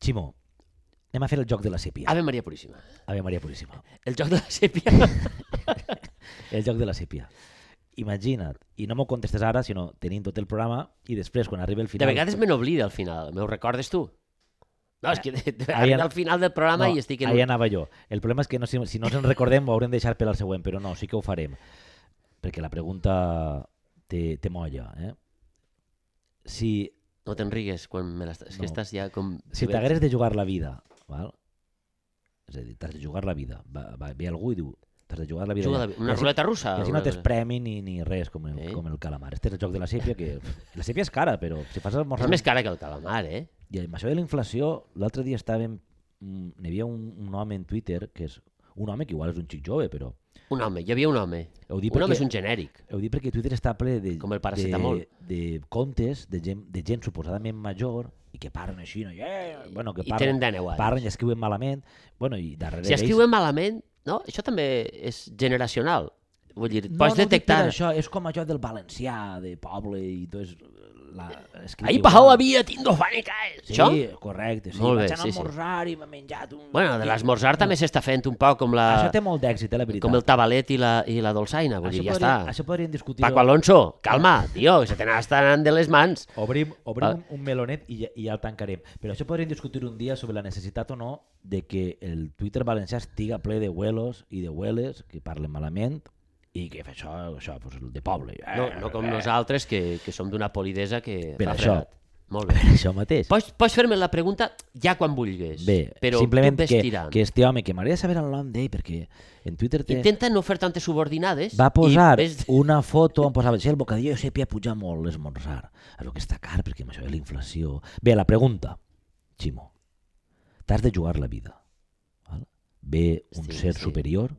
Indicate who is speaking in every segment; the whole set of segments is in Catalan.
Speaker 1: Ximo, anem a fer el joc de la sèpia.
Speaker 2: Ave Maria Puríssima.
Speaker 1: Ave Maria Puríssima.
Speaker 2: El joc de la sèpia.
Speaker 1: El joc de la sèpia. Imagina't, i no m'ho contestes ara, sinó tenint tot el programa, i després, quan arribi el
Speaker 2: De
Speaker 1: final...
Speaker 2: vegades me n'oblida al final. M'ho recordes tu? No, és que de, de,
Speaker 1: ahir
Speaker 2: arriba
Speaker 1: an-
Speaker 2: al final del programa i estic en...
Speaker 1: ahir
Speaker 2: un-
Speaker 1: anava jo. El problema és que no, si, si no ens en recordem ho haurem de deixar per al següent, però no, sí que ho farem. Perquè la pregunta té, té molla. Eh? Si,
Speaker 2: No te'n rigues quan me l'estàs... És
Speaker 1: No.
Speaker 2: que estàs ja com...
Speaker 1: si t'hagués de jugar la vida, val? és a dir, t'has de jugar la vida, va, va, ve algú i diu, t'has de jugar la vida.
Speaker 2: Juga
Speaker 1: ja.
Speaker 2: la- Una
Speaker 1: I així-
Speaker 2: ruleta russa.
Speaker 1: I així
Speaker 2: una
Speaker 1: no tens
Speaker 2: cosa.
Speaker 1: premi ni, ni res, com el,
Speaker 2: Ah, Eh?
Speaker 1: com el calamar. Este és el joc de la sèpia, que la sèpia és cara, però si fas
Speaker 2: És
Speaker 1: esmorzar...
Speaker 2: més cara que el calamar, eh?
Speaker 1: I amb això de la inflació, l'altre dia estàvem... mm, N'hi havia un, un home en Twitter, que és un home que igual és un xic jove, però
Speaker 2: Un home, hi havia un home.
Speaker 1: Ho
Speaker 2: Un
Speaker 1: dic
Speaker 2: home
Speaker 1: perquè-
Speaker 2: és un genèric.
Speaker 1: Ho dic perquè Twitter està ple de,
Speaker 2: Com el paracetamol.
Speaker 1: de, de contes de gent, de gent suposadament major i que parlen així, no? Eh, bueno, que
Speaker 2: I
Speaker 1: parlen,
Speaker 2: tenen 10 anys.
Speaker 1: parlen i escriuen malament. Bueno, i darrere
Speaker 2: Si escriuen malament, no? Això també és generacional. Vull dir,
Speaker 1: d'ells... no, no
Speaker 2: pots
Speaker 1: ho dic per
Speaker 2: detectar...
Speaker 1: Això, és com allò del valencià, de poble i tot. És, la, escrit
Speaker 2: Ahir
Speaker 1: igual.
Speaker 2: Pau havia tingut fànicas.
Speaker 1: Sí,
Speaker 2: Això?
Speaker 1: correcte. Sí,
Speaker 2: Molt bé,
Speaker 1: Vaig anar
Speaker 2: sí, sí.
Speaker 1: a esmorzar i m'he menjat un...
Speaker 2: Bueno, de l'esmorzar també s'està fent un poc com la...
Speaker 1: Això té molt d'èxit, eh, la veritat.
Speaker 2: com el tabalet i la, i la dolçaina, vull
Speaker 1: això,
Speaker 2: dir, ja
Speaker 1: podríem,
Speaker 2: està.
Speaker 1: això podríem discutir
Speaker 2: Paco Alonso, calma, tio, que se te n'està anant de les mans.
Speaker 1: Obrim, obrim
Speaker 2: Va.
Speaker 1: un, un melonet i ja, i ja el tancarem. Però això podríem discutir un dia sobre la necessitat o no de que el Twitter valencià estiga ple de huelos i de hueles que parlen malament i que fa això, això pues, el de poble. Eh,
Speaker 2: No, no com
Speaker 1: eh.
Speaker 2: nosaltres, que, que som d'una polidesa que
Speaker 1: Per
Speaker 2: fa
Speaker 1: això.
Speaker 2: fredat. Molt bé.
Speaker 1: Això mateix.
Speaker 2: Pots, pots fer-me la pregunta ja quan vulguis,
Speaker 1: Bé,
Speaker 2: però
Speaker 1: simplement
Speaker 2: tu ves
Speaker 1: que,
Speaker 2: tirant.
Speaker 1: que este home, que m'agradaria saber el nom d'ell, perquè en Twitter té...
Speaker 2: Intenta no fer tantes subordinades.
Speaker 1: va posar
Speaker 2: i ves-
Speaker 1: una foto on posava "Sí, el bocadillo de sèpia puja molt l'esmorzar. A lo que està car, perquè amb això de la inflació... Bé, la pregunta, Ximo, t'has de jugar la vida. Val? Ve un
Speaker 2: Sí,
Speaker 1: ser
Speaker 2: sí.
Speaker 1: superior,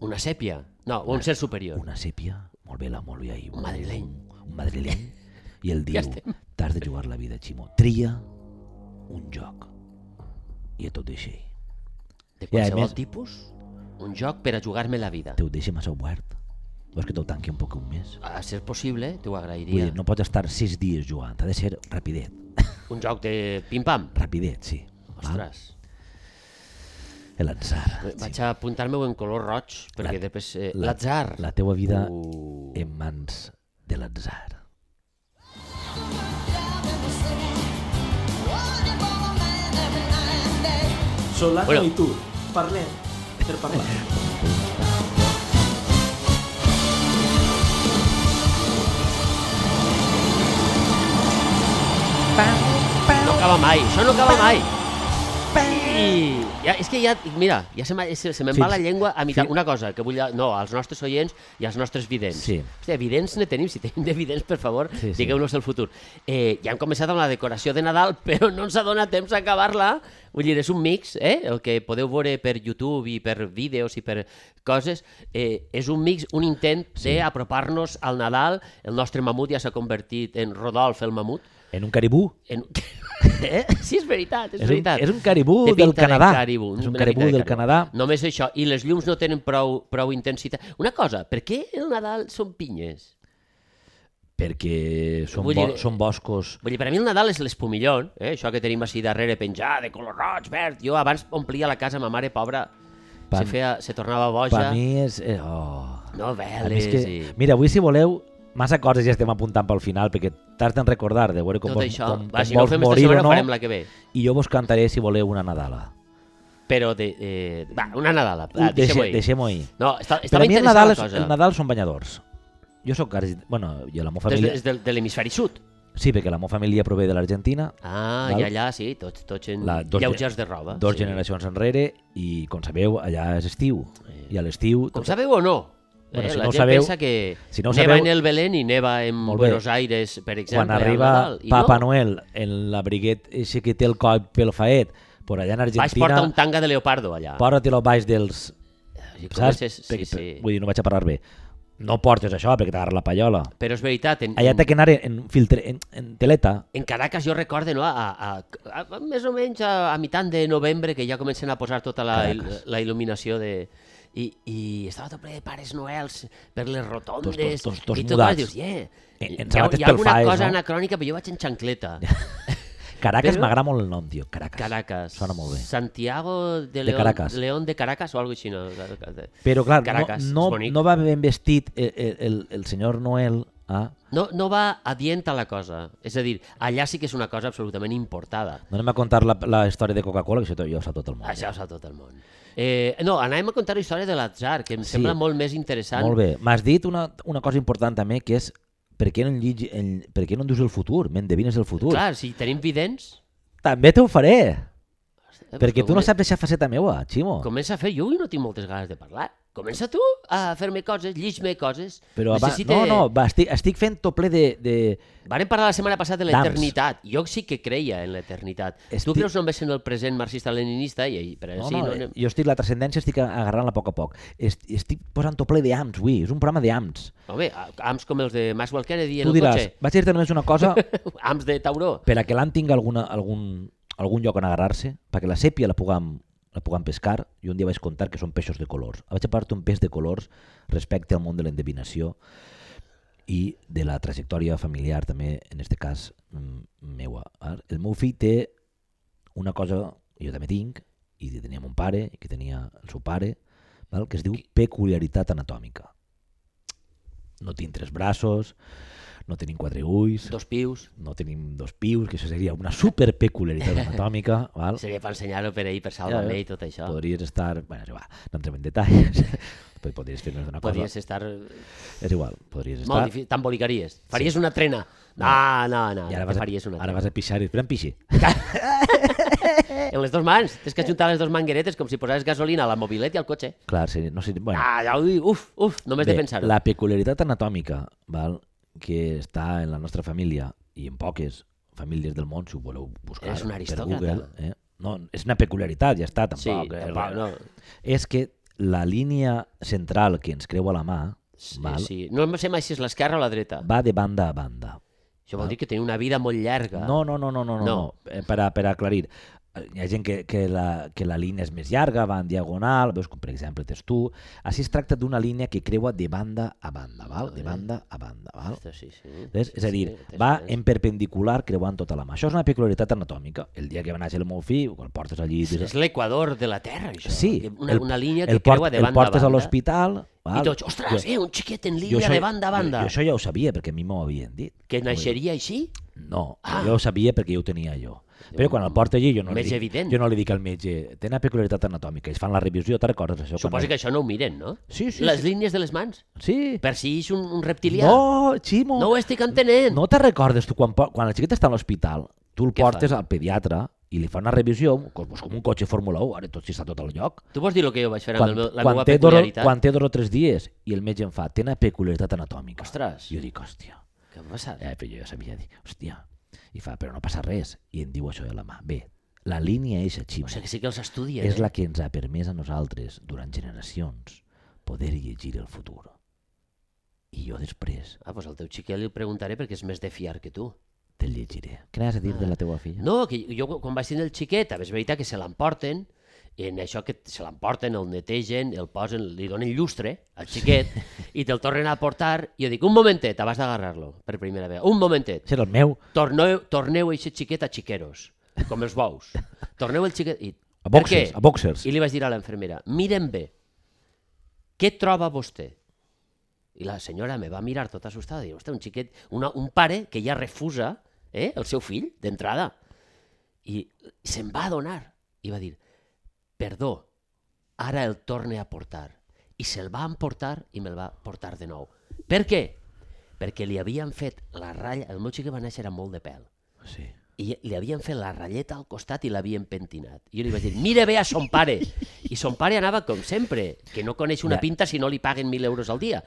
Speaker 2: Una sèpia. No, un ser superior.
Speaker 1: una sèpia, molt bé la molt bé ahir,
Speaker 2: Un madrileny.
Speaker 1: un madrileny, i el diu,
Speaker 2: Ja estem.
Speaker 1: t'has de jugar la vida, Ximo. Tria un joc. I et ho deixa ell. Ja,
Speaker 2: De
Speaker 1: i
Speaker 2: qualsevol
Speaker 1: més-
Speaker 2: tipus? Un joc per a jugar-me la vida.
Speaker 1: Te ho deixa massa obert. Vols que te'l tanqui un poc un mes?
Speaker 2: A ser possible, t'ho
Speaker 1: Vull
Speaker 2: agrairia.
Speaker 1: dir, no pots estar sis dies jugant, ha de ser rapidet.
Speaker 2: Un joc de pim-pam.
Speaker 1: Rapidet, sí. Val?
Speaker 2: Ostres.
Speaker 1: El ansar.
Speaker 2: Vaig a apuntar-me-ho en color roig, perquè després...
Speaker 1: Ah,
Speaker 2: Eh,
Speaker 1: la-
Speaker 2: L'atzar.
Speaker 1: La teua vida
Speaker 2: Uh.
Speaker 1: en mans de l'atzar.
Speaker 3: Solano
Speaker 2: Bueno.
Speaker 3: i tu, parlem per parlar.
Speaker 2: No acaba mai, això no acaba mai. I ja, és que ja, mira, ja se, m'ha- se, se me'n
Speaker 1: Sí,
Speaker 2: va la
Speaker 1: sí.
Speaker 2: llengua a mitat.
Speaker 1: Sí.
Speaker 2: Una cosa, que vull... a- No, als nostres oients i als nostres vidents.
Speaker 1: Sí.
Speaker 2: Hòstia, vidents ne tenim, si tenim de vidents, per favor,
Speaker 1: Sí,
Speaker 2: sí,
Speaker 1: sí.
Speaker 2: sí. digueu-nos el futur. Eh, ja hem començat amb la decoració de Nadal, però no ens ha donat temps a acabar-la. Vull dir, és un mix, eh? El que podeu veure per YouTube i per vídeos i per coses, eh, és un mix, un intent sí. d'apropar-nos al Nadal. El nostre mamut ja s'ha convertit en Rodolf el mamut.
Speaker 1: En un caribú?
Speaker 2: En... eh? Sí, és veritat, és,
Speaker 1: És un-
Speaker 2: veritat.
Speaker 1: és un caribú
Speaker 2: Té
Speaker 1: del
Speaker 2: pinta de
Speaker 1: Canadà.
Speaker 2: Caribú,
Speaker 1: És un
Speaker 2: una
Speaker 1: caribú
Speaker 2: mica de
Speaker 1: del Canadà.
Speaker 2: Només això. I les llums no tenen prou, prou intensitat. Una cosa, per què el Nadal són pinyes?
Speaker 1: Perquè són,
Speaker 2: Vull
Speaker 1: bo
Speaker 2: dir-
Speaker 1: són boscos...
Speaker 2: Vull dir, per a mi el Nadal és l'espumillón, eh? això que tenim així darrere penjar, de color roig, verd. Jo abans omplia la casa, ma mare pobra,
Speaker 1: Pa-
Speaker 2: se, feia, se tornava
Speaker 1: Per
Speaker 2: boja.
Speaker 1: mi és... eh, Oh.
Speaker 2: No,
Speaker 1: A mi
Speaker 2: veles
Speaker 1: és que...
Speaker 2: i...
Speaker 1: Mira, avui, si voleu, massa coses ja estem apuntant pel final, perquè t'has de recordar de veure com
Speaker 2: Tot
Speaker 1: vols,
Speaker 2: això.
Speaker 1: com,
Speaker 2: Va,
Speaker 1: com
Speaker 2: si no ho
Speaker 1: vols
Speaker 2: fem esta
Speaker 1: morir o
Speaker 2: setmana,
Speaker 1: no,
Speaker 2: ho farem la que ve.
Speaker 1: i jo vos cantaré, si voleu, una Nadala.
Speaker 2: Però de... Eh, va, una Nadala. Va,
Speaker 1: Uh, deixe-
Speaker 2: deixem-ho ahir.
Speaker 1: Deixem-ho ahir.
Speaker 2: No, està,
Speaker 1: Per a
Speaker 2: estava
Speaker 1: mi el Nadal,
Speaker 2: interessant la
Speaker 1: és,
Speaker 2: cosa.
Speaker 1: el Nadal són banyadors. Jo sóc... quasi- Bueno, jo la meva
Speaker 2: Des, de,
Speaker 1: família...
Speaker 2: des de, de l'hemisferi sud.
Speaker 1: Sí, perquè la meva família prové de l'Argentina,
Speaker 2: Ah,
Speaker 1: Val?
Speaker 2: i allà sí, tots, tots en
Speaker 1: La- dos
Speaker 2: lleugers
Speaker 1: gen-
Speaker 2: de roba.
Speaker 1: dos
Speaker 2: sí.
Speaker 1: generacions enrere i, com sabeu, allà és estiu. I a l'estiu...
Speaker 2: Eh, Com
Speaker 1: tot-
Speaker 2: sabeu o no?
Speaker 1: Bueno,
Speaker 2: eh,
Speaker 1: si
Speaker 2: la
Speaker 1: no ho
Speaker 2: gent
Speaker 1: sabeu-
Speaker 2: pensa que
Speaker 1: si no ho
Speaker 2: neva
Speaker 1: sabeu-
Speaker 2: en el Belén i neva en
Speaker 1: Molt bé.
Speaker 2: Buenos Aires, per exemple,
Speaker 1: Quan
Speaker 2: al
Speaker 1: arriba
Speaker 2: Nadal, i
Speaker 1: Papa
Speaker 2: no.
Speaker 1: Noel en la briguet eixe que té el coll pel faet, per allà en
Speaker 2: Vaig portar un
Speaker 1: Argentina,
Speaker 2: tanga de leopardo allà.
Speaker 1: porta-te-lo baix dels...
Speaker 2: Sí,
Speaker 1: Saps?
Speaker 2: comences-
Speaker 1: Perquè-
Speaker 2: sí, sí.
Speaker 1: Vull dir, no vaig a parlar bé. No portes això perquè t'agarra la pallola.
Speaker 2: Però és veritat, en,
Speaker 1: Allà t'ha que anar en, en, filtre, en, en teleta.
Speaker 2: en Caracas jo recorde, no, a, a, a, a més o menys a, a mitant de novembre que ja comencen a posar tota la, il,
Speaker 1: Caracas.
Speaker 2: la il·luminació de... I, i estava tot ple de pares noels per les rotondes
Speaker 1: Tots- tots- tots
Speaker 2: i tot,
Speaker 1: mudats.
Speaker 2: dius, yeah,
Speaker 1: En- en
Speaker 2: hi ha,
Speaker 1: sabates
Speaker 2: hi ha alguna
Speaker 1: pelfaes,
Speaker 2: cosa
Speaker 1: no?
Speaker 2: anacrònica però jo vaig en xancleta
Speaker 1: Caracas
Speaker 2: Però-
Speaker 1: m'agrada molt el nom, tio. Caracas.
Speaker 2: Caracas.
Speaker 1: Sona molt bé.
Speaker 2: Santiago de
Speaker 1: De
Speaker 2: León
Speaker 1: Caracas.
Speaker 2: León de Caracas o algo així, no?
Speaker 1: Però, clar,
Speaker 2: Caracas,
Speaker 1: no,
Speaker 2: és
Speaker 1: no,
Speaker 2: bonic.
Speaker 1: no va ben vestit el, el, el, el senyor Noel ah, a...
Speaker 2: No, no va adient a la cosa. És a dir, allà sí que és una cosa absolutament importada.
Speaker 1: No anem a contar la, la història de Coca-Cola, que això jo ho sap tot el món.
Speaker 2: Això ho sap tot el món. Eh, no, anàvem a contar la història de l'atzar, que em
Speaker 1: Sí.
Speaker 2: sí. sembla molt més interessant.
Speaker 1: Molt bé. M'has dit una, una cosa important també, que és per què no, enlligi, en, per què no em dius el futur? M'endevines el futur?
Speaker 2: Clar, si tenim vidents...
Speaker 1: També t'ho faré!
Speaker 2: eh,
Speaker 1: Perquè tu no
Speaker 2: come-
Speaker 1: saps deixar faceta meua, Ximo.
Speaker 2: Comença a fer... Jo avui no tinc moltes ganes de parlar. Comença tu a fer-me coses, llig-me coses.
Speaker 1: Però aba-
Speaker 2: Necessite-
Speaker 1: No, no, va, estic, estic fent tople de... de...
Speaker 2: Varen parlar la setmana passada de
Speaker 1: Dams.
Speaker 2: l'eternitat. Jo sí que creia en l'eternitat.
Speaker 1: Esti-
Speaker 2: Tu creus només en el present marxista-leninista i, i per
Speaker 1: No,
Speaker 2: així
Speaker 1: no,
Speaker 2: no,
Speaker 1: eh,
Speaker 2: anem-
Speaker 1: jo estic, la transcendència estic agarrant-la a poc a poc. Est, estic posant tople de ams, avui. És un programa de ams.
Speaker 2: Home, a- ams com els de Maxwell Kennedy en
Speaker 1: Tu
Speaker 2: el
Speaker 1: diràs, vaig dir-te només una cosa
Speaker 2: cotxe. Ams de Tauró.
Speaker 1: per a que l'an tingui alguna, algun, algun lloc on agarrar-se, perquè la sèpia la puguem, la puguem pescar, i un dia vaig contar que són peixos de colors. Vaig apart un peix de colors respecte al món de l'endevinació i de la trajectòria familiar també, en este cas, mm, meua. Ara, El meu fill té una cosa, jo també tinc, i que tenia mon pare, i que tenia el seu pare, val? que es diu peculiaritat anatòmica. No tinc tres braços, no tenim quatre ulls
Speaker 2: Dos pius.
Speaker 1: no tenim dos pius, que això seria una super peculiaritat anatòmica, val?
Speaker 2: Seria per ensenyar-ho per ahir, per salvar-me
Speaker 1: Ja,
Speaker 2: i tot això.
Speaker 1: Podries estar... Bueno, és igual, no entrem en detalls. Però podries fer-nos una cosa.
Speaker 2: Podries estar...
Speaker 1: És igual, podries estar...
Speaker 2: Molt difícil. T'embolicaries. Faries una trena. Ah, No, no, no.
Speaker 1: I
Speaker 2: no
Speaker 1: ara
Speaker 2: te
Speaker 1: vas, a,
Speaker 2: faries una
Speaker 1: ara vas a pixar i després em pixi.
Speaker 2: trena. En Eh, les dues mans. Tens
Speaker 1: Eh.
Speaker 2: que ajuntar les dues mangueretes com si posaves gasolina a la mobilet i al cotxe.
Speaker 1: Clar, seria, no seria... Bueno,
Speaker 2: Ah, ja, ui, uf, uf, només de pensar-ho.
Speaker 1: la peculiaritat anatòmica val? que està en la nostra família i en poques famílies del món, si ho voleu buscar
Speaker 2: Eres un
Speaker 1: per
Speaker 2: aristòcrata.
Speaker 1: Google... Eh? No, és una peculiaritat, ja està, tampoc.
Speaker 2: Sí,
Speaker 1: eh,
Speaker 2: tampoc, no.
Speaker 1: És que la línia central que ens creua la mà
Speaker 2: Sí,
Speaker 1: val?
Speaker 2: sí. No sé mai si és l'esquerra o la dreta.
Speaker 1: va de banda a banda.
Speaker 2: Això vol dir que teniu una vida molt llarga.
Speaker 1: No, no, no, no, no, no. no.
Speaker 2: No.
Speaker 1: Eh, Per, a, per a aclarir. Eh, Hi ha gent que, que, la, que la línia és més llarga, va en diagonal, veus com per exemple tens tu. Així es tracta d'una línia que creua de banda a banda, val? De banda a banda, val?
Speaker 2: Ostres, sí, sí.
Speaker 1: Ves? És a dir, va en perpendicular creuant tota la mà. Això és una peculiaritat anatòmica. El dia que va néixer el meu fill, quan el portes allí...
Speaker 2: És, és l'equador de la Terra, això.
Speaker 1: Sí,
Speaker 2: Una,
Speaker 1: el-
Speaker 2: una línia que
Speaker 1: el port-
Speaker 2: creua de
Speaker 1: El
Speaker 2: banda a
Speaker 1: portes a
Speaker 2: banda.
Speaker 1: l'hospital...
Speaker 2: I
Speaker 1: val?
Speaker 2: tots, ostres, eh, un xiquet en línia
Speaker 1: això-
Speaker 2: de banda a
Speaker 1: Jo,
Speaker 2: banda.
Speaker 1: jo això ja ho sabia, perquè a mi m'ho havien dit.
Speaker 2: Que
Speaker 1: M'ho havien
Speaker 2: naixeria així?
Speaker 1: No, ah. jo ho sabia perquè jo ho tenia jo. Però quan el porta allí jo no, li
Speaker 2: Més
Speaker 1: dic,
Speaker 2: evident.
Speaker 1: jo no li dic al metge, té una peculiaritat anatòmica, ells fan la revisió, te'n recordes això?
Speaker 2: Suposo que això no ho miren, no?
Speaker 1: Sí, sí,
Speaker 2: Les
Speaker 1: sí.
Speaker 2: línies de les mans.
Speaker 1: Sí.
Speaker 2: Per si és un, un reptilià.
Speaker 1: No, Ximo,
Speaker 2: no ho estic entenent.
Speaker 1: no te recordes tu quan, po- quan el xiquet està a l'hospital, tu el
Speaker 2: Què
Speaker 1: portes al pediatre i li fa una revisió, com, com un cotxe Fórmula 1, ara tot si està tot al lloc.
Speaker 2: Tu vols dir el que jo vaig fer amb el meu, la
Speaker 1: quan,
Speaker 2: meva
Speaker 1: té dos,
Speaker 2: peculiaritat?
Speaker 1: quan té dos o tres dies i el metge em fa, té una peculiaritat anatòmica.
Speaker 2: Ostres.
Speaker 1: Jo dic, hòstia,
Speaker 2: Què va passar?
Speaker 1: Eh, però jo ja sabia dir, hòstia. I fa, però no passa res. I em diu això de la mà. Bé, la línia és així.
Speaker 2: O sigui que sí que els estudien.
Speaker 1: és
Speaker 2: eh?
Speaker 1: la que ens ha permès a nosaltres, durant generacions, poder llegir el futur. I jo després
Speaker 2: Ah, doncs al teu xiquet li preguntaré perquè és més de fiar que tu.
Speaker 1: te'l llegiré. Què n'has a dir de la teua filla?
Speaker 2: Ah. No, que jo quan vaig tenir el xiquet, a més, és veritat que se l'emporten, i en això que se l'emporten, el netegen, el posen, li donen llustre al xiquet i te'l tornen a portar i jo dic, un momentet, abans d'agarrar-lo per primera vegada, un momentet,
Speaker 1: Això era el meu.
Speaker 2: torneu, torneu aquest xiquet a xiqueros, com els bous. Torneu el xiquet... I,
Speaker 1: A boxers, a boxers.
Speaker 2: I li vaig dir a l'infermera, miren bé, què troba vostè? I la senyora me va mirar tota assustada i diu, un xiquet, una, un pare que ja refusa eh, el seu fill d'entrada. I se'n va adonar i va dir, perdó, ara el torne a portar. I se'l va emportar i me'l va portar de nou. Per què? Perquè li havien fet la ratlla... El meu xiquet va néixer amb molt de pèl
Speaker 1: Sí.
Speaker 2: i li havien fet la ratlleta al costat i l'havien pentinat. I jo li vaig dir, mira bé a son pare. I son pare anava com sempre, que no coneix una
Speaker 1: Ja.
Speaker 2: pinta si no li paguen 1.000 euros al dia.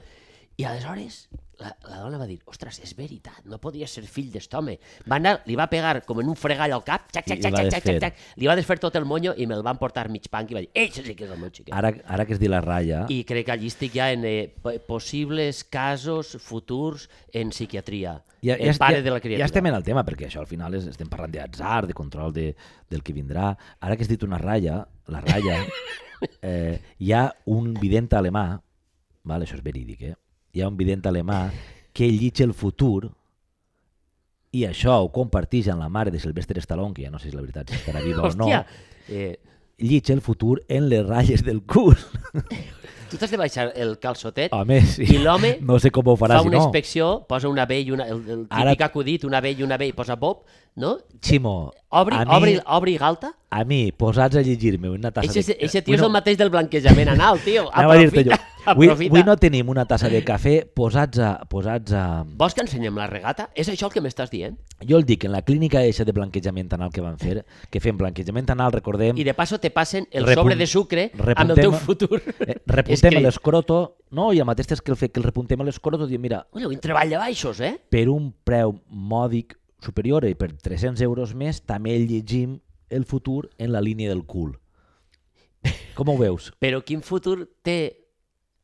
Speaker 2: I aleshores la, la dona va dir, ostres, és veritat, no podria ser fill d'est home. Va anar, li va pegar com en un fregall al cap, xac,
Speaker 1: I
Speaker 2: xac,
Speaker 1: li
Speaker 2: xac,
Speaker 1: va
Speaker 2: xac, xac,
Speaker 1: desfer.
Speaker 2: xac, xac, li va desfer tot el monyo i me'l van portar mig panc i va dir, ei, això sí que és el meu xiquet.
Speaker 1: Ara, ara que es diu la ratlla...
Speaker 2: I crec que allí estic ja en eh, po- possibles casos futurs en psiquiatria. Ja, el pare de la criatura.
Speaker 1: Ja estem en el tema, perquè això al final és, estem parlant d'atzar, de control de, del que vindrà. Ara que has dit una ratlla, la ratlla, eh, hi ha un vident alemà, val, això és verídic, eh? hi ha un vident alemà que llitja el futur i això ho compartix amb la mare de Sylvester Stallone, que ja no sé si la veritat si estarà viva o no,
Speaker 2: Hòstia, eh,
Speaker 1: llitja el futur en les ratlles del cul.
Speaker 2: tu t'has de baixar el calçotet
Speaker 1: Home, sí.
Speaker 2: I l'home
Speaker 1: Ah, no sé com ho farà,
Speaker 2: fa
Speaker 1: si
Speaker 2: una
Speaker 1: no.
Speaker 2: inspecció, posa una B i una... El, el típic
Speaker 1: Ara-
Speaker 2: acudit, una B i una B i posa Bob, no?
Speaker 1: Ximo,
Speaker 2: Obri,
Speaker 1: a mi,
Speaker 2: obri, obri galta.
Speaker 1: a mi, posats a llegir-me una tassa
Speaker 2: Eixe,
Speaker 1: de... eh,
Speaker 2: eixe tio
Speaker 1: Avui
Speaker 2: és
Speaker 1: no-
Speaker 2: el mateix del blanquejament anal, tio.
Speaker 1: Anava a dir-te jo.
Speaker 2: Aprofita,
Speaker 1: Avui,
Speaker 2: aprofita.
Speaker 1: avui no tenim una tassa de cafè posats a... Posats a...
Speaker 2: Vols que ensenyem la regata? És això el que m'estàs dient?
Speaker 1: Jo el dic, en la clínica eixa de blanquejament anal que van fer, que fem blanquejament anal, recordem...
Speaker 2: I de passo te passen el
Speaker 1: Repun-
Speaker 2: sobre de sucre amb el
Speaker 1: repuntem-
Speaker 2: teu futur.
Speaker 1: Eh, repuntem
Speaker 2: Escrit.
Speaker 1: l'escroto, no? I el mateix és que el, fe, que el repuntem a l'escroto, diem, mira,
Speaker 2: Bueno, un treball de baixos, eh?
Speaker 1: per un preu mòdic superior i per 300 euros més, també llegim el futur en la línia del cul. Com ho veus?
Speaker 2: Però quin futur té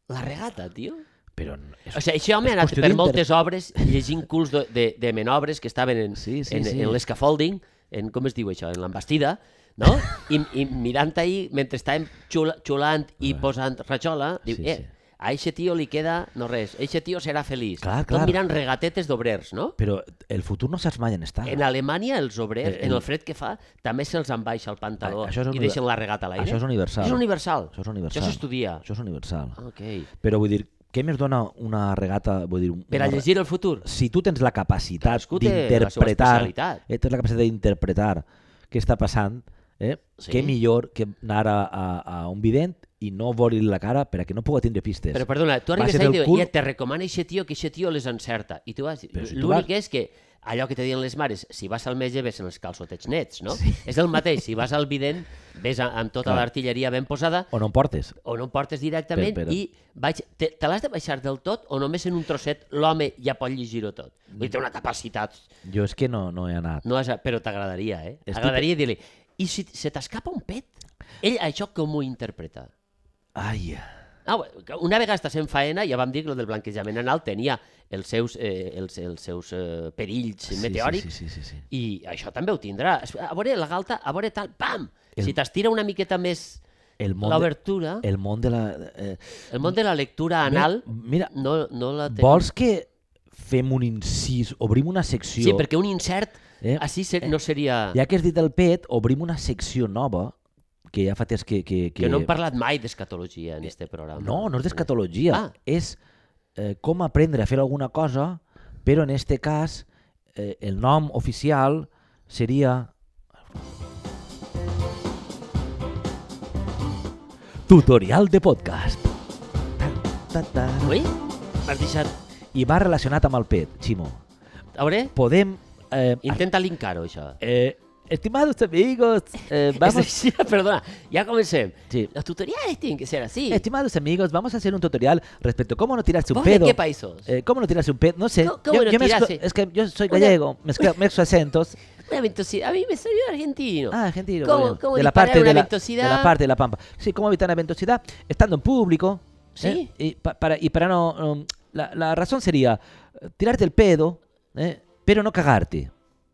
Speaker 2: la regata, tio?
Speaker 1: Però n- és...
Speaker 2: O sigui, això home
Speaker 1: és
Speaker 2: ha anat
Speaker 1: qüestió
Speaker 2: per
Speaker 1: d'inter-
Speaker 2: moltes obres llegint culs de, de, de menobres que estaven en,
Speaker 1: Sí, sí,
Speaker 2: en,
Speaker 1: sí.
Speaker 2: en l'escaffolding, en, com es diu això, en l'embastida, no? I, I mirant ahir, mentre estàvem xula, xulant i posant rajola, diu,
Speaker 1: Sí,
Speaker 2: eh,
Speaker 1: sí.
Speaker 2: a eixe tio li queda no res, eixe tio serà feliç.
Speaker 1: Clar,
Speaker 2: Tot
Speaker 1: clar.
Speaker 2: mirant regatetes d'obrers, no?
Speaker 1: Però el futur no saps mai on està.
Speaker 2: En Alemanya, els obrers,
Speaker 1: Ah. Eh,
Speaker 2: en
Speaker 1: eh.
Speaker 2: el fred que fa, també se'ls en baixa el pantaló
Speaker 1: Ah, això és
Speaker 2: i
Speaker 1: univer-
Speaker 2: deixen la regata a l'aire.
Speaker 1: Això és universal.
Speaker 2: És universal.
Speaker 1: Això és universal.
Speaker 2: Això s'estudia.
Speaker 1: Això és universal.
Speaker 2: Ah, Ok.
Speaker 1: Però vull dir, què més dona una regata? Vull dir, un-
Speaker 2: Per
Speaker 1: una
Speaker 2: a
Speaker 1: re-
Speaker 2: llegir el futur.
Speaker 1: Si tu tens la capacitat
Speaker 2: Cadascú té la seva
Speaker 1: d'interpretar...
Speaker 2: especialitat.
Speaker 1: Eh, tens la capacitat d'interpretar què està passant, eh?
Speaker 2: Sí.
Speaker 1: què millor que anar a, a, a un vident i no veure la cara per a que no pugui tindre pistes.
Speaker 2: Però perdona, tu arribes
Speaker 1: Baixa't
Speaker 2: allà i
Speaker 1: el
Speaker 2: dius,
Speaker 1: cul-
Speaker 2: ja te recomana aquest tio, que aquest tio les encerta. I tu vas...
Speaker 1: Però si tu
Speaker 2: L'únic
Speaker 1: vas-
Speaker 2: és que allò que te diuen les mares, si vas al metge ves en els calçotets nets, no? És el mateix, si vas al vident ves a- amb tota
Speaker 1: Clar.
Speaker 2: l'artilleria ben posada
Speaker 1: O no em portes.
Speaker 2: o no em portes directament
Speaker 1: Per- per-
Speaker 2: i vaig... Te, te l'has de baixar del tot o només en un trosset l'home ja pot llegir-ho tot?
Speaker 1: Mm.
Speaker 2: Vull dir, té una capacitat
Speaker 1: Jo és que no, no he anat.
Speaker 2: No has, però t'agradaria, eh?
Speaker 1: Estic-
Speaker 2: T'agradaria dir-li, i si se t'escapa un pet? Ell això com ho interpreta?
Speaker 1: Ai, eh.
Speaker 2: Ah, bé, que una vegada estàs en faena, ja vam dir que el del blanquejament anal tenia els seus, eh, els, els seus eh, perills
Speaker 1: sí,
Speaker 2: meteòrics,
Speaker 1: Sí, sí, sí, sí, sí.
Speaker 2: i això també ho tindrà. Es- A veure, la galta, a veure tal, pam!
Speaker 1: El-
Speaker 2: Si t'estira una miqueta més
Speaker 1: El món, de,
Speaker 2: l'obertura, el...
Speaker 1: el món de la... Eh,
Speaker 2: món de la lectura anal
Speaker 1: Mira,
Speaker 2: no, no la té.
Speaker 1: vols que fem un incís, obrim una secció...
Speaker 2: Sí, perquè un incert
Speaker 1: Eh?
Speaker 2: així ser, no seria...
Speaker 1: Ja que has dit el pet, obrim una secció nova que ja fa temps que... Que, Eh,
Speaker 2: Que no hem parlat mai d'escatologia en este programa.
Speaker 1: No, no és d'escatologia.
Speaker 2: Ah.
Speaker 1: És eh, com aprendre a fer alguna cosa, però en este cas eh, el nom oficial seria... Tutorial de podcast. Ta, ta, ta.
Speaker 2: Ui, m'has deixat...
Speaker 1: I va relacionat amb el pet, Ximo.
Speaker 2: A veure,
Speaker 1: Podem... Eh,
Speaker 2: intenta linkar-ho, això.
Speaker 1: eh, estimados amigos, eh, vamos...
Speaker 2: És així, perdona, ja comencem.
Speaker 1: Sí.
Speaker 2: Los tutoriales tienen que ser así.
Speaker 1: Estimados amigos, vamos a hacer un tutorial respecto a cómo no tirarse un
Speaker 2: ¿Vos de
Speaker 1: pedo.
Speaker 2: qué país sos?
Speaker 1: Eh, ¿Cómo no tirarse un pedo? No sé.
Speaker 2: ¿Cómo- cómo
Speaker 1: yo,
Speaker 2: no
Speaker 1: yo mezclo-
Speaker 2: tirarse?
Speaker 1: es que yo soy
Speaker 2: Una-
Speaker 1: gallego, mezcla- mezclo acentos.
Speaker 2: Una ventosidad. A mí me salió argentino.
Speaker 1: Ah, argentino.
Speaker 2: ¿Cómo-
Speaker 1: muy bien.
Speaker 2: cómo
Speaker 1: de la
Speaker 2: disparar
Speaker 1: parte
Speaker 2: una
Speaker 1: de la,
Speaker 2: ventosidad?
Speaker 1: de la parte de la pampa. Sí, cómo evitar la ventosidad estando en público.
Speaker 2: Sí.
Speaker 1: ¿eh? Y pa- para y para no um, la, la razón sería eh, tirarte el pedo, ¿eh? pero no cagarte.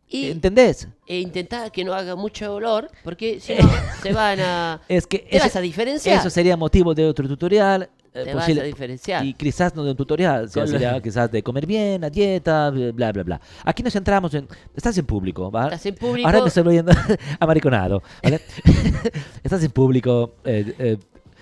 Speaker 2: y
Speaker 1: ¿Entendés?
Speaker 2: e intentar que no haga mucho olor, porque si no, se van a.
Speaker 1: Es que
Speaker 2: Te
Speaker 1: ese-
Speaker 2: vas a diferenciar.
Speaker 1: Eh. Eso sería motivo de otro tutorial. eh,
Speaker 2: Te vas a
Speaker 1: posible-
Speaker 2: diferenciar.
Speaker 1: Y quizás no de un tutorial, sino
Speaker 2: Con-
Speaker 1: sería quizás de comer bien, la dieta, bla, bla, bla. Aquí nos centramos en... Estás en público, ¿va?
Speaker 2: Estás en público.
Speaker 1: Ahora me estoy volviendo amariconado, ¿vale? Estás en público... eh, eh,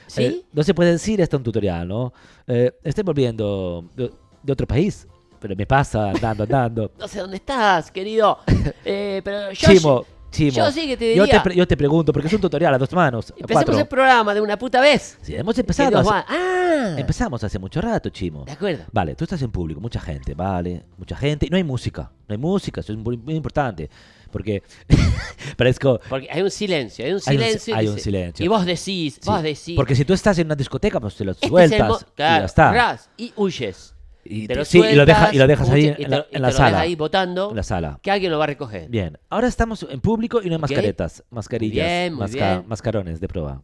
Speaker 2: ¿Sí?
Speaker 1: eh, no se puede decir esto en un tutorial, ¿no? Eh, estoy volviendo de, de otro país, pero me pasa andando, andando.
Speaker 2: No sé dónde estás, querido. Eh, pero yo.
Speaker 1: Chimo, Chimo.
Speaker 2: yo sí que te
Speaker 1: Yo
Speaker 2: diría-
Speaker 1: te, pre- yo te pregunto, porque es un tutorial a dos manos, a
Speaker 2: Empecemos
Speaker 1: cuatro.
Speaker 2: el programa de una puta vez.
Speaker 1: Sí, hemos
Speaker 2: Que
Speaker 1: empezado
Speaker 2: nos
Speaker 1: hace-
Speaker 2: va- Ah,
Speaker 1: Empezamos hace mucho rato, Chimo.
Speaker 2: de acuerdo.
Speaker 1: Vale, tú estás en público, mucha gente, vale, mucha gente. y No hay música, no hay música, eso es muy, muy importante. Porque parezco...
Speaker 2: Porque hay un silencio, hay un
Speaker 1: Hay un si-
Speaker 2: silencio. y
Speaker 1: hay un
Speaker 2: dice-
Speaker 1: silencio.
Speaker 2: Y vos decís,
Speaker 1: sí,
Speaker 2: vos decís.
Speaker 1: Porque si tú estás en una discoteca, pues te lo
Speaker 2: este es el mo-
Speaker 1: sueltas y
Speaker 2: claro,
Speaker 1: ya está.
Speaker 2: ras, y huyes.
Speaker 1: Y,
Speaker 2: Te
Speaker 1: te-
Speaker 2: lo
Speaker 1: sí, y lo, deja-
Speaker 2: sueltas,
Speaker 1: y lo dejas ahí
Speaker 2: huyes,
Speaker 1: en,
Speaker 2: y te
Speaker 1: la,
Speaker 2: lo- y
Speaker 1: en la
Speaker 2: te lo dejas
Speaker 1: sala.
Speaker 2: ahí votando.
Speaker 1: En la sala.
Speaker 2: que alguien lo va a recoger.
Speaker 1: Bien, ahora estamos en público y no hay mascaretas, mascarillas,
Speaker 2: Bien, muy
Speaker 1: masca-
Speaker 2: bien.
Speaker 1: mascarones de prueba.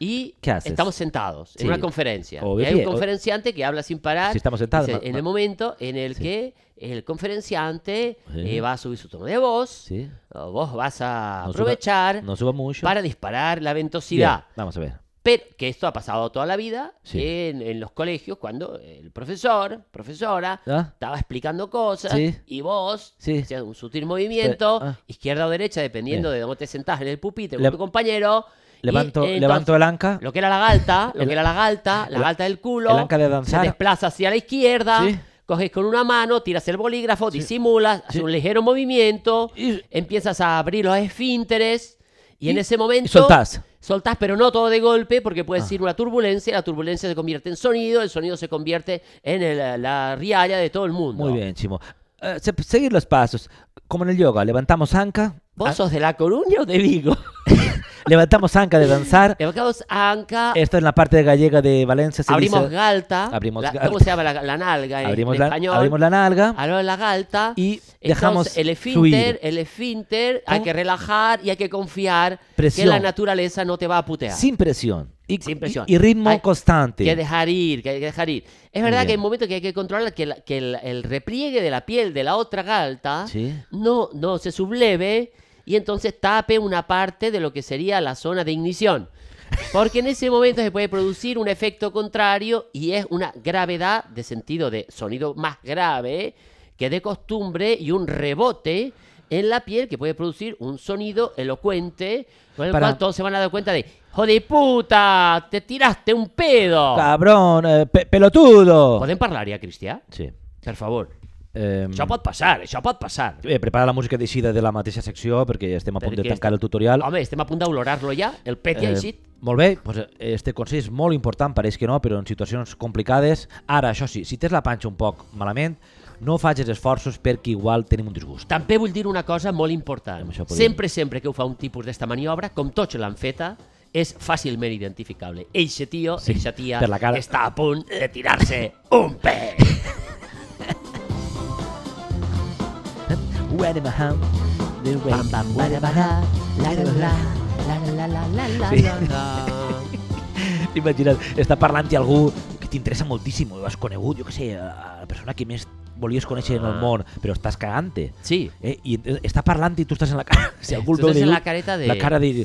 Speaker 2: Y
Speaker 1: ¿Qué haces?
Speaker 2: estamos sentados en
Speaker 1: Sí.
Speaker 2: una conferencia.
Speaker 1: O
Speaker 2: y hay un
Speaker 1: bien, o-
Speaker 2: conferenciante que habla sin parar.
Speaker 1: Si estamos sentados,
Speaker 2: Dice,
Speaker 1: ma-
Speaker 2: en
Speaker 1: ma-
Speaker 2: el momento en el que el conferenciante
Speaker 1: Sí.
Speaker 2: eh, va a subir su tono de voz,
Speaker 1: ¿Sí?
Speaker 2: o vos vas a
Speaker 1: No suba-
Speaker 2: aprovechar
Speaker 1: No suba mucho.
Speaker 2: para disparar la ventosidad.
Speaker 1: Bien, vamos a ver.
Speaker 2: Pero que esto ha pasado toda la vida
Speaker 1: Sí.
Speaker 2: en, en los colegios cuando el profesor, profesora,
Speaker 1: ¿Ah?
Speaker 2: estaba explicando cosas
Speaker 1: Sí.
Speaker 2: y vos
Speaker 1: Sí.
Speaker 2: hacías un sutil movimiento,
Speaker 1: Pe- ah.
Speaker 2: izquierda o derecha, dependiendo
Speaker 1: Bien.
Speaker 2: de dónde te sentás en el pupitre
Speaker 1: Le-
Speaker 2: con tu compañero. y,
Speaker 1: Levanto,
Speaker 2: eh, entonces,
Speaker 1: levanto el anca.
Speaker 2: Lo que era la galta, lo
Speaker 1: El-
Speaker 2: que era la galta, la
Speaker 1: el-
Speaker 2: galta del culo.
Speaker 1: el anca de danzar.
Speaker 2: Se desplaza hacia la izquierda,
Speaker 1: Sí.
Speaker 2: coges con una mano, tiras el bolígrafo, disimulas, haces un ligero movimiento,
Speaker 1: Y-
Speaker 2: empiezas a abrir los esfínteres y, en
Speaker 1: Y-
Speaker 2: ese momento...
Speaker 1: y soltás. Ah.
Speaker 2: Soltás, pero no todo de golpe, porque puede ser una turbulencia, la turbulencia se convierte en sonido, el sonido se convierte en el- la rialla de todo el mundo.
Speaker 1: Muy bien, Chimo. Eh, se- seguir los pasos. Como en el yoga, levantamos anca.
Speaker 2: ¿Vos
Speaker 1: ah,
Speaker 2: sos de La Coruña o de Vigo?
Speaker 1: levantamos anca de danzar.
Speaker 2: Levantados anca,
Speaker 1: Esto en la parte de gallega de Valencia. Se
Speaker 2: Ah. abrimos
Speaker 1: dice,
Speaker 2: galta.
Speaker 1: abrimos
Speaker 2: la- ¿Cómo
Speaker 1: galta.
Speaker 2: se llama la, la nalga en,
Speaker 1: abrimos,
Speaker 2: en
Speaker 1: la,
Speaker 2: español?
Speaker 1: abrimos la nalga
Speaker 2: Abrimos la galta.
Speaker 1: y
Speaker 2: Entonces,
Speaker 1: dejamos
Speaker 2: el esfínter,
Speaker 1: fluir.
Speaker 2: el esfínter, hay
Speaker 1: ¿Cómo?
Speaker 2: que relajar y hay que confiar
Speaker 1: Presión.
Speaker 2: que la naturaleza no te va a putear.
Speaker 1: Sin presión. Y,
Speaker 2: Sin
Speaker 1: y-
Speaker 2: presión.
Speaker 1: y ritmo
Speaker 2: Hay
Speaker 1: constante.
Speaker 2: Que dejar ir, que hay que dejar ir. Es verdad
Speaker 1: Bien.
Speaker 2: que hay momentos que hay que controlar que, la- que el, el repliegue de la piel de la otra galta
Speaker 1: Sí.
Speaker 2: no, no se subleve y entonces tape una parte de lo que sería la zona de ignición. Porque en ese momento se puede producir un efecto contrario y es una gravedad de sentido de sonido más grave que de costumbre y un rebote en la piel que puede producir un sonido elocuente con el
Speaker 1: Para-
Speaker 2: cual todos se van a dar cuenta de ¡Joder puta! ¡Te tiraste un pedo!
Speaker 1: Cabrón, eh, pe- pelotudo.
Speaker 2: Podem parlar ja, Cristià?
Speaker 1: Sí.
Speaker 2: Per favor.
Speaker 1: Ehm,
Speaker 2: Això pot passar, això pot passar.
Speaker 1: Bé, eh, prepara la música d'eixida de la mateixa secció perquè ja estem a punt de
Speaker 2: Perquè
Speaker 1: tancar el
Speaker 2: estem-
Speaker 1: tutorial.
Speaker 2: Home, estem a punt d'olorar-lo ja, el pet
Speaker 1: Eh.
Speaker 2: ja ha eixit.
Speaker 1: molt bé, doncs eh, este consell és molt important, pareix que no, però en situacions complicades. Ara, això sí, si tens la panxa un poc malament, no facis esforços perquè igual tenim un disgust.
Speaker 2: També vull dir una cosa molt important.
Speaker 1: Amb això podem-
Speaker 2: Sempre, sempre que ho fa un tipus d'esta maniobra, com tots l'han feta, és fàcilment identificable. Eixe tio,
Speaker 1: Sí,
Speaker 2: sí, eixa tia,
Speaker 1: per la cara.
Speaker 2: està a punt de tirar-se un pet.
Speaker 1: When in my hand, the way-
Speaker 2: Pam, pam, para, para, la, la, la, la, la, la, la, la, la,
Speaker 1: Sí.
Speaker 2: la, la.
Speaker 1: Imagina't, està parlant-hi algú que t'interessa moltíssim, o has conegut, jo què sé, a la persona que més volies conèixer en el
Speaker 2: Ah.
Speaker 1: món, però estàs cagant-te.
Speaker 2: Sí,
Speaker 1: Eh? I eh, està parlant i tu estàs en la cara. Si algú el
Speaker 2: Tu
Speaker 1: veu
Speaker 2: estàs en
Speaker 1: diu-
Speaker 2: la careta de-
Speaker 1: La cara de...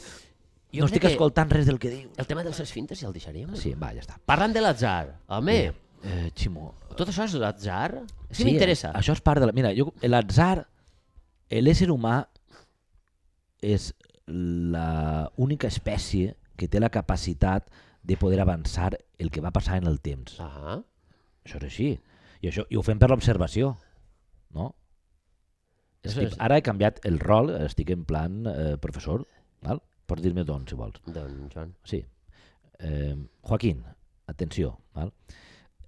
Speaker 2: Jo
Speaker 1: no
Speaker 2: crec
Speaker 1: estic
Speaker 2: que-
Speaker 1: escoltant res del que diu.
Speaker 2: el tema dels esfínteres ja el deixaríem.
Speaker 1: Sí, va, ja està.
Speaker 2: Parlant de l'atzar, home,
Speaker 1: Bé, eh, Ximo...
Speaker 2: tot això és l'atzar? Sí, sí m'interessa.
Speaker 1: eh, Això és part de la... Mira, jo, l'atzar, l'ésser humà és la única espècie que té la capacitat de poder avançar el que va passar en el temps.
Speaker 2: Ah,
Speaker 1: Això és així. I, això, i ho fem per l'observació, no?
Speaker 2: això
Speaker 1: Estic,
Speaker 2: és...
Speaker 1: ara he canviat el rol, estic en plan eh, professor, val? pots dir-me d'on, si vols.
Speaker 2: Doncs, Joan,
Speaker 1: Sí. Eh, Joaquín, atenció, val?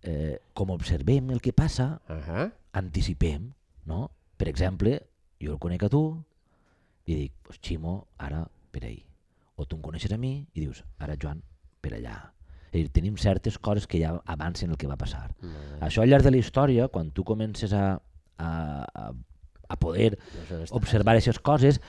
Speaker 1: Eh, com observem el que passa,
Speaker 2: Ahà.
Speaker 1: anticipem, no? Per exemple, jo el conec a tu i dic, pues Ximo, ara per ahir. O tu em coneixes a mi i dius, ara Joan, per allà. És a dir, tenim certes coses que ja avancen el que va passar.
Speaker 2: Molt bé.
Speaker 1: Això al llarg de la història, quan tu comences a, a, a, a poder
Speaker 2: Doncs on estàs?
Speaker 1: observar aquestes coses,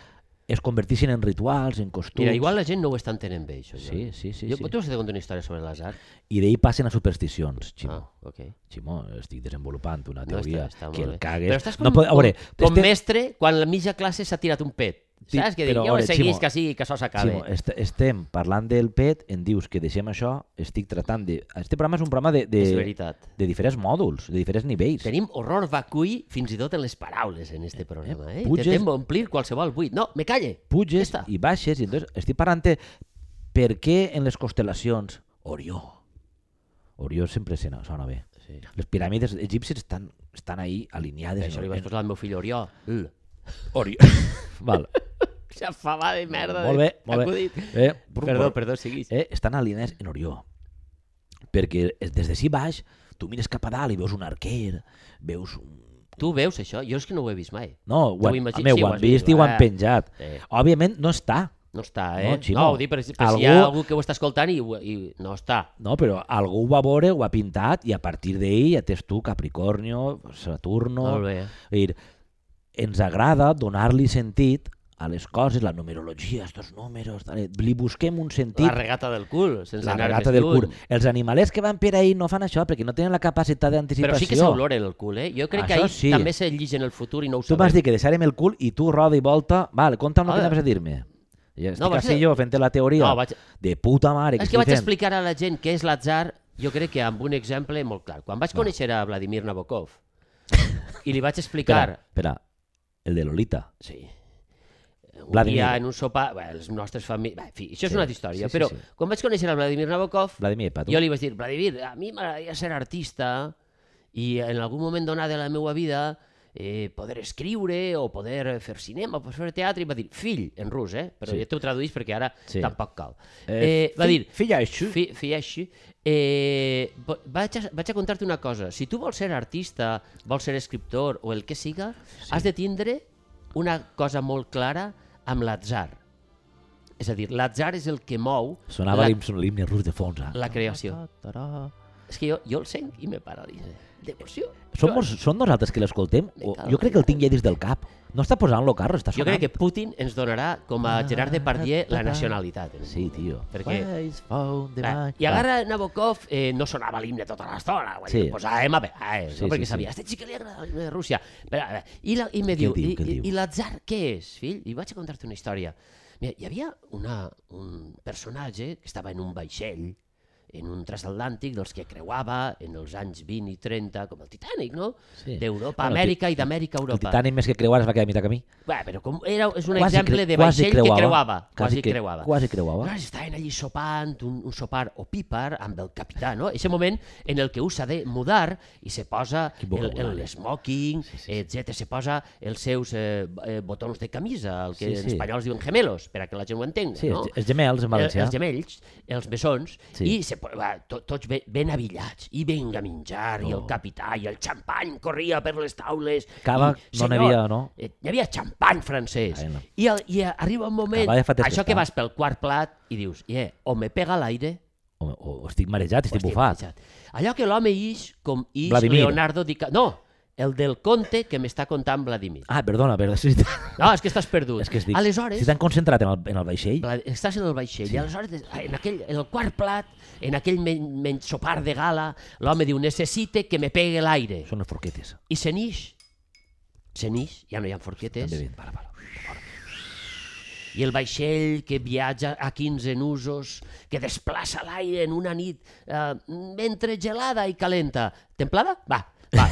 Speaker 1: es converteixen en rituals, en costums...
Speaker 2: Mira, igual la gent no ho està entenent bé, això.
Speaker 1: Sí,
Speaker 2: Joan.
Speaker 1: sí, sí,
Speaker 2: Jo,
Speaker 1: sí.
Speaker 2: Tu has de contar una història sobre l'atzar?
Speaker 1: I d'ahir passen a supersticions, Ximo.
Speaker 2: Ah, ok.
Speaker 1: Ximo, estic desenvolupant una
Speaker 2: No,
Speaker 1: teoria
Speaker 2: està- està molt
Speaker 1: que el
Speaker 2: bé.
Speaker 1: cagues...
Speaker 2: Però estàs com,
Speaker 1: no, pot- a veure,
Speaker 2: com, com
Speaker 1: este-
Speaker 2: mestre quan la mitja classe s'ha tirat un pet.
Speaker 1: Sí,
Speaker 2: Saps? Que dic,
Speaker 1: però,
Speaker 2: ja ho
Speaker 1: veure,
Speaker 2: seguís,
Speaker 1: Ximo,
Speaker 2: que sí, que això s'acabe.
Speaker 1: Ximo, est estem parlant del PET, em dius que deixem això, estic tratant de... Este programa és un programa de, de,
Speaker 2: És veritat.
Speaker 1: de diferents mòduls, de diferents nivells.
Speaker 2: Tenim horror vacui fins i tot en les paraules en este programa. Eh?
Speaker 1: puges-
Speaker 2: Intentem omplir qualsevol buit. No, me calle.
Speaker 1: Puges
Speaker 2: Ja està.
Speaker 1: i baixes, i entonces estic parlant de per què en les constel·lacions Orió. Orió sempre sona, sona bé.
Speaker 2: Sí.
Speaker 1: Les piràmides egípcies estan, estan ahí alineades.
Speaker 2: Això
Speaker 1: en-
Speaker 2: li vaig
Speaker 1: en-
Speaker 2: posar al meu fill Oriol.
Speaker 1: eh,
Speaker 2: Mm.
Speaker 1: Orió. Val.
Speaker 2: Ja fa va de merda.
Speaker 1: Molt bé,
Speaker 2: de-
Speaker 1: molt bé.
Speaker 2: acudit.
Speaker 1: Eh,
Speaker 2: Perdó, perdó, seguís.
Speaker 1: eh, estan alineats en Orió. Perquè es- des de si baix, tu mires cap a dalt i veus un arquer, veus un,
Speaker 2: Tu veus això? Jo és que no ho he vist mai.
Speaker 1: No, ho
Speaker 2: T'ho
Speaker 1: han,
Speaker 2: imagi-
Speaker 1: home,
Speaker 2: sí,
Speaker 1: ho
Speaker 2: ho
Speaker 1: han
Speaker 2: has
Speaker 1: vist
Speaker 2: vist, eh?
Speaker 1: i ho han
Speaker 2: va.
Speaker 1: penjat.
Speaker 2: Sí.
Speaker 1: Òbviament no està.
Speaker 2: No està,
Speaker 1: No,
Speaker 2: eh?
Speaker 1: Ximo.
Speaker 2: no ho dic per, per si hi ha
Speaker 1: Algú-
Speaker 2: algú que ho està escoltant i, ho- i no està.
Speaker 1: No, però algú ho va veure, ho ha pintat i a partir d'ahir ja tens tu Capricornio, Saturno...
Speaker 2: Molt bé.
Speaker 1: És a dir, ens agrada donar-li sentit a les coses, la numerologia, estos números, tal, li busquem un sentit,
Speaker 2: La regata del cul, sense
Speaker 1: la
Speaker 2: anar
Speaker 1: regata
Speaker 2: més
Speaker 1: del
Speaker 2: lluny.
Speaker 1: cul. Els animalers que van per ahir no fan això perquè no tenen la capacitat d'anticipació.
Speaker 2: Però sí que s'oloren el cul, eh? Jo crec que
Speaker 1: Això
Speaker 2: ahir
Speaker 1: sí.
Speaker 2: també se lligen el futur i no ho
Speaker 1: Tu m'has
Speaker 2: sabem.
Speaker 1: dit que deixarem el cul i tu roda i volta... Val, conta'm el que
Speaker 2: Hola.
Speaker 1: anaves a dir-me. Ja estic
Speaker 2: No,
Speaker 1: no,
Speaker 2: vaig-
Speaker 1: així jo fent la teoria
Speaker 2: No, vaig-
Speaker 1: de puta mare que
Speaker 2: És que vaig
Speaker 1: estic fent.
Speaker 2: explicar a la gent què és l'atzar, jo crec que amb un exemple molt clar. Quan vaig conèixer a Vladimir Nabokov i li vaig explicar...
Speaker 1: Espera, espera, el de Lolita.
Speaker 2: Sí. Eh, Un
Speaker 1: Vladimir.
Speaker 2: dia en un sopar, bé, les nostres famílies... En fi, això és
Speaker 1: Sí,
Speaker 2: una altra història,
Speaker 1: sí, sí,
Speaker 2: però
Speaker 1: sí.
Speaker 2: quan vaig conèixer a Vladimir Nabokov,
Speaker 1: Vladimir, pa tu.
Speaker 2: jo li vaig dir, Vladimir, a mi m'agradaria ser artista i en algun moment donat de la meva vida eh, poder escriure o poder fer cinema, o fer teatre, i va dir, fill, en rus, eh? però
Speaker 1: Sí.
Speaker 2: sí. ja t'ho traduís perquè ara
Speaker 1: Sí.
Speaker 2: sí. tampoc cal. Eh, va
Speaker 1: fi-
Speaker 2: dir,
Speaker 1: Filla, això...
Speaker 2: fi, fi així, eh, vo- vaig, a, vaig a contar-te una cosa, si tu vols ser artista, vols ser escriptor o el que siga, sí. has de tindre una cosa molt clara amb l'atzar. És a dir, l'atzar és el que mou
Speaker 1: Sonava
Speaker 2: la-
Speaker 1: l'himne l'himne rus de fons. Eh?
Speaker 2: la creació.
Speaker 1: Tarà.
Speaker 2: És que jo, jo el sent i me paralitza. Depressió.
Speaker 1: Som, mos, som nosaltres que l'escoltem? O- Jo crec que el tinc ja dins del cap. No està posant-lo, Carlos, està
Speaker 2: Jo
Speaker 1: sonant.
Speaker 2: crec que Putin ens donarà, com a Gerard Depardieu, la nacionalitat. en
Speaker 1: Ah, Sí,
Speaker 2: aquest moment.
Speaker 1: tio.
Speaker 2: Perquè...
Speaker 1: Where is found the
Speaker 2: Ah,
Speaker 1: man?
Speaker 2: I agarra Nabokov, eh, no sonava l'himne tota l'estona, sí.
Speaker 1: Sí.
Speaker 2: posàvem a veure,
Speaker 1: Sí,
Speaker 2: no?
Speaker 1: sí,
Speaker 2: perquè
Speaker 1: sí.
Speaker 2: sabia, a este xic li agrada l'himne de Rússia. Però, a veure, I, la, i me
Speaker 1: Què
Speaker 2: diu,
Speaker 1: diu,
Speaker 2: i,
Speaker 1: què
Speaker 2: i,
Speaker 1: diu?
Speaker 2: i l'atzar què és, fill? I vaig a contar-te una història. Mira, hi havia una, un personatge que estava en un vaixell, en un transatlàntic dels que creuava en els anys 20 i 30, com el Titanic, no?
Speaker 1: Sí.
Speaker 2: D'Europa a
Speaker 1: Bueno, el
Speaker 2: Amèrica i d'Amèrica a
Speaker 1: El
Speaker 2: Europa.
Speaker 1: Titanic més que creuar es va quedar a mitjà camí.
Speaker 2: Bé, però com era, és un
Speaker 1: Quasi
Speaker 2: exemple
Speaker 1: cre-
Speaker 2: de
Speaker 1: quasi
Speaker 2: vaixell que creuava. Quasi,
Speaker 1: que-
Speaker 2: creuava.
Speaker 1: Quasi creuava.
Speaker 2: Llavors estaven allí sopant, un, un sopar o pípar amb el capità, no? Eixe moment en el que us ha de mudar i se posa
Speaker 1: Quin
Speaker 2: el,
Speaker 1: vocabulari.
Speaker 2: el smoking, sí,
Speaker 1: eh? sí.
Speaker 2: etc. Se posa els seus eh, b- eh, botons de camisa, el que
Speaker 1: Sí,
Speaker 2: sí, sí. en
Speaker 1: sí.
Speaker 2: espanyols diuen gemelos, per a que la gent ho entengui,
Speaker 1: Sí,
Speaker 2: no?
Speaker 1: els- els gemels en valencià.
Speaker 2: El, els gemells, els bessons,
Speaker 1: Sí.
Speaker 2: sí. i se, po- va, to, tots ben, ben avillats, i venga a menjar, i
Speaker 1: Oh.
Speaker 2: el capità, i el xampany corria per les taules.
Speaker 1: Cava
Speaker 2: i,
Speaker 1: no n'hi
Speaker 2: senyor,
Speaker 1: havia, no?
Speaker 2: eh, Hi havia xampany francès.
Speaker 1: Ai, no.
Speaker 2: I, el, I arriba un moment,
Speaker 1: Cava ja fa temps que
Speaker 2: això que
Speaker 1: està.
Speaker 2: vas pel quart plat i dius, yeah, o me pega l'aire,
Speaker 1: O, o, o estic marejat,
Speaker 2: o
Speaker 1: estic
Speaker 2: estic
Speaker 1: bufat.
Speaker 2: pitjat. Allò que l'home ix, com ix
Speaker 1: Vladimir.
Speaker 2: Leonardo DiCaprio... No, el del conte que m'està contant Vladimir.
Speaker 1: Ah, perdona, perdona. Sí,
Speaker 2: No, és que estàs perdut.
Speaker 1: és que estic,
Speaker 2: Aleshores,
Speaker 1: estic tan concentrat en el, en el vaixell.
Speaker 2: Pla- Estàs en el vaixell sí. i aleshores en, aquell, en el quart plat, en aquell men, men sopar de gala, l'home diu necessite que me pegue l'aire.
Speaker 1: Són les forquetes.
Speaker 2: I se n'ix. Se n'ix, ja no hi ha forquetes.
Speaker 1: També ben, para, para.
Speaker 2: I el vaixell que viatja a 15 nusos, que desplaça l'aire en una nit eh, mentre gelada i calenta. Templada? Va, va.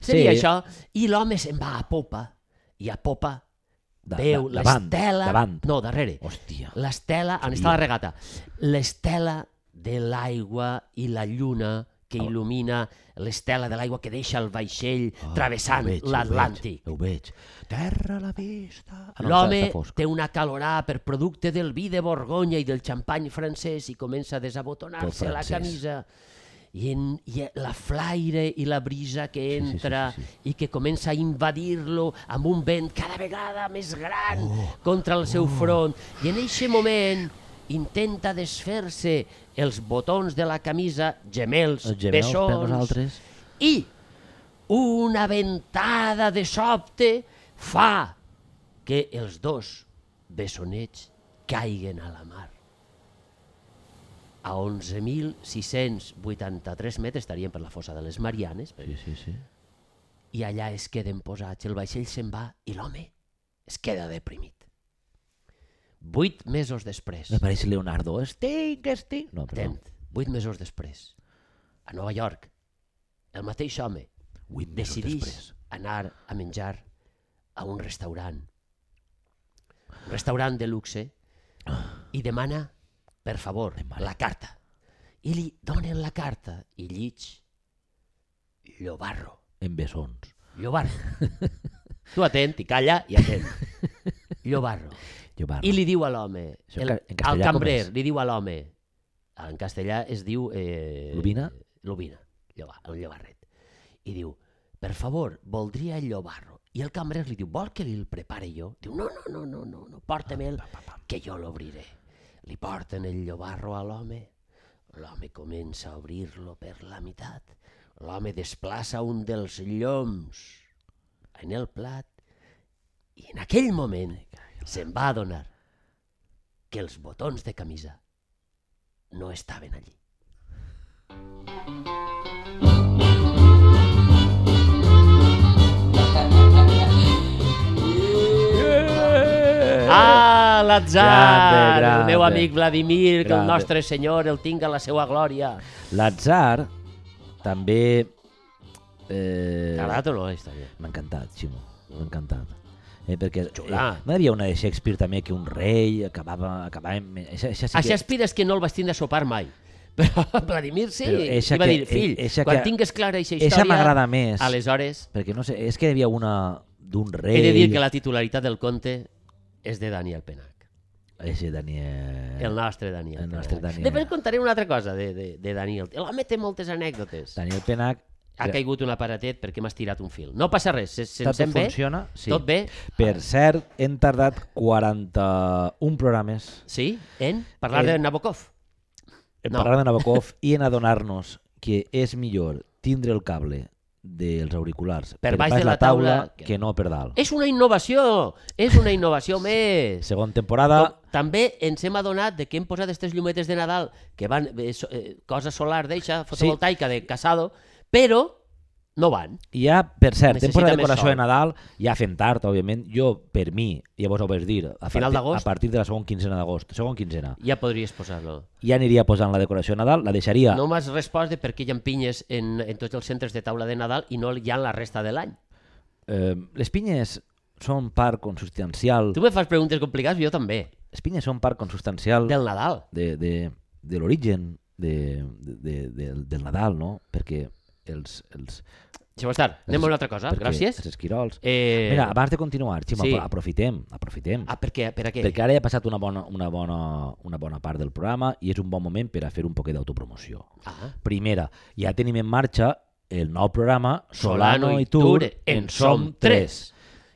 Speaker 2: Seria
Speaker 1: Sí.
Speaker 2: això. I l'home se'n va a popa. I a popa
Speaker 1: Da- da-
Speaker 2: veu
Speaker 1: davant,
Speaker 2: l'estela...
Speaker 1: Davant.
Speaker 2: No, darrere.
Speaker 1: Hòstia.
Speaker 2: L'estela, on està la regata? L'estela de l'aigua i la lluna que
Speaker 1: Ah.
Speaker 2: il·lumina l'estela de l'aigua que deixa el vaixell
Speaker 1: Ah,
Speaker 2: travessant
Speaker 1: Ho veig, ho
Speaker 2: l'Atlàntic.
Speaker 1: veig, Ho veig. Terra a la vista. Ah, no,
Speaker 2: L'home
Speaker 1: està- està fosc.
Speaker 2: té una calorà per producte del vi de Borgonya i del xampany francès i comença a desabotonar-se
Speaker 1: Del
Speaker 2: la
Speaker 1: francès.
Speaker 2: camisa. I, en, I la flaire i la brisa que
Speaker 1: sí, sí,
Speaker 2: entra sí, sí,
Speaker 1: sí,
Speaker 2: sí, sí. i que comença a invadir-lo amb un vent cada vegada més gran oh, contra el seu front. I en eixe moment intenta desfer-se els botons de la camisa, gemels,
Speaker 1: Els gemels per
Speaker 2: bessons,
Speaker 1: nosaltres.
Speaker 2: i una ventada de sobte fa que els dos bessonets caiguen a la mar. A 11.683 metres estarien per la fossa de les Marianes,
Speaker 1: Sí, sí, sí.
Speaker 2: i allà es queden posats. El vaixell se'n va i l'home es queda deprimit. Vuit mesos després,
Speaker 1: Me pareix Leonardo. Estic, estic... No, perdó.
Speaker 2: atent, vuit mesos després, a Nova York, el mateix home,
Speaker 1: Vuit mesos
Speaker 2: decidís
Speaker 1: després.
Speaker 2: anar a menjar a un restaurant. Un restaurant de luxe i demana, per favor,
Speaker 1: Demana.
Speaker 2: la carta. I li donen la carta i llig Llobarro.
Speaker 1: En bessons.
Speaker 2: Llobarro. tu atent i calla i atent. Llobarro.
Speaker 1: Jo parlo.
Speaker 2: I li diu a l'home,
Speaker 1: Això
Speaker 2: el-
Speaker 1: en ca- en
Speaker 2: al
Speaker 1: castellà com
Speaker 2: cambrer,
Speaker 1: és?
Speaker 2: li diu a l'home, en castellà es diu... Eh,
Speaker 1: Lubina?
Speaker 2: Lubina, lloba, el llobarret. I diu, per favor, voldria el llobarro. I el cambrer li diu, vol que li el prepare jo? Diu, no, no, no, no, no, no porta-me'l, que jo l'obriré. Li porten el llobarro a l'home, l'home comença a obrir-lo per la meitat, l'home desplaça un dels lloms en el plat i en aquell moment se'n va adonar que els botons de camisa no estaven allí.
Speaker 1: Eh.
Speaker 2: A
Speaker 1: Grande,
Speaker 2: l'atzar, Ah, el meu
Speaker 1: grande.
Speaker 2: amic Vladimir, que el
Speaker 1: Grande.
Speaker 2: nostre senyor el tinga la seva glòria.
Speaker 1: L'atzar també... Eh,
Speaker 2: T'ha agradat o no la història?
Speaker 1: M'ha encantat, Ximo, m'ha encantat. Eh, perquè eh,
Speaker 2: Xula.
Speaker 1: no hi havia una de Shakespeare també que un rei acabava... acabava amb... Eixa, eixa sí
Speaker 2: A
Speaker 1: que-
Speaker 2: Shakespeare és que no el vas tindre a sopar mai. Però Vladimir sí,
Speaker 1: Però
Speaker 2: i
Speaker 1: eixa
Speaker 2: va
Speaker 1: que-
Speaker 2: dir, fill,
Speaker 1: eixa
Speaker 2: quan
Speaker 1: que-
Speaker 2: tingues clara aquesta
Speaker 1: eixa
Speaker 2: història...
Speaker 1: m'agrada més.
Speaker 2: Aleshores,
Speaker 1: Perquè no sé, és que hi havia una d'un rei...
Speaker 2: he de dir que la titularitat del conte és de Daniel Penach.
Speaker 1: Eixe Eh, Daniel...
Speaker 2: El nostre Daniel.
Speaker 1: Eh. El nostre
Speaker 2: Penach.
Speaker 1: Daniel.
Speaker 2: Després contaré una altra cosa de, de, de Daniel. L'home té moltes anècdotes.
Speaker 1: Daniel Penac...
Speaker 2: Ha caigut un aparatet perquè m'has tirat un fil. No passa res, se, se em
Speaker 1: Tot
Speaker 2: sent bé?
Speaker 1: funciona? Sí.
Speaker 2: Tot bé?
Speaker 1: Per cert, hem tardat 41 programes
Speaker 2: Sí? En? Parlar
Speaker 1: Eh,
Speaker 2: de Nabokov?
Speaker 1: en
Speaker 2: No.
Speaker 1: parlar de Nabokov i en adonar-nos que és millor tindre el cable dels auriculars
Speaker 2: Per baix de la taula Eh.
Speaker 1: que no per dalt.
Speaker 2: És una innovació! És una innovació més!
Speaker 1: Segona temporada...
Speaker 2: Com- també ens hem adonat de que hem posat aquestes llumetes de Nadal, que van eh, so, eh, cosa solar d'eixa, fotovoltaica de Casado, però no van.
Speaker 1: I ja, per cert,
Speaker 2: Necessita
Speaker 1: temporada de
Speaker 2: més
Speaker 1: Coraçó de
Speaker 2: sol.
Speaker 1: Nadal, ja fem tard, òbviament. Jo, per mi, ja vos ho vaig dir, a, partir,
Speaker 2: Final d'agost?
Speaker 1: a partir de la segona quinzena d'agost, segona quinzena,
Speaker 2: Ja podries posar-lo.
Speaker 1: ja aniria posant la decoració de Nadal, la deixaria...
Speaker 2: No m'has respost de per què hi ha pinyes en, en tots els centres de taula de Nadal i no hi ha en la resta de l'any.
Speaker 1: Eh, les pinyes són part consustancial...
Speaker 2: Tu me fas preguntes complicades, jo també.
Speaker 1: Les pinyes són part consustancial
Speaker 2: Del Nadal.
Speaker 1: de, de, de l'origen de, de, de, del- del Nadal, no? Perquè els... els
Speaker 2: Això va estar. Anem a una altra cosa.
Speaker 1: perquè
Speaker 2: Gràcies.
Speaker 1: Els esquirols...
Speaker 2: Eh...
Speaker 1: Mira, abans de continuar, Ximo,
Speaker 2: sí.
Speaker 1: apro- aprofitem, aprofitem.
Speaker 2: Ah, per què? Per a què?
Speaker 1: Perquè ara ja ha passat una bona, una, bona, una bona part del programa i és un bon moment per a fer un poquet d'autopromoció.
Speaker 2: Ah,
Speaker 1: Primera, ja tenim en marxa el nou programa Solano,
Speaker 2: Solano i
Speaker 1: i Tur,
Speaker 2: Ture, en som tres,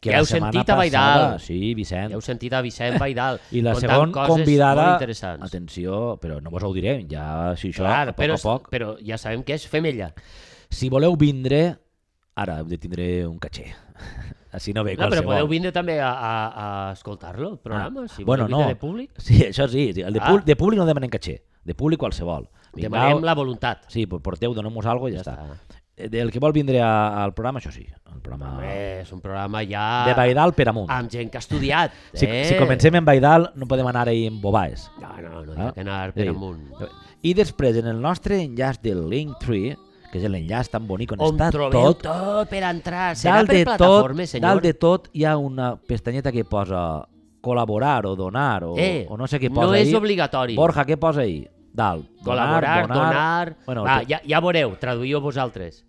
Speaker 2: que
Speaker 1: la
Speaker 2: heu
Speaker 1: setmana
Speaker 2: sentit
Speaker 1: passada-
Speaker 2: a Baidal.
Speaker 1: Sí, Vicent.
Speaker 2: heu sentit a Vicent Vaidal
Speaker 1: I la
Speaker 2: contant
Speaker 1: segona
Speaker 2: coses
Speaker 1: convidada...
Speaker 2: molt interessants.
Speaker 1: Atenció, però no vos ho direm, ja si això, a
Speaker 2: Clar,
Speaker 1: poc
Speaker 2: però,
Speaker 1: a poc.
Speaker 2: però ja sabem que és femella.
Speaker 1: Si voleu vindre, ara heu de tindre un catxer. Així no ve
Speaker 2: No, però
Speaker 1: qualsevol.
Speaker 2: podeu vindre també a, a, a escoltar-lo, el programa,
Speaker 1: Ah,
Speaker 2: si
Speaker 1: bueno,
Speaker 2: voleu vindre
Speaker 1: no.
Speaker 2: de públic.
Speaker 1: Sí, això sí. sí, El de,
Speaker 2: Ah.
Speaker 1: públic, de públic no demanem catxer. De públic qualsevol.
Speaker 2: Demanem la voluntat.
Speaker 1: Sí, pues porteu, donem-vos alguna cosa i ja,
Speaker 2: Ja
Speaker 1: està. Eh, Del que vol vindre a, al programa, això sí. El programa
Speaker 2: Home, és un programa ja
Speaker 1: Ah. de Baidal per amunt.
Speaker 2: amb gent que ha estudiat.
Speaker 1: Si,
Speaker 2: Ah. eh?
Speaker 1: si comencem en Baidal, no podem anar ahir en Bobaes.
Speaker 2: No, no, no,
Speaker 1: Ah,
Speaker 2: ah? que anar per
Speaker 1: sí.
Speaker 2: amunt.
Speaker 1: I després, en el nostre enllaç del Linktree, que és l'enllaç tan bonic on,
Speaker 2: On
Speaker 1: està
Speaker 2: trobeu tot,
Speaker 1: tot,
Speaker 2: per entrar. Serà
Speaker 1: dalt
Speaker 2: per
Speaker 1: de, tot,
Speaker 2: plataformes, senyor?
Speaker 1: dalt de tot hi ha una pestanyeta que posa col·laborar o donar o,
Speaker 2: Eh,
Speaker 1: o no sé què
Speaker 2: no
Speaker 1: posa
Speaker 2: és
Speaker 1: ahí.
Speaker 2: obligatori.
Speaker 1: Borja, què posa ahí? Dalt. Donar,
Speaker 2: Col·laborar, donar...
Speaker 1: Bueno,
Speaker 2: Va,
Speaker 1: tot-
Speaker 2: ja, ja veureu, traduïu vosaltres.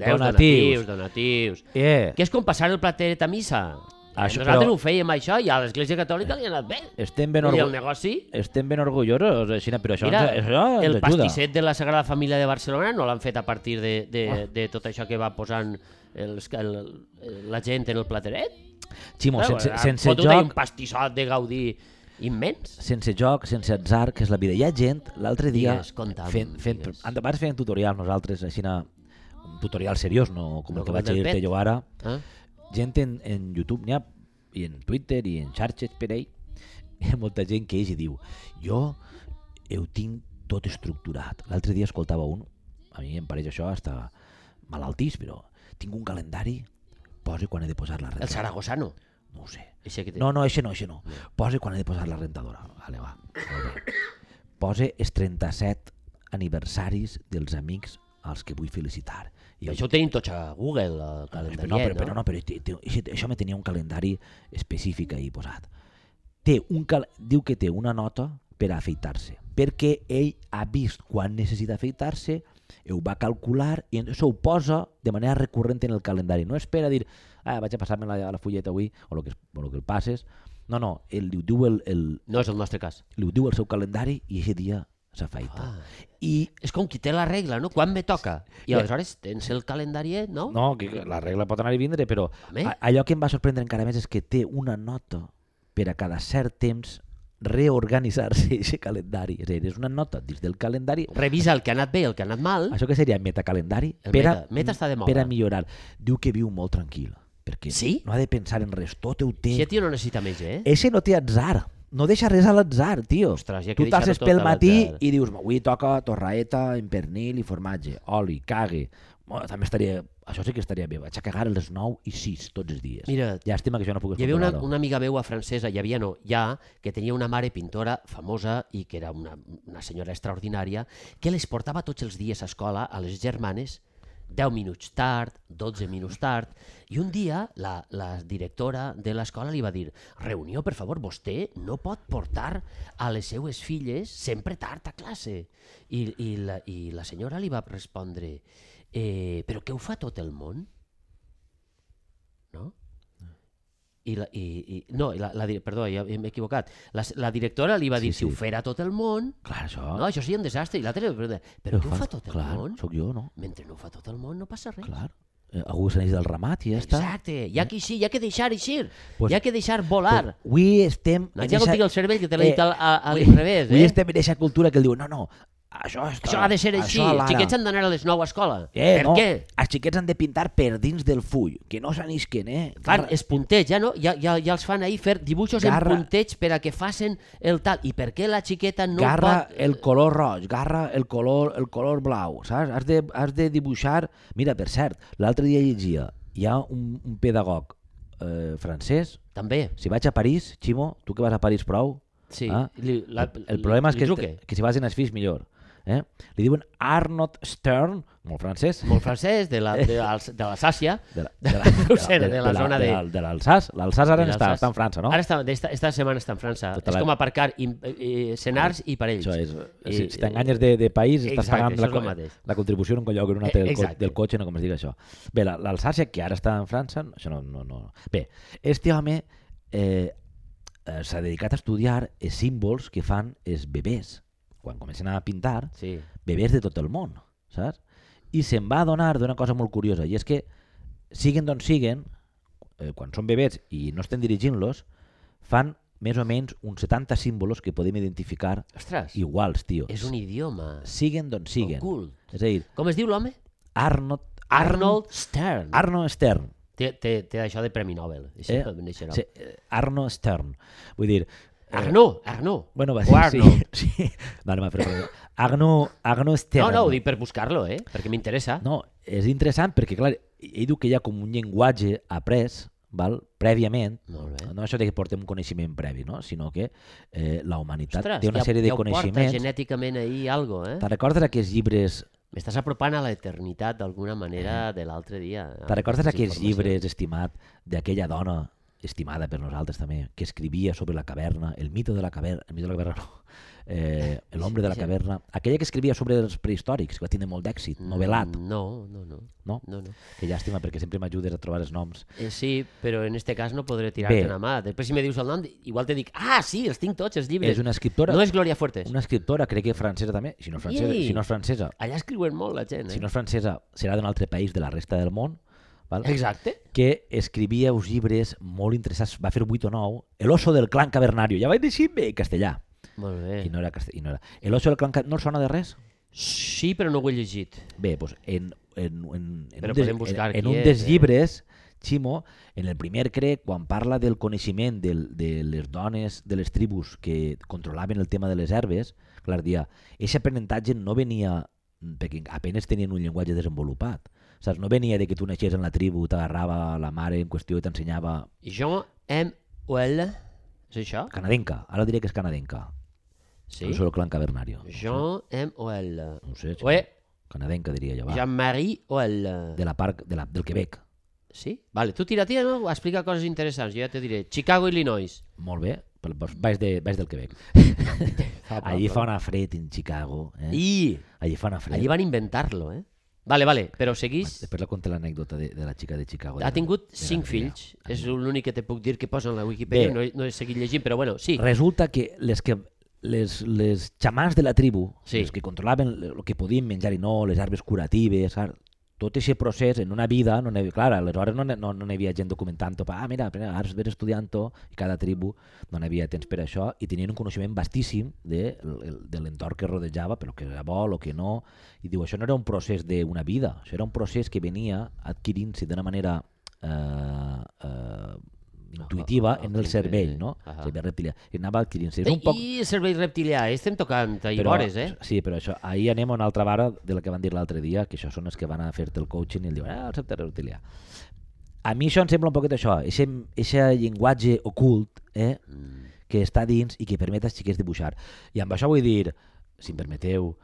Speaker 2: Déus,
Speaker 1: Donatius.
Speaker 2: donatius, donatius.
Speaker 1: Eh,
Speaker 2: Que és com passar el plateret a missa.
Speaker 1: Això,
Speaker 2: Això, Nosaltres
Speaker 1: però-
Speaker 2: però... ho fèiem això i a l'Església Catòlica li ha anat bé.
Speaker 1: estem ben,
Speaker 2: I el
Speaker 1: orgu...
Speaker 2: negoci,
Speaker 1: estem ben orgullosos, així, però això,
Speaker 2: mira,
Speaker 1: ens, això ens
Speaker 2: el
Speaker 1: ajuda.
Speaker 2: pastisset de la Sagrada Família de Barcelona no l'han fet a partir de, de,
Speaker 1: Ah.
Speaker 2: de tot això que va posant els, el, la gent en el plateret.
Speaker 1: Ximo,
Speaker 2: Clar,
Speaker 1: sense,
Speaker 2: han
Speaker 1: sense
Speaker 2: fotut ahí un
Speaker 1: joc,
Speaker 2: pastissot de Gaudí immens.
Speaker 1: sense joc, sense atzar, que és la vida. Hi ha gent, l'altre dia,
Speaker 2: Digues, conta'm,
Speaker 1: fent, fent,
Speaker 2: digues.
Speaker 1: abans feien tutorials nosaltres, així, na- un tutorial seriós, no com
Speaker 2: No
Speaker 1: el que
Speaker 2: com el
Speaker 1: vaig
Speaker 2: del
Speaker 1: dir-te
Speaker 2: pet.
Speaker 1: jo ara,
Speaker 2: Eh?
Speaker 1: gent en, en YouTube n'hi ha, i en Twitter, i en xarxes per ahí, hi ha molta gent que ells i diu jo ho tinc tot estructurat. L'altre dia escoltava un, a mi em pareix això hasta malaltís, però tinc un calendari, posi quan he de posar la
Speaker 2: El
Speaker 1: rentadora.
Speaker 2: Saragosano.
Speaker 1: No ho sé.
Speaker 2: Eixe que té.
Speaker 1: No, no, això no, això no. Posa quan he de posar la rentadora. Vale, va. Molt bé. Posa els 37 aniversaris dels amics als que vull felicitar. I
Speaker 2: Això ho tenim tots a Google, el calendari.
Speaker 1: no, però, però no, però té, té, això, això me tenia un calendari específic ahí posat. Té un cal... Diu que té una nota per a afeitar-se, perquè ell ha vist quan necessita afeitar-se, ho va calcular i això ho posa de manera recurrent en el calendari. No espera dir, ah, vaig a passar-me la, la fulleta avui, o el que, es- o lo que el passes. No, no, ell li ho diu el, el,
Speaker 2: No és el nostre cas.
Speaker 1: li ho diu el seu calendari i aquest dia s'afaita.
Speaker 2: Ah.
Speaker 1: I
Speaker 2: És com qui té la regla, no? Quan me toca? I aleshores tens el calendari, no?
Speaker 1: No, que que la regla pot anar i vindre, però
Speaker 2: Home.
Speaker 1: a- allò que em va sorprendre encara més és que té una nota per a cada cert temps reorganitzar-se aquest calendari. És a dir, és una nota dins del calendari.
Speaker 2: Revisa el que ha anat bé, el que ha anat mal.
Speaker 1: Això que seria metacalendari
Speaker 2: El meta- meta està de moda.
Speaker 1: per a millorar. Diu que viu molt tranquil, perquè
Speaker 2: Sí?
Speaker 1: no ha de pensar en res, tot ho té.
Speaker 2: Si tio no necessita més, eh?
Speaker 1: Eixe no té atzar. No deixa res a l'atzar, tio.
Speaker 2: Ostres, ja que
Speaker 1: tu
Speaker 2: deixar-ho
Speaker 1: t'hasses
Speaker 2: tot
Speaker 1: pel
Speaker 2: a
Speaker 1: matí
Speaker 2: l'atzar.
Speaker 1: i dius, avui toca torraeta, amb pernil i formatge, oli, cague, Bueno, també estaria... Això sí que estaria bé. Vaig a cagar a les 9 i 6 tots els dies.
Speaker 2: Mira,
Speaker 1: Llàstima que jo no puc
Speaker 2: Hi havia una,
Speaker 1: superar-ho.
Speaker 2: una amiga meua francesa, hi havia no, ja, que tenia una mare pintora famosa i que era una, una senyora extraordinària, que les portava tots els dies a escola a les germanes 10 minuts tard, 12 minuts tard, i un dia la, la directora de l'escola li va dir «Reunió, per favor, vostè no pot portar a les seues filles sempre tard a classe». I, i, la, i la senyora li va respondre eh, «Però què ho fa tot el món?» No? I la, i, i, no, i la, la, di- perdó, ja m'he equivocat. La, s- la directora li va
Speaker 1: Sí,
Speaker 2: dir,
Speaker 1: sí.
Speaker 2: si ho fera tot el món,
Speaker 1: Clar, això...
Speaker 2: no, això seria un desastre. I l'altre li va preguntar, però què ho fa tot el
Speaker 1: clar,
Speaker 2: món?
Speaker 1: Soc jo, no?
Speaker 2: Mentre no ho fa tot el món no passa res.
Speaker 1: Clar. Eh, Algú se n'eix del ramat i ja està. Eh?
Speaker 2: Exacte, hi ha que eixir, hi ha que deixar eixir,
Speaker 1: Pues-
Speaker 2: hi ha que deixar volar.
Speaker 1: Però Avui estem... en
Speaker 2: Santiago
Speaker 1: eixa-
Speaker 2: tinc el cervell que te l'he
Speaker 1: Eh,
Speaker 2: dit al, a, a
Speaker 1: avui-
Speaker 2: l'inrevés,
Speaker 1: Avui
Speaker 2: eh?
Speaker 1: estem en aquesta cultura que diu, no, no, això, és
Speaker 2: Això ha de ser
Speaker 1: això
Speaker 2: així.
Speaker 1: a l'ara."
Speaker 2: Els xiquets han d'anar a les 9 a escola.
Speaker 1: Eh,
Speaker 2: per
Speaker 1: no,
Speaker 2: què?
Speaker 1: Els xiquets han de pintar per dins del full, que no s'anisquen, eh?
Speaker 2: Fan
Speaker 1: Garra-
Speaker 2: els puntets, ja no? Ja, ja, ja els fan ahir fer dibuixos
Speaker 1: Garra.
Speaker 2: en puntets per a que facin el tal. I per què la xiqueta no
Speaker 1: garra
Speaker 2: pot...
Speaker 1: el color roig, garra el color, el color blau, saps? Has de, has de dibuixar... Mira, per cert, l'altre dia llegia, hi ha un, un pedagog eh, francès,
Speaker 2: També,
Speaker 1: si vaig a París, Ximo, tu que vas a París prou,
Speaker 2: sí.
Speaker 1: Ah,
Speaker 2: Li, la,
Speaker 1: el problema és
Speaker 2: li
Speaker 1: que,
Speaker 2: truque.
Speaker 1: que si vas en els fills millor. Eh? Li diuen Arnold Stern, molt francès,
Speaker 2: Molt francès, de la, de, als- de l'Alsàcia.
Speaker 1: de la, de la, de
Speaker 2: No ho sé, de la zona de-
Speaker 1: la- de l'Alsàs. L'Alsàs ara
Speaker 2: De
Speaker 1: està,
Speaker 2: l'Alsàs.
Speaker 1: està en França, no?
Speaker 2: Ara està, esta, esta setmana està en França.
Speaker 1: Tota
Speaker 2: és
Speaker 1: la-
Speaker 2: com aparcar i, eh, senars i parells.
Speaker 1: Això és,
Speaker 2: I-
Speaker 1: eh, si, si t'enganyes de, de país, estàs
Speaker 2: Exacte,
Speaker 1: pagant
Speaker 2: això
Speaker 1: la,
Speaker 2: és
Speaker 1: co-
Speaker 2: el mateix.
Speaker 1: la contribució en un lloc en un
Speaker 2: Eh,
Speaker 1: altre del, co
Speaker 2: exacte.
Speaker 1: del cotxe, no com es digui això. Bé, la- l'Alsàcia, que ara està en França, no- això no... no, no. Bé, este home eh, eh, s'ha dedicat a estudiar els símbols que fan els bebès. Quan comencen a pintar,
Speaker 2: Sí.
Speaker 1: bebès de tot el món, saps? I se'n va adonar d'una cosa molt curiosa, i és que siguen d'on siguen, eh, quan són bebès i no estem dirigint-los, fan més o menys uns 70 símbolos que podem identificar
Speaker 2: Ostres,
Speaker 1: iguals, tio.
Speaker 2: és un idioma
Speaker 1: Siguen d'on siguen.
Speaker 2: ocult.
Speaker 1: És a dir,
Speaker 2: Com es diu l'home?
Speaker 1: Arnold...
Speaker 2: Arnold Stern.
Speaker 1: Arno Stern.
Speaker 2: Té, té, té això de Premi Nobel. Això
Speaker 1: Eh,
Speaker 2: em deixarà.
Speaker 1: Sí, eh, Arno Stern. Vull dir... eh,
Speaker 2: Arnaud, Arnaud.
Speaker 1: Bueno, va
Speaker 2: O
Speaker 1: ser,
Speaker 2: Arnold.
Speaker 1: sí, sí. Vale, va, però, però, Arno, Arno Stern.
Speaker 2: No, no, ho dic per buscar-lo, eh? Perquè m'interessa.
Speaker 1: No, és interessant perquè, clar, ell diu que hi ha com un llenguatge après, val? prèviament,
Speaker 2: Molt bé.
Speaker 1: no això de que portem un coneixement previ, no? sinó que eh, la humanitat
Speaker 2: Ostres,
Speaker 1: té una
Speaker 2: ja,
Speaker 1: sèrie de
Speaker 2: ja ho porta
Speaker 1: coneixements.
Speaker 2: genèticament ahir algo, eh?
Speaker 1: Te'n recordes aquests llibres
Speaker 2: M'estàs apropant a l'eternitat d'alguna manera de l'altre dia.
Speaker 1: Te'n Eh. recordes
Speaker 2: Amb
Speaker 1: aquests
Speaker 2: Ah, informació.
Speaker 1: llibres, estimat, d'aquella dona, estimada per nosaltres també, que escrivia sobre la caverna, el mito de la caverna, el mito de la caverna no, eh, l'ombre de la
Speaker 2: sí.
Speaker 1: caverna, aquella que escrivia sobre els prehistòrics, que va tindre molt d'èxit, novel·lat,
Speaker 2: Mm, No, no, no.
Speaker 1: no?
Speaker 2: no, no.
Speaker 1: Que llàstima, perquè sempre m'ajudes a trobar els noms.
Speaker 2: Eh, sí, però en este cas no podré tirar-te
Speaker 1: Bé.
Speaker 2: una mà. Després si me dius el nom, igual te dic, ah, sí, els tinc tots, els llibres.
Speaker 1: És una escriptora,
Speaker 2: No és Glòria Fuertes.
Speaker 1: una escriptora, crec que francesa també, si no és francesa,
Speaker 2: Ei!
Speaker 1: si no és francesa,
Speaker 2: Allà escriuen molt la gent, eh?
Speaker 1: si no és francesa, serà d'un altre país de la resta del món, val?
Speaker 2: Exacte.
Speaker 1: que escrivia uns llibres molt interessants, va fer 8 o 9, El oso del clan cavernario, ja vaig dir bé, en castellà.
Speaker 2: Molt bé.
Speaker 1: I no era castell, i no era. El oso del clan Ca- no el sona de res?
Speaker 2: Sí, però no ho he llegit.
Speaker 1: Bé, doncs en, en, en, en,
Speaker 2: Però
Speaker 1: un, des,
Speaker 2: podem buscar
Speaker 1: en,
Speaker 2: qui
Speaker 1: en un
Speaker 2: és,
Speaker 1: dels
Speaker 2: eh?
Speaker 1: llibres, Ximo, en el primer crec, quan parla del coneixement del, de les dones de les tribus que controlaven el tema de les herbes, clar, dia, aquest aprenentatge no venia mm, perquè apenes tenien un llenguatge desenvolupat. Saps? No venia de que tu naixés en la tribu, t'agarrava la mare en qüestió i t'ensenyava...
Speaker 2: Jean M. Well, és això?
Speaker 1: Canadenca, ara diré que és canadenca. Sí?
Speaker 2: Sí?
Speaker 1: El oso del clan cavernario.
Speaker 2: Jean M. Well.
Speaker 1: No ho sé, Ximo.
Speaker 2: Ué,
Speaker 1: Canadenca, diria jo. Va.
Speaker 2: Jean-Marie Well.
Speaker 1: de la part de la, del Quebec.
Speaker 2: Sí? Vale, tu tira, tira, no? Explica coses interessants, jo ja te diré. Chicago, Illinois.
Speaker 1: Molt bé, però doncs
Speaker 2: Mm.
Speaker 1: vaig, de, vaig del Quebec. Allí fa una fred en Chicago. Eh?
Speaker 2: I
Speaker 1: Allí fa una fred.
Speaker 2: allí van inventar-lo, eh? Vale, vale, però seguís...
Speaker 1: Després la conté l'anècdota de, de la xica de Chicago.
Speaker 2: Ha tingut
Speaker 1: De la
Speaker 2: cinc
Speaker 1: Maria.
Speaker 2: fills. És l'únic que te puc dir que posa en la Wikipedia.
Speaker 1: Bé.
Speaker 2: No, he- no he seguit llegint, però bueno, sí.
Speaker 1: Resulta que les que les, les xamans de la tribu,
Speaker 2: Sí.
Speaker 1: els que controlaven el que podien menjar i no, les arbres curatives, saps? tot aquest procés en una vida, no n'hi havia, clar, aleshores no n'hi no, no n'hi havia gent documentant-ho, pa, ah, mira, mira, ara ves estudiant-ho, i cada tribu no n'hi havia temps per això, i tenien un coneixement vastíssim de, el- de l'entorn que rodejava, però que era bo, el que no, i diu, això no era un procés d'una vida, això era un procés que venia adquirint-se d'una manera eh, eh, intuïtiva
Speaker 2: Ah, ah,
Speaker 1: en el
Speaker 2: ok,
Speaker 1: cervell,
Speaker 2: ok.
Speaker 1: no?
Speaker 2: Ahà.
Speaker 1: Cervell reptilià. I anava adquirint És
Speaker 2: Eh,
Speaker 1: un poc...
Speaker 2: I el cervell reptilià, estem tocant i vores, eh?
Speaker 1: Sí, però això, ahir anem a una altra vara de la que van dir l'altre dia, que això són els que van a fer-te el coaching i el diuen, ah, el sector reptilià. A mi això em sembla un poquet això, aquest llenguatge ocult eh, que està dins i que permet als xiquets dibuixar. I amb això vull dir, si em permeteu,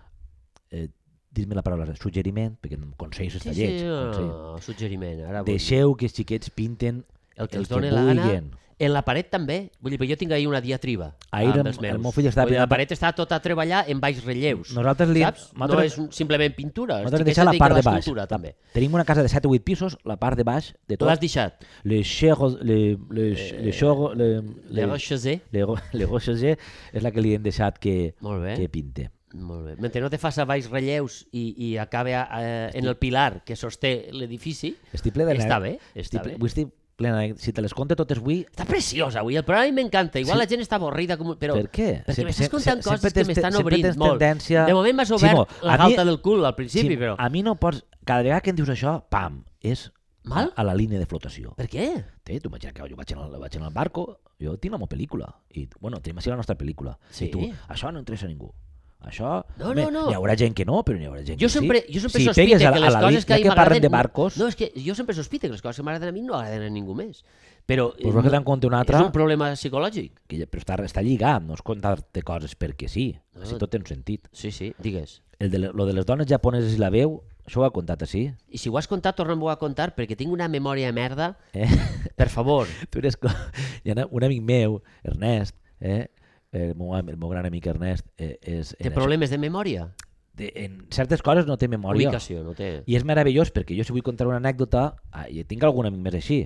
Speaker 1: eh, dir-me la paraula suggeriment, perquè consells està
Speaker 2: Sí, sí,
Speaker 1: lleig. consell.
Speaker 2: no, suggeriment. Ara vull-
Speaker 1: Deixeu que els xiquets pinten
Speaker 2: el que
Speaker 1: el
Speaker 2: els
Speaker 1: que
Speaker 2: doni la gana.
Speaker 1: vulguen.
Speaker 2: En la paret també. Vull dir, però jo tinc ahir una diatriba
Speaker 1: Ahir
Speaker 2: amb
Speaker 1: el-
Speaker 2: els meus.
Speaker 1: el meu fill estava
Speaker 2: Vull dir, La
Speaker 1: pintant-
Speaker 2: paret està tot a treballar en baix relleus.
Speaker 1: Nosaltres li-
Speaker 2: Saps? No
Speaker 1: nosaltres-
Speaker 2: és un- simplement pintura. Els
Speaker 1: Nosaltres
Speaker 2: xiquets
Speaker 1: deixar la
Speaker 2: es
Speaker 1: part de
Speaker 2: dediquen a
Speaker 1: baix.
Speaker 2: l'escultura, també.
Speaker 1: Tenim una casa de 7 o 8 pisos, la part de baix de
Speaker 2: Tu
Speaker 1: tot.
Speaker 2: l'has Eh, deixat.
Speaker 1: Les xerros, les, les, les xorros, les,
Speaker 2: Le
Speaker 1: les,
Speaker 2: Rochesé.
Speaker 1: les, ro- les roxager és la que li hem deixat que,
Speaker 2: Molt bé.
Speaker 1: que pinte.
Speaker 2: Molt bé. Mentre no te fas a baix relleus i, i acabe a, a, en el pilar que sosté l'edifici,
Speaker 1: Estic ple de...
Speaker 2: Està bé, està
Speaker 1: estic, ple-
Speaker 2: bé.
Speaker 1: Avui estic ple d'anè- Si te les conto totes avui...
Speaker 2: Està preciós avui, el programa a mi m'encanta.
Speaker 1: Sí.
Speaker 2: Igual la gent està avorrida, com... però...
Speaker 1: Per què?
Speaker 2: Perquè
Speaker 1: Sempre-
Speaker 2: m'estàs
Speaker 1: sempre-
Speaker 2: contant
Speaker 1: sempre
Speaker 2: coses que
Speaker 1: tens-
Speaker 2: m'estan
Speaker 1: sempre
Speaker 2: obrint
Speaker 1: tens
Speaker 2: molt.
Speaker 1: tendència-
Speaker 2: De moment m'has obert
Speaker 1: Ximo,
Speaker 2: la
Speaker 1: a mi-
Speaker 2: galta del cul al principi,
Speaker 1: Sí,
Speaker 2: però...
Speaker 1: A mi no pots... Cada vegada que em dius això, pam, és
Speaker 2: Mal?
Speaker 1: a la línia de flotació.
Speaker 2: Per què?
Speaker 1: Té, tu imagina que jo vaig en el, vaig en el barco, jo tinc la meva pel·lícula, i, bueno, tenim així la nostra pel·lícula,
Speaker 2: Sí.
Speaker 1: i tu, això no interessa a ningú. Això,
Speaker 2: No,
Speaker 1: home,
Speaker 2: no, no.
Speaker 1: Hi haurà gent que no, però hi haurà gent
Speaker 2: Jo
Speaker 1: que
Speaker 2: sempre,
Speaker 1: sí.
Speaker 2: jo sempre
Speaker 1: si
Speaker 2: sospite
Speaker 1: pegues a,
Speaker 2: que
Speaker 1: a
Speaker 2: les
Speaker 1: la
Speaker 2: coses que a
Speaker 1: línia
Speaker 2: mi
Speaker 1: que parlen de
Speaker 2: m'agraden-
Speaker 1: barcos,
Speaker 2: No, és que jo sempre sospite que les coses que m'agraden a mi no agraden a ningú més. Però eh,
Speaker 1: pues vols que te'n conti una altra,
Speaker 2: és un problema psicològic.
Speaker 1: que, ja- però està, està lligat, no és contar-te coses perquè sí,
Speaker 2: No.
Speaker 1: si tot té un sentit.
Speaker 2: Sí, sí, digues.
Speaker 1: El de, le- lo de les dones japoneses i la veu, això ho ha contat així.
Speaker 2: I si ho has contat, torna-m'ho a contar, perquè tinc una memòria merda.
Speaker 1: Eh?
Speaker 2: Per favor.
Speaker 1: tu eres com... Hi ha un amic meu, Ernest, eh? el, meu, am- el meu gran amic Ernest, eh, és...
Speaker 2: Té
Speaker 1: en això-
Speaker 2: problemes de memòria?
Speaker 1: de, en certes coses no té memòria.
Speaker 2: Ubicació, no té...
Speaker 1: I és meravellós perquè jo si vull contar una anècdota, ah, i tinc algun amic més així.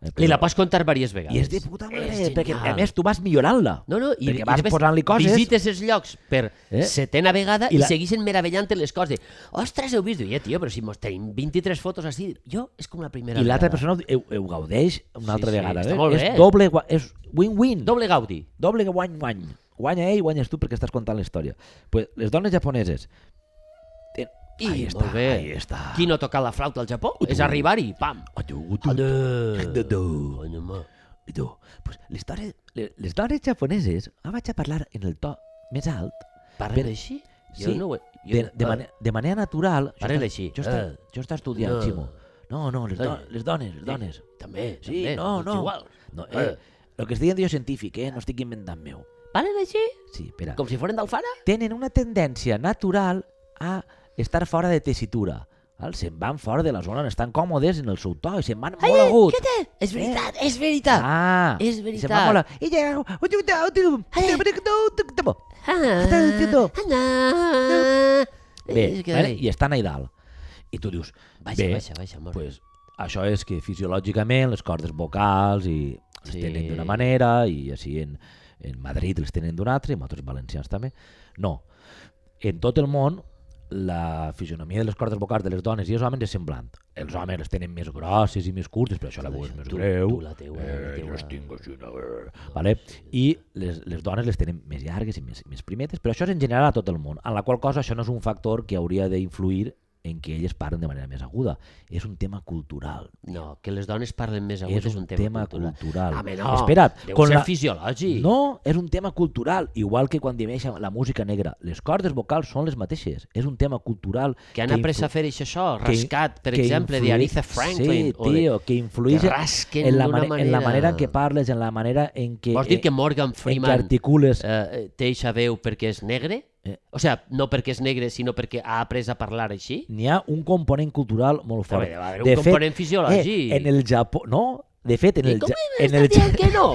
Speaker 1: Eh,
Speaker 2: Li la
Speaker 1: però-
Speaker 2: pots contar diverses vegades.
Speaker 1: I és de puta mare,
Speaker 2: És
Speaker 1: perquè a
Speaker 2: genial.
Speaker 1: més tu vas millorant-la.
Speaker 2: No, no, i,
Speaker 1: perquè
Speaker 2: i
Speaker 1: vas
Speaker 2: després
Speaker 1: posant-li coses.
Speaker 2: Visites els llocs per eh?
Speaker 1: Eh?
Speaker 2: setena vegada
Speaker 1: I
Speaker 2: i,
Speaker 1: la-
Speaker 2: la... segueixen meravellant les coses. Ostres, heu vist? Diu, Ja, tio, però si mos tenim 23 fotos així. Jo, és com la primera
Speaker 1: I l'altra
Speaker 2: vegada.
Speaker 1: persona ho, ho, ho gaudeix una
Speaker 2: Sí,
Speaker 1: altra
Speaker 2: sí,
Speaker 1: vegada.
Speaker 2: està
Speaker 1: eh?
Speaker 2: molt
Speaker 1: és
Speaker 2: bé.
Speaker 1: doble, gua- és win-win.
Speaker 2: Doble gaudi.
Speaker 1: Doble guany-guany. Guanya ell, guanyes tu perquè estàs contant la història. Pues les dones japoneses... ten-
Speaker 2: I,
Speaker 1: ahí
Speaker 2: molt
Speaker 1: està,
Speaker 2: bé.
Speaker 1: ahí està.
Speaker 2: Qui no toca la flauta al Japó? És arribar-hi, pam. Eh,
Speaker 1: Adeu, tu,
Speaker 2: Adeu.
Speaker 1: Eh, adeu.
Speaker 2: Adeu.
Speaker 1: I tu, pues, les, dones, le- les dones japoneses, ara vaig a parlar en el to més alt,
Speaker 2: Parlen
Speaker 1: Per-
Speaker 2: així?
Speaker 1: Sí,
Speaker 2: ho he-
Speaker 1: de, de, mane de manera natural...
Speaker 2: Parlen
Speaker 1: està-
Speaker 2: així.
Speaker 1: Jo està,
Speaker 2: Eh.
Speaker 1: jo està estudiant,
Speaker 2: No.
Speaker 1: no. Ximo. No, no, les, do
Speaker 2: Sí.
Speaker 1: les dones, les dones.
Speaker 2: També,
Speaker 1: Sí,
Speaker 2: també.
Speaker 1: no,
Speaker 2: és
Speaker 1: no.
Speaker 2: Igual.
Speaker 1: No, eh, el que estic dient jo és científic, eh? No estic inventant meu.
Speaker 2: Parlen així?
Speaker 1: Sí, espera.
Speaker 2: Com si foren d'Alfara?
Speaker 1: Tenen una tendència natural a estar fora de tessitura. Val? Se'n van fora de la zona on estan còmodes en el seu to i se'n van molt
Speaker 2: Ai,
Speaker 1: agut.
Speaker 2: Què té? És veritat, és veritat.
Speaker 1: Ah,
Speaker 2: És
Speaker 1: i se'n
Speaker 2: veritat.
Speaker 1: van molt agut. I ja... Estàs diciendo-
Speaker 2: Ana.
Speaker 1: Bé,
Speaker 2: És Ah, que-
Speaker 1: vale? i estan ahí dalt. I tu dius,
Speaker 2: Baixa,
Speaker 1: bé,
Speaker 2: baixa, baixa, molt
Speaker 1: pues, això és que fisiològicament les cordes vocals i les
Speaker 2: Sí.
Speaker 1: tenen d'una manera i així en, en Madrid les tenen d'una altra i en altres valencians també. No. En tot el món la fisionomia de les cordes vocals de les dones i els homes és semblant. Els homes les tenen més grosses i més curtes, però això la veu és
Speaker 2: això,
Speaker 1: més
Speaker 2: tu-
Speaker 1: greu.
Speaker 2: tu la teua, la
Speaker 1: eh,
Speaker 2: teua.
Speaker 1: jo les tinc així, no, eh, vale? I les, les dones les tenen més llargues i més, més primetes, però això és en general a tot el món, en la qual cosa això no és un factor que hauria d'influir en que elles parlen de manera més aguda. És un tema cultural.
Speaker 2: No, que les dones parlen més agut
Speaker 1: és un, tema, cultural.
Speaker 2: Home, no,
Speaker 1: Espera't,
Speaker 2: deu
Speaker 1: con
Speaker 2: ser
Speaker 1: la-
Speaker 2: fisiològic.
Speaker 1: No, és un tema cultural, igual que quan dimeeix la música negra. Les cordes vocals són les mateixes. És un tema cultural
Speaker 2: Que han après
Speaker 1: influ-
Speaker 2: a fer això, això
Speaker 1: que-
Speaker 2: rascat, per
Speaker 1: que
Speaker 2: exemple, de
Speaker 1: influï-
Speaker 2: Aretha Franklin.
Speaker 1: Sí,
Speaker 2: o de-
Speaker 1: tio, que influeix
Speaker 2: que rasquen
Speaker 1: en la,
Speaker 2: d'una
Speaker 1: mane- en la
Speaker 2: manera.
Speaker 1: manera eh, en què parles, en la manera en què,
Speaker 2: Vols dir que Morgan
Speaker 1: en què
Speaker 2: Freeman
Speaker 1: articules.
Speaker 2: eh, té eixa veu perquè és negre?
Speaker 1: Eh.
Speaker 2: O sea, no perquè és negre, sinó perquè ha après a parlar així?
Speaker 1: N'hi ha un component cultural molt fort.
Speaker 2: va haver un component fisiològic.
Speaker 1: Eh, en el Japó... No, de fet, en
Speaker 2: I
Speaker 1: el...
Speaker 2: com
Speaker 1: Ja-
Speaker 2: em
Speaker 1: en el
Speaker 2: estàs dient
Speaker 1: Ja-
Speaker 2: que no?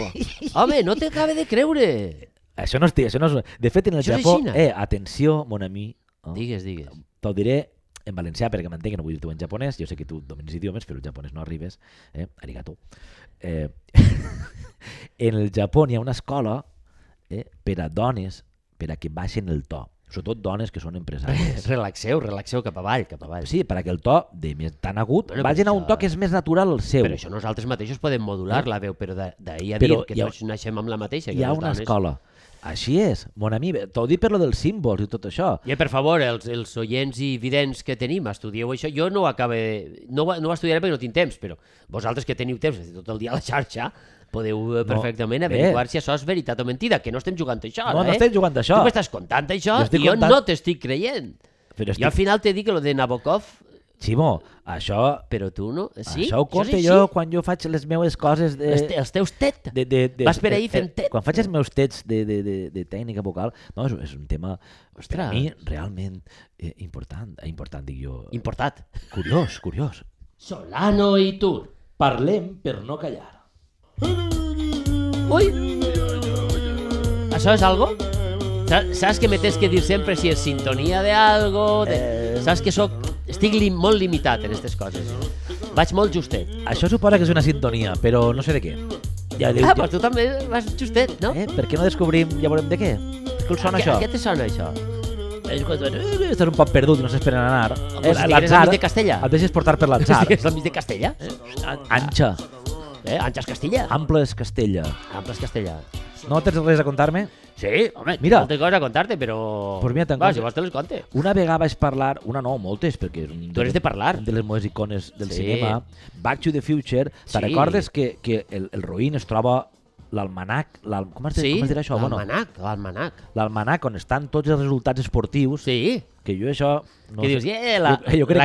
Speaker 2: Home, no t'acabe de creure.
Speaker 1: Això no estic, això no és... De fet, en el
Speaker 2: Això és
Speaker 1: Japó...
Speaker 2: Xina.
Speaker 1: Eh, atenció, mon ami. eh,
Speaker 2: Digues, digues.
Speaker 1: Te'l diré en valencià perquè m'entenc, no vull dir-t'ho en japonès. Jo sé que tu domines idiomes, però el japonès no arribes. Eh? Arigato. Eh, en el Japó hi ha una escola eh, per a dones, per a que baixen el to. Sobretot dones que són empresàries.
Speaker 2: Relaxeu, relaxeu cap avall, cap avall.
Speaker 1: Sí, per a que el to de més tan agut
Speaker 2: Bueno, però
Speaker 1: vagin a un
Speaker 2: això-
Speaker 1: to que és més natural el seu.
Speaker 2: Però això nosaltres mateixos podem modular la veu, però de- d'ahir a dir
Speaker 1: Eh. Però
Speaker 2: que
Speaker 1: hi ha-
Speaker 2: tots naixem amb la mateixa. que
Speaker 1: hi ha
Speaker 2: les
Speaker 1: una
Speaker 2: dones.
Speaker 1: escola. Així és, mon amic. T'ho dic per lo dels símbols i tot això.
Speaker 2: I per favor, els, els oients i vidents que tenim, estudieu això. Jo no ho acabe... No, ho- no ho estudiaré perquè no tinc temps, però vosaltres que teniu temps, és a dir, tot el dia a la xarxa, podeu eh, perfectament averiguar si això és veritat o mentida, que no estem jugant a això,
Speaker 1: No,
Speaker 2: eh?
Speaker 1: no estem jugant a això.
Speaker 2: Tu m'estàs contant això
Speaker 1: Jo estic
Speaker 2: i jo
Speaker 1: contant-
Speaker 2: no t'estic creient.
Speaker 1: Però
Speaker 2: Jo al
Speaker 1: estic...
Speaker 2: final te dic que lo de Nabokov,
Speaker 1: Ximo, això,
Speaker 2: però tu no... Sí?
Speaker 1: això ho
Speaker 2: és
Speaker 1: conte
Speaker 2: així?
Speaker 1: jo quan jo faig les meves coses de...
Speaker 2: Els, te, els teus TED.
Speaker 1: de, de, de,
Speaker 2: Vas per
Speaker 1: eh,
Speaker 2: ahí fent
Speaker 1: eh,
Speaker 2: tet.
Speaker 1: Quan faig els meus tets de, de, de, de tècnica vocal, no, és, és un tema per a
Speaker 2: Ostres.
Speaker 1: mi realment eh, important. Eh, important, dic jo.
Speaker 2: Importat.
Speaker 1: Curiós, curiós.
Speaker 2: Solano i tu.
Speaker 3: Parlem per no callar.
Speaker 2: Ui! Això és algo? Sa- Saps que me tens que dir sempre si és sintonia de algo? De... Saps que soc... Estic li molt limitat en aquestes coses. Vaig molt justet.
Speaker 1: Això suposa que és una sintonia, però no sé de què. Ja, diu, ja,
Speaker 2: Ah, però tu també vas justet, no?
Speaker 1: eh, per què no descobrim, ja veurem de què? Que el sona
Speaker 2: Què-
Speaker 1: això?
Speaker 2: Què te sona això?
Speaker 1: Eh, eh, Estàs un poc perdut i no saps per on anar. Eh,
Speaker 2: Pues estigueres al mig de Castella.
Speaker 1: Et deixes portar per l'atzar.
Speaker 2: Estigues al mig de Castella?
Speaker 1: An- Anxa,
Speaker 2: Eh? Àngels Castella?
Speaker 1: ample és Castella.
Speaker 2: Amples Castella.
Speaker 1: No tens res a contar-me?
Speaker 2: Sí, home,
Speaker 1: Mira.
Speaker 2: mira. moltes coses a contar-te, però...
Speaker 1: Pues mira, te'n
Speaker 2: Va,
Speaker 1: conto.
Speaker 2: si vols te les conte.
Speaker 1: Una vegada vaig parlar, una no, moltes, perquè és un
Speaker 2: Tu eres de parlar.
Speaker 1: un de les meves icones del
Speaker 2: Sí.
Speaker 1: cinema, Back to the Future,
Speaker 2: Sí.
Speaker 1: te recordes que, que el, el roïn es troba l'almanac, l'al- com, es, de-
Speaker 2: Sí,
Speaker 1: com es dirà això? Bueno,
Speaker 2: l'almanac, l'almanac.
Speaker 1: L'almanac on estan tots els resultats esportius,
Speaker 2: Sí,
Speaker 1: que jo això... No
Speaker 2: Que
Speaker 1: sé.
Speaker 2: dius, "Eh, la- la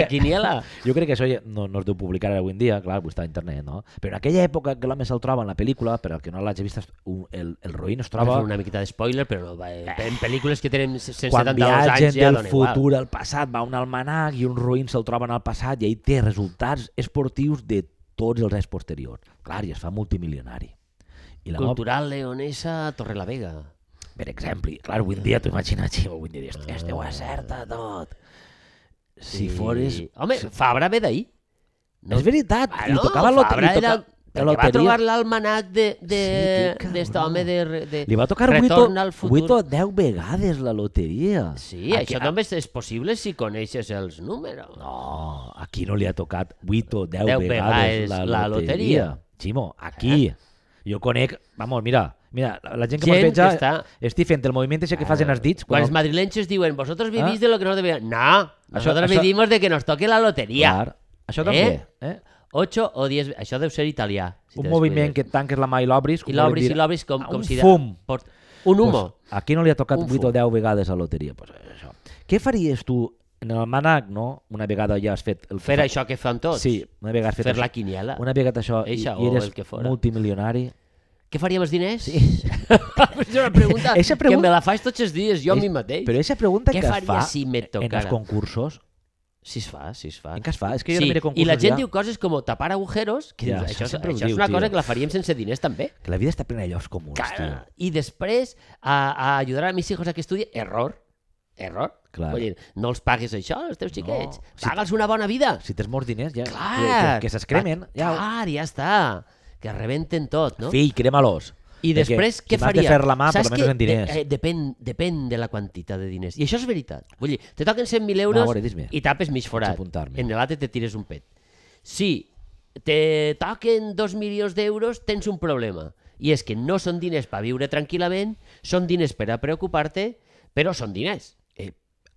Speaker 2: quiniela."
Speaker 1: Jo crec que això ja no, no es deu publicar ara avui en dia, clar, pues està a internet, no? Però en aquella època que l'home se'l troba en la pel·lícula, per al que no l'hagi vist, es- un- el, el roïn es
Speaker 2: Trobo...
Speaker 1: troba
Speaker 2: una miqueta de spoiler, però va, eh, en pel·lícules que tenen 172
Speaker 1: quan viatgen
Speaker 2: anys ja
Speaker 1: del
Speaker 2: dona
Speaker 1: futur
Speaker 2: igual.
Speaker 1: al passat, va un almanac i un roïn se'l troba en el passat i ell té resultats esportius de tots els anys posteriors. Clar, i es fa multimilionari. I la meva,
Speaker 2: Cultural leonesa Torre la Vega.
Speaker 1: per exemple, clar, avui en dia t'ho imagines, sí, avui en dia dius, "Hòstia, esteu acerta tot. Si fores...
Speaker 2: Home, Fabra ve d'ahí.
Speaker 1: No. És veritat,
Speaker 2: Ah,
Speaker 1: li
Speaker 2: no,
Speaker 1: tocava la loteria.
Speaker 2: Fabra
Speaker 1: Li,
Speaker 2: era...
Speaker 1: toca... la
Speaker 2: Perquè va
Speaker 1: loteria.
Speaker 2: trobar l'almanac de, de,
Speaker 1: Sí, que
Speaker 2: d'aquest
Speaker 1: cabró.
Speaker 2: home de, de...
Speaker 1: li va tocar 8
Speaker 2: Retorn al
Speaker 1: o,
Speaker 2: futur.
Speaker 1: 8 o 10 vegades la loteria.
Speaker 2: Sí, això
Speaker 1: qui,
Speaker 2: només és possible si coneixes els números.
Speaker 1: Ah, No, aquí no li ha tocat 8 o 10,
Speaker 2: Deu
Speaker 1: vegades,
Speaker 2: vegades
Speaker 1: la,
Speaker 2: la
Speaker 1: loteria.
Speaker 2: loteria. Eh.
Speaker 1: Ximo, aquí. Jo conec... Vamos, mira, mira, la, la gent que
Speaker 2: Gent
Speaker 1: mos veja...
Speaker 2: que està-
Speaker 1: Estic fent el moviment ese que fas en els dits.
Speaker 2: Quan
Speaker 1: Quan,
Speaker 2: els madrilenys diuen, vosotros vivís
Speaker 1: Ah.
Speaker 2: de lo que no debía. No, nosotros
Speaker 1: això-
Speaker 2: vivimos de que nos toque la loteria.
Speaker 1: Clar, això
Speaker 2: Eh?
Speaker 1: també. Eh?
Speaker 2: 8 o 10... Això deu ser italià. si
Speaker 1: Un
Speaker 2: te
Speaker 1: moviment
Speaker 2: descuides.
Speaker 1: que tanques la mà i l'obris...
Speaker 2: I
Speaker 1: com
Speaker 2: l'obris
Speaker 1: volen
Speaker 2: i
Speaker 1: dir,
Speaker 2: l'obris com,
Speaker 1: a
Speaker 2: com
Speaker 1: un
Speaker 2: si... de-
Speaker 1: fum.
Speaker 2: Port... Un humo.
Speaker 1: Pues, aquí no li ha tocat
Speaker 2: Un
Speaker 1: 8 o
Speaker 2: fum.
Speaker 1: 10 vegades a la loteria. Pues, això. Què faries tu en el manac, no? Una vegada ja has fet... El que
Speaker 2: Fer
Speaker 1: fa-
Speaker 2: això que fan tots.
Speaker 1: Sí, una vegada has fet
Speaker 2: Fer la
Speaker 1: això.
Speaker 2: quiniela.
Speaker 1: Una vegada això i,
Speaker 2: Eixa
Speaker 1: i
Speaker 2: o
Speaker 1: eres
Speaker 2: el que fora.
Speaker 1: multimilionari...
Speaker 2: Què faria amb els diners? Sí. és una pregunta,
Speaker 1: Eixa
Speaker 2: que
Speaker 1: pregunta-
Speaker 2: me la faig tots els dies, jo a
Speaker 1: És-
Speaker 2: mi mateix.
Speaker 1: Però aquesta pregunta
Speaker 2: Què
Speaker 1: que es
Speaker 2: faria
Speaker 1: fa
Speaker 2: si
Speaker 1: en
Speaker 2: me
Speaker 1: els
Speaker 2: tocara?
Speaker 1: concursos,
Speaker 2: Si es fa, si es fa.
Speaker 1: en què es fa? És que jo no mire concursos
Speaker 2: I la gent
Speaker 1: ja.
Speaker 2: diu coses com tapar agujeros, que
Speaker 1: Ja, això
Speaker 2: dius, això, és-
Speaker 1: sempre ho
Speaker 2: això és
Speaker 1: diu,
Speaker 2: una
Speaker 1: tio.
Speaker 2: cosa que la faríem sense diners també.
Speaker 1: Que la vida està plena de llocs comuns, tio.
Speaker 2: Cara. I després, a, a ajudar a mis hijos a que estudien, error. Error.
Speaker 1: Clar.
Speaker 2: Vull dir, no els pagues això, els teus xiquets.
Speaker 1: Si-
Speaker 2: Paga'ls una bona vida.
Speaker 1: Si tens molts diners, ja...
Speaker 2: Clar.
Speaker 1: Que, que, que s'escremen,
Speaker 2: Va-
Speaker 1: ja...
Speaker 2: Clar, ja està. Que rebenten tot, no?
Speaker 1: Fill, crema-los.
Speaker 2: I
Speaker 1: De que
Speaker 2: després,
Speaker 1: si
Speaker 2: què
Speaker 1: m'has
Speaker 2: faria?
Speaker 1: de fer la mà, per
Speaker 2: Saps
Speaker 1: almenys
Speaker 2: que
Speaker 1: en diners.
Speaker 2: De, eh, depèn, depèn de la quantitat de diners. I això és veritat. Vull dir, te toquen 100.000 euros
Speaker 1: No, a veure, dis-me.
Speaker 2: i tapes mig forat.
Speaker 1: apuntar-me.
Speaker 2: En l'altre te tires un pet. Si te toquen 2 milions d'euros, tens un problema. I és que no són diners per viure tranquil·lament, són diners per a preocupar-te, però són diners.
Speaker 1: Eh,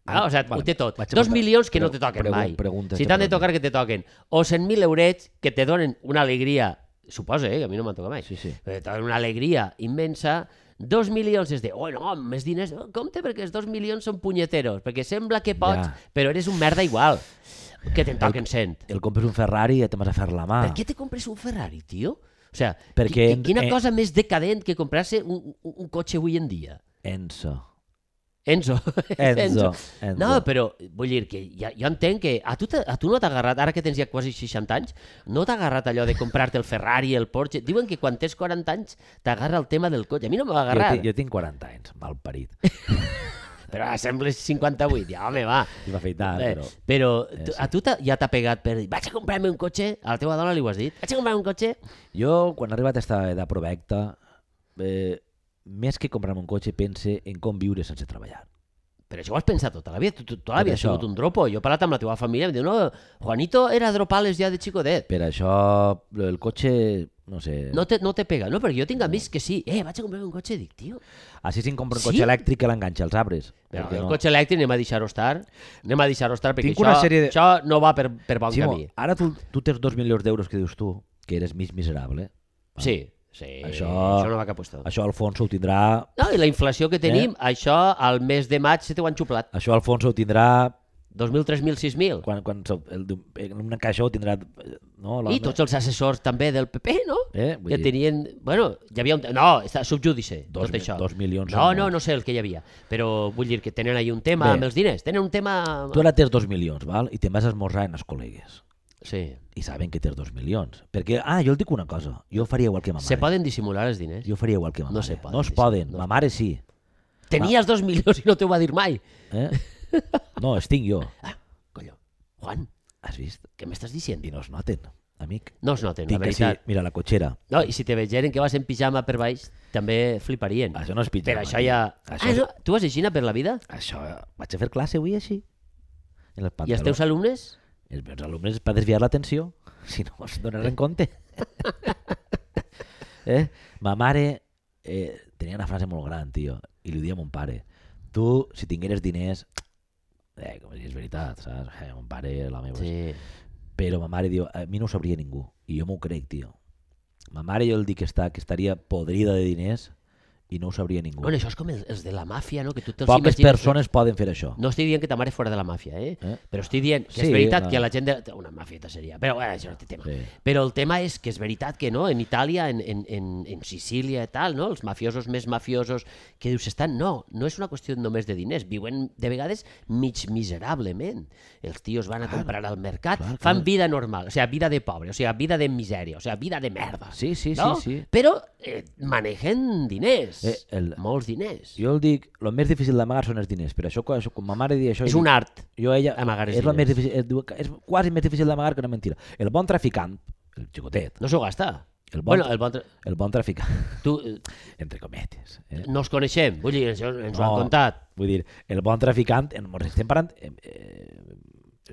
Speaker 2: Ah, o sigui,
Speaker 1: vale,
Speaker 2: ho té tot.
Speaker 1: vaig a
Speaker 2: Dos
Speaker 1: preguntar-
Speaker 2: milions que no
Speaker 1: pre-
Speaker 2: te toquen
Speaker 1: pregun-
Speaker 2: mai.
Speaker 1: preguntes
Speaker 2: Si
Speaker 1: que
Speaker 2: t'han de
Speaker 1: preguntes.
Speaker 2: tocar, que te toquen. O 100.000 eurets que te donen una alegria, suposa, eh, que a mi no m'han tocat mai,
Speaker 1: Sí, sí.
Speaker 2: però te donen una alegria immensa, dos milions és de, oh, no, més diners, no, compte perquè els dos milions són punyeteros, perquè sembla que pots,
Speaker 1: Ja.
Speaker 2: però eres un merda igual, que te'n toquen 100.
Speaker 1: El compres un Ferrari i et vas a fer la mà.
Speaker 2: Per què te compres un Ferrari, tio? O sigui,
Speaker 1: Ah. Perquè-
Speaker 2: qui- qui- quina
Speaker 1: eh.
Speaker 2: cosa més decadent que comprar-se un, un, un cotxe avui en dia?
Speaker 1: Enzo.
Speaker 2: Enzo.
Speaker 1: Enzo. Enzo.
Speaker 2: No, però eh, vull dir que ja, jo entenc que a tu, t'ha- a tu no t'ha agarrat, ara que tens ja quasi 60 anys, no t'ha agarrat allò de comprar-te el Ferrari, el Porsche... Diuen que quan tens 40 anys t'agarra el tema del cotxe. A mi no m'ha
Speaker 1: jo,
Speaker 2: agarrat,
Speaker 1: ti- jo tinc 40 anys, mal parit.
Speaker 2: però ara sembles 58. Ja, home, va.
Speaker 1: I m'ha fet tard,
Speaker 2: Eh,
Speaker 1: però...
Speaker 2: però tu, a tu t'ha- ja t'ha pegat per dir vaig a comprar-me un cotxe, a la teva dona li ho has dit, vaig a comprar-me un cotxe...
Speaker 1: Jo, quan he arribat a esta edat provecta, eh, més que comprar-me un cotxe, pense en com viure sense treballar.
Speaker 2: Però això ho has pensat tota la vida, tu, tu, tota la
Speaker 1: Per
Speaker 2: vida has
Speaker 1: això.
Speaker 2: sigut un dropo. Jo he parlat amb la teva família i em diu, no, Juanito era dropales ja de xicotet.
Speaker 1: Per això, el cotxe, no sé...
Speaker 2: No te, no te pega, no? Perquè jo tinc amics que sí. Eh, vaig a comprar un cotxe i dic, tio,
Speaker 1: Així si em compro un
Speaker 2: Sí?
Speaker 1: cotxe elèctric que l'enganxa als arbres.
Speaker 2: Però
Speaker 1: perquè
Speaker 2: el cotxe elèctric anem a deixar-ho estar. Anem a deixar-ho estar perquè
Speaker 1: Tinc
Speaker 2: això,
Speaker 1: una sèrie de-
Speaker 2: això no va per, per bon
Speaker 1: Ximo,
Speaker 2: camí.
Speaker 1: ara tu, tu tens dos milions d'euros que dius tu, que eres mig miserable.
Speaker 2: Sí, Sí,
Speaker 1: Això-
Speaker 2: això no va cap lloc.
Speaker 1: Això Eh? Alfonso ho tindrà...
Speaker 2: No, i la inflació que tenim, això al mes de maig se t'ho han xuplat.
Speaker 1: Això Alfonso ho tindrà
Speaker 2: 2.000, 3.000, 6.000.
Speaker 1: quan, quan se- el, diu- en una caixa ho tindrà... eh, No,
Speaker 2: I tots els assessors també del PP, no?
Speaker 1: Eh, vull
Speaker 2: que
Speaker 1: dir-
Speaker 2: tenien... Bueno, hi havia un... No, està subjudice,
Speaker 1: Dos
Speaker 2: tot
Speaker 1: mi-
Speaker 2: això.
Speaker 1: dos milions
Speaker 2: No,
Speaker 1: són
Speaker 2: no,
Speaker 1: molts.
Speaker 2: no sé el que hi havia. Però vull dir que tenen ahí un tema
Speaker 1: Bé.
Speaker 2: amb els diners. Tenen un tema...
Speaker 1: Tu ara tens dos milions, val? I te'n vas a esmorzar en els col·legues.
Speaker 2: Sí.
Speaker 1: I saben que tens dos milions. Perquè, ah, jo el dic una cosa. Jo faria igual que ma mare.
Speaker 2: Se poden dissimular els diners?
Speaker 1: Jo faria igual que ma
Speaker 2: No
Speaker 1: mare.
Speaker 2: se poden,
Speaker 1: no es
Speaker 2: sí,
Speaker 1: poden.
Speaker 2: no
Speaker 1: ma mare sí.
Speaker 2: Tenies dos milions i no t'ho va dir mai.
Speaker 1: Eh? No, els tinc jo.
Speaker 2: Ah, colló. Juan,
Speaker 1: Has vist?
Speaker 2: què m'estàs dient?
Speaker 1: I no es noten, amic.
Speaker 2: No es noten, la
Speaker 1: Tinc que sí.
Speaker 2: veritat.
Speaker 1: Mira, la cotxera.
Speaker 2: No, i si te vegeren que vas en pijama per baix, també fliparien.
Speaker 1: Això no és pitjor.
Speaker 2: Però això ja...
Speaker 1: Això,
Speaker 2: ah,
Speaker 1: és-
Speaker 2: no? Tu vas aixina per la vida?
Speaker 1: això... Vaig a fer classe avui així. En el
Speaker 2: I els
Speaker 1: pantaló.
Speaker 2: teus alumnes?
Speaker 1: Els meus alumnes per desviar l'atenció, si no us donaràs en compte. eh? Ma mare eh, tenia una frase molt gran, tio, i li ho dia a mon pare. Tu, si tingueres diners... Eh, com si és veritat, saps? Eh, mon pare, la meva... Sí.
Speaker 2: Sí.
Speaker 1: Però ma mare diu, a mi no ho sabria ningú. I jo m'ho crec, tio. Ma mare jo el dic que, està, que estaria podrida de diners i no ho sabria ningú.
Speaker 2: Bueno, això és com els, els de la màfia, no? Que tu te'ls
Speaker 1: Poques
Speaker 2: imagines...
Speaker 1: persones poden fer això.
Speaker 2: No estic dient que ta mare fora de la màfia, eh?
Speaker 1: Eh?
Speaker 2: Però estic dient que
Speaker 1: Sí,
Speaker 2: és veritat
Speaker 1: no.
Speaker 2: que la gent... De... Una mafieta seria, però bueno, això no té tema.
Speaker 1: Sí.
Speaker 2: Però el tema és que és veritat que no, en Itàlia, en, en, en, en Sicília i tal, no? els mafiosos més mafiosos que dius estan... No, no és una qüestió només de diners, viuen de vegades mig miserablement. Els tios van a comprar al mercat,
Speaker 1: clar,
Speaker 2: fan
Speaker 1: clar.
Speaker 2: vida normal, o sigui, vida de pobre, o sigui, vida de misèria, o sigui, vida de merda.
Speaker 1: Sí, sí, sí,
Speaker 2: no?
Speaker 1: sí.
Speaker 2: Però eh, manegen diners, eh,
Speaker 1: Eh, el-
Speaker 2: molts diners.
Speaker 1: Jo el dic, el més difícil d'amagar són els diners, però això, quan, això, quan ma mare dia això...
Speaker 2: És
Speaker 1: jo
Speaker 2: un art.
Speaker 1: Jo a ella
Speaker 2: Amagar els
Speaker 1: és, la
Speaker 2: diners.
Speaker 1: més difícil, és, diu que és quasi més difícil d'amagar que una mentira. El bon traficant, el xicotet,
Speaker 2: No s'ho gasta.
Speaker 1: El bon-
Speaker 2: Bueno, el bon... tra-
Speaker 1: el bon traficant,
Speaker 2: Tu, eh,
Speaker 1: entre cometes, eh?
Speaker 2: no els coneixem, vull dir, això ens ho
Speaker 1: No.
Speaker 2: han contat.
Speaker 1: vull dir, el bon traficant, en, ens estem parlant, eh,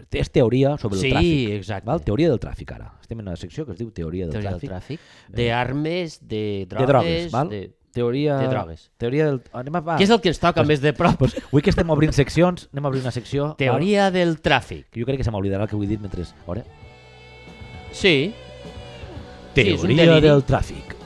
Speaker 1: eh, és teoria sobre
Speaker 2: Sí,
Speaker 1: el tràfic.
Speaker 2: exacte.
Speaker 1: Val? Teoria del tràfic, ara. Estem en una secció que es diu teoria del
Speaker 2: Teoria del
Speaker 1: tràfic. Eh.
Speaker 2: tràfic, d'armes, de drogues...
Speaker 1: de drogues, val?
Speaker 2: De...
Speaker 1: Teoria...
Speaker 2: de drogues.
Speaker 1: Teoria del... oh, Anem a... Va.
Speaker 2: Què és el que ens toca més de prop?
Speaker 1: pues, avui que estem obrint seccions, anem a obrir una secció... val?
Speaker 2: Teoria del tràfic.
Speaker 1: Que jo crec que se m'oblidarà el que vull dir mentre... A veure.
Speaker 2: Sí, Sí, és un
Speaker 1: Teoria
Speaker 2: deliri.
Speaker 1: del tràfic.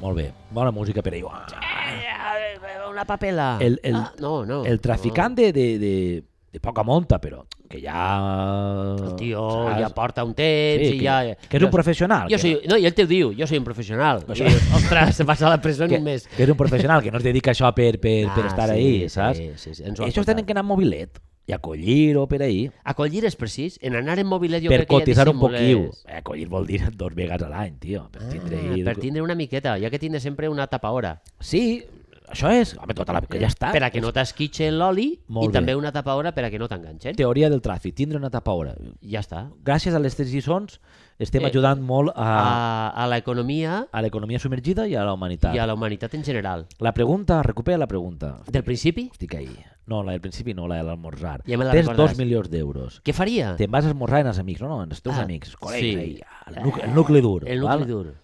Speaker 1: Molt bé. Bona música per a Joan.
Speaker 2: Eh, una papela.
Speaker 1: El- el-
Speaker 2: ah, no, no.
Speaker 1: El traficant de, de, de, de poca monta, però que ja...
Speaker 2: No. El tio
Speaker 1: saps?
Speaker 2: ja porta un temps
Speaker 1: Ah, Sí,
Speaker 2: i
Speaker 1: que,
Speaker 2: ja...
Speaker 1: que és un professional.
Speaker 2: Jo
Speaker 1: que,
Speaker 2: soy, no, i ell te ho diu, jo soy un professional. I, dius, ostres, vas a la presó
Speaker 1: que,
Speaker 2: només.
Speaker 1: que és un professional, que no es dedica a això per, per, per
Speaker 2: Ah,
Speaker 1: estar
Speaker 2: sí,
Speaker 1: ahí,
Speaker 2: sí,
Speaker 1: saps?
Speaker 2: sí, sí, ens ho han
Speaker 1: Ells tenen
Speaker 2: contat.
Speaker 1: que anar amb mobilet i acollir-ho per ahí,
Speaker 2: Acollir és precís, en anar en mobilet jo
Speaker 1: per
Speaker 2: crec que ja
Speaker 1: cotitzar un poquiu.
Speaker 2: dissimules.
Speaker 1: Acollir vol dir dos vegades a l'any, tio. Per tindre
Speaker 2: Ah,
Speaker 1: ahí...
Speaker 2: per tindre una miqueta, ja que tindre sempre una tapa hora.
Speaker 1: Sí, això és. Home, tota la... Que ja està.
Speaker 2: Per a que no t'esquitxe l'oli i
Speaker 1: Molt bé.
Speaker 2: també una tapa hora per a que no t'enganxen.
Speaker 1: Teoria del tràfic, tindre una tapa hora.
Speaker 2: Ja està.
Speaker 1: gràcies a les tres lliçons estem
Speaker 2: Eh,
Speaker 1: eh, ajudant molt a,
Speaker 2: A, a l'economia
Speaker 1: a l'economia submergida i a la humanitat.
Speaker 2: i a la humanitat en general.
Speaker 1: La pregunta, recupera la pregunta.
Speaker 2: Del principi,
Speaker 1: Estic ahí. No, la del principi no, la de l'almorzar.
Speaker 2: Ja me la
Speaker 1: Tens
Speaker 2: recordaràs.
Speaker 1: dos milions d'euros.
Speaker 2: què faria?
Speaker 1: Te'n vas a esmorzar amb els amics, no? no amb els teus
Speaker 2: Ah,
Speaker 1: amics,
Speaker 2: sí.
Speaker 1: col·legues, ahí, el, nuc el nucli dur.
Speaker 2: El
Speaker 1: val?
Speaker 2: nucli dur.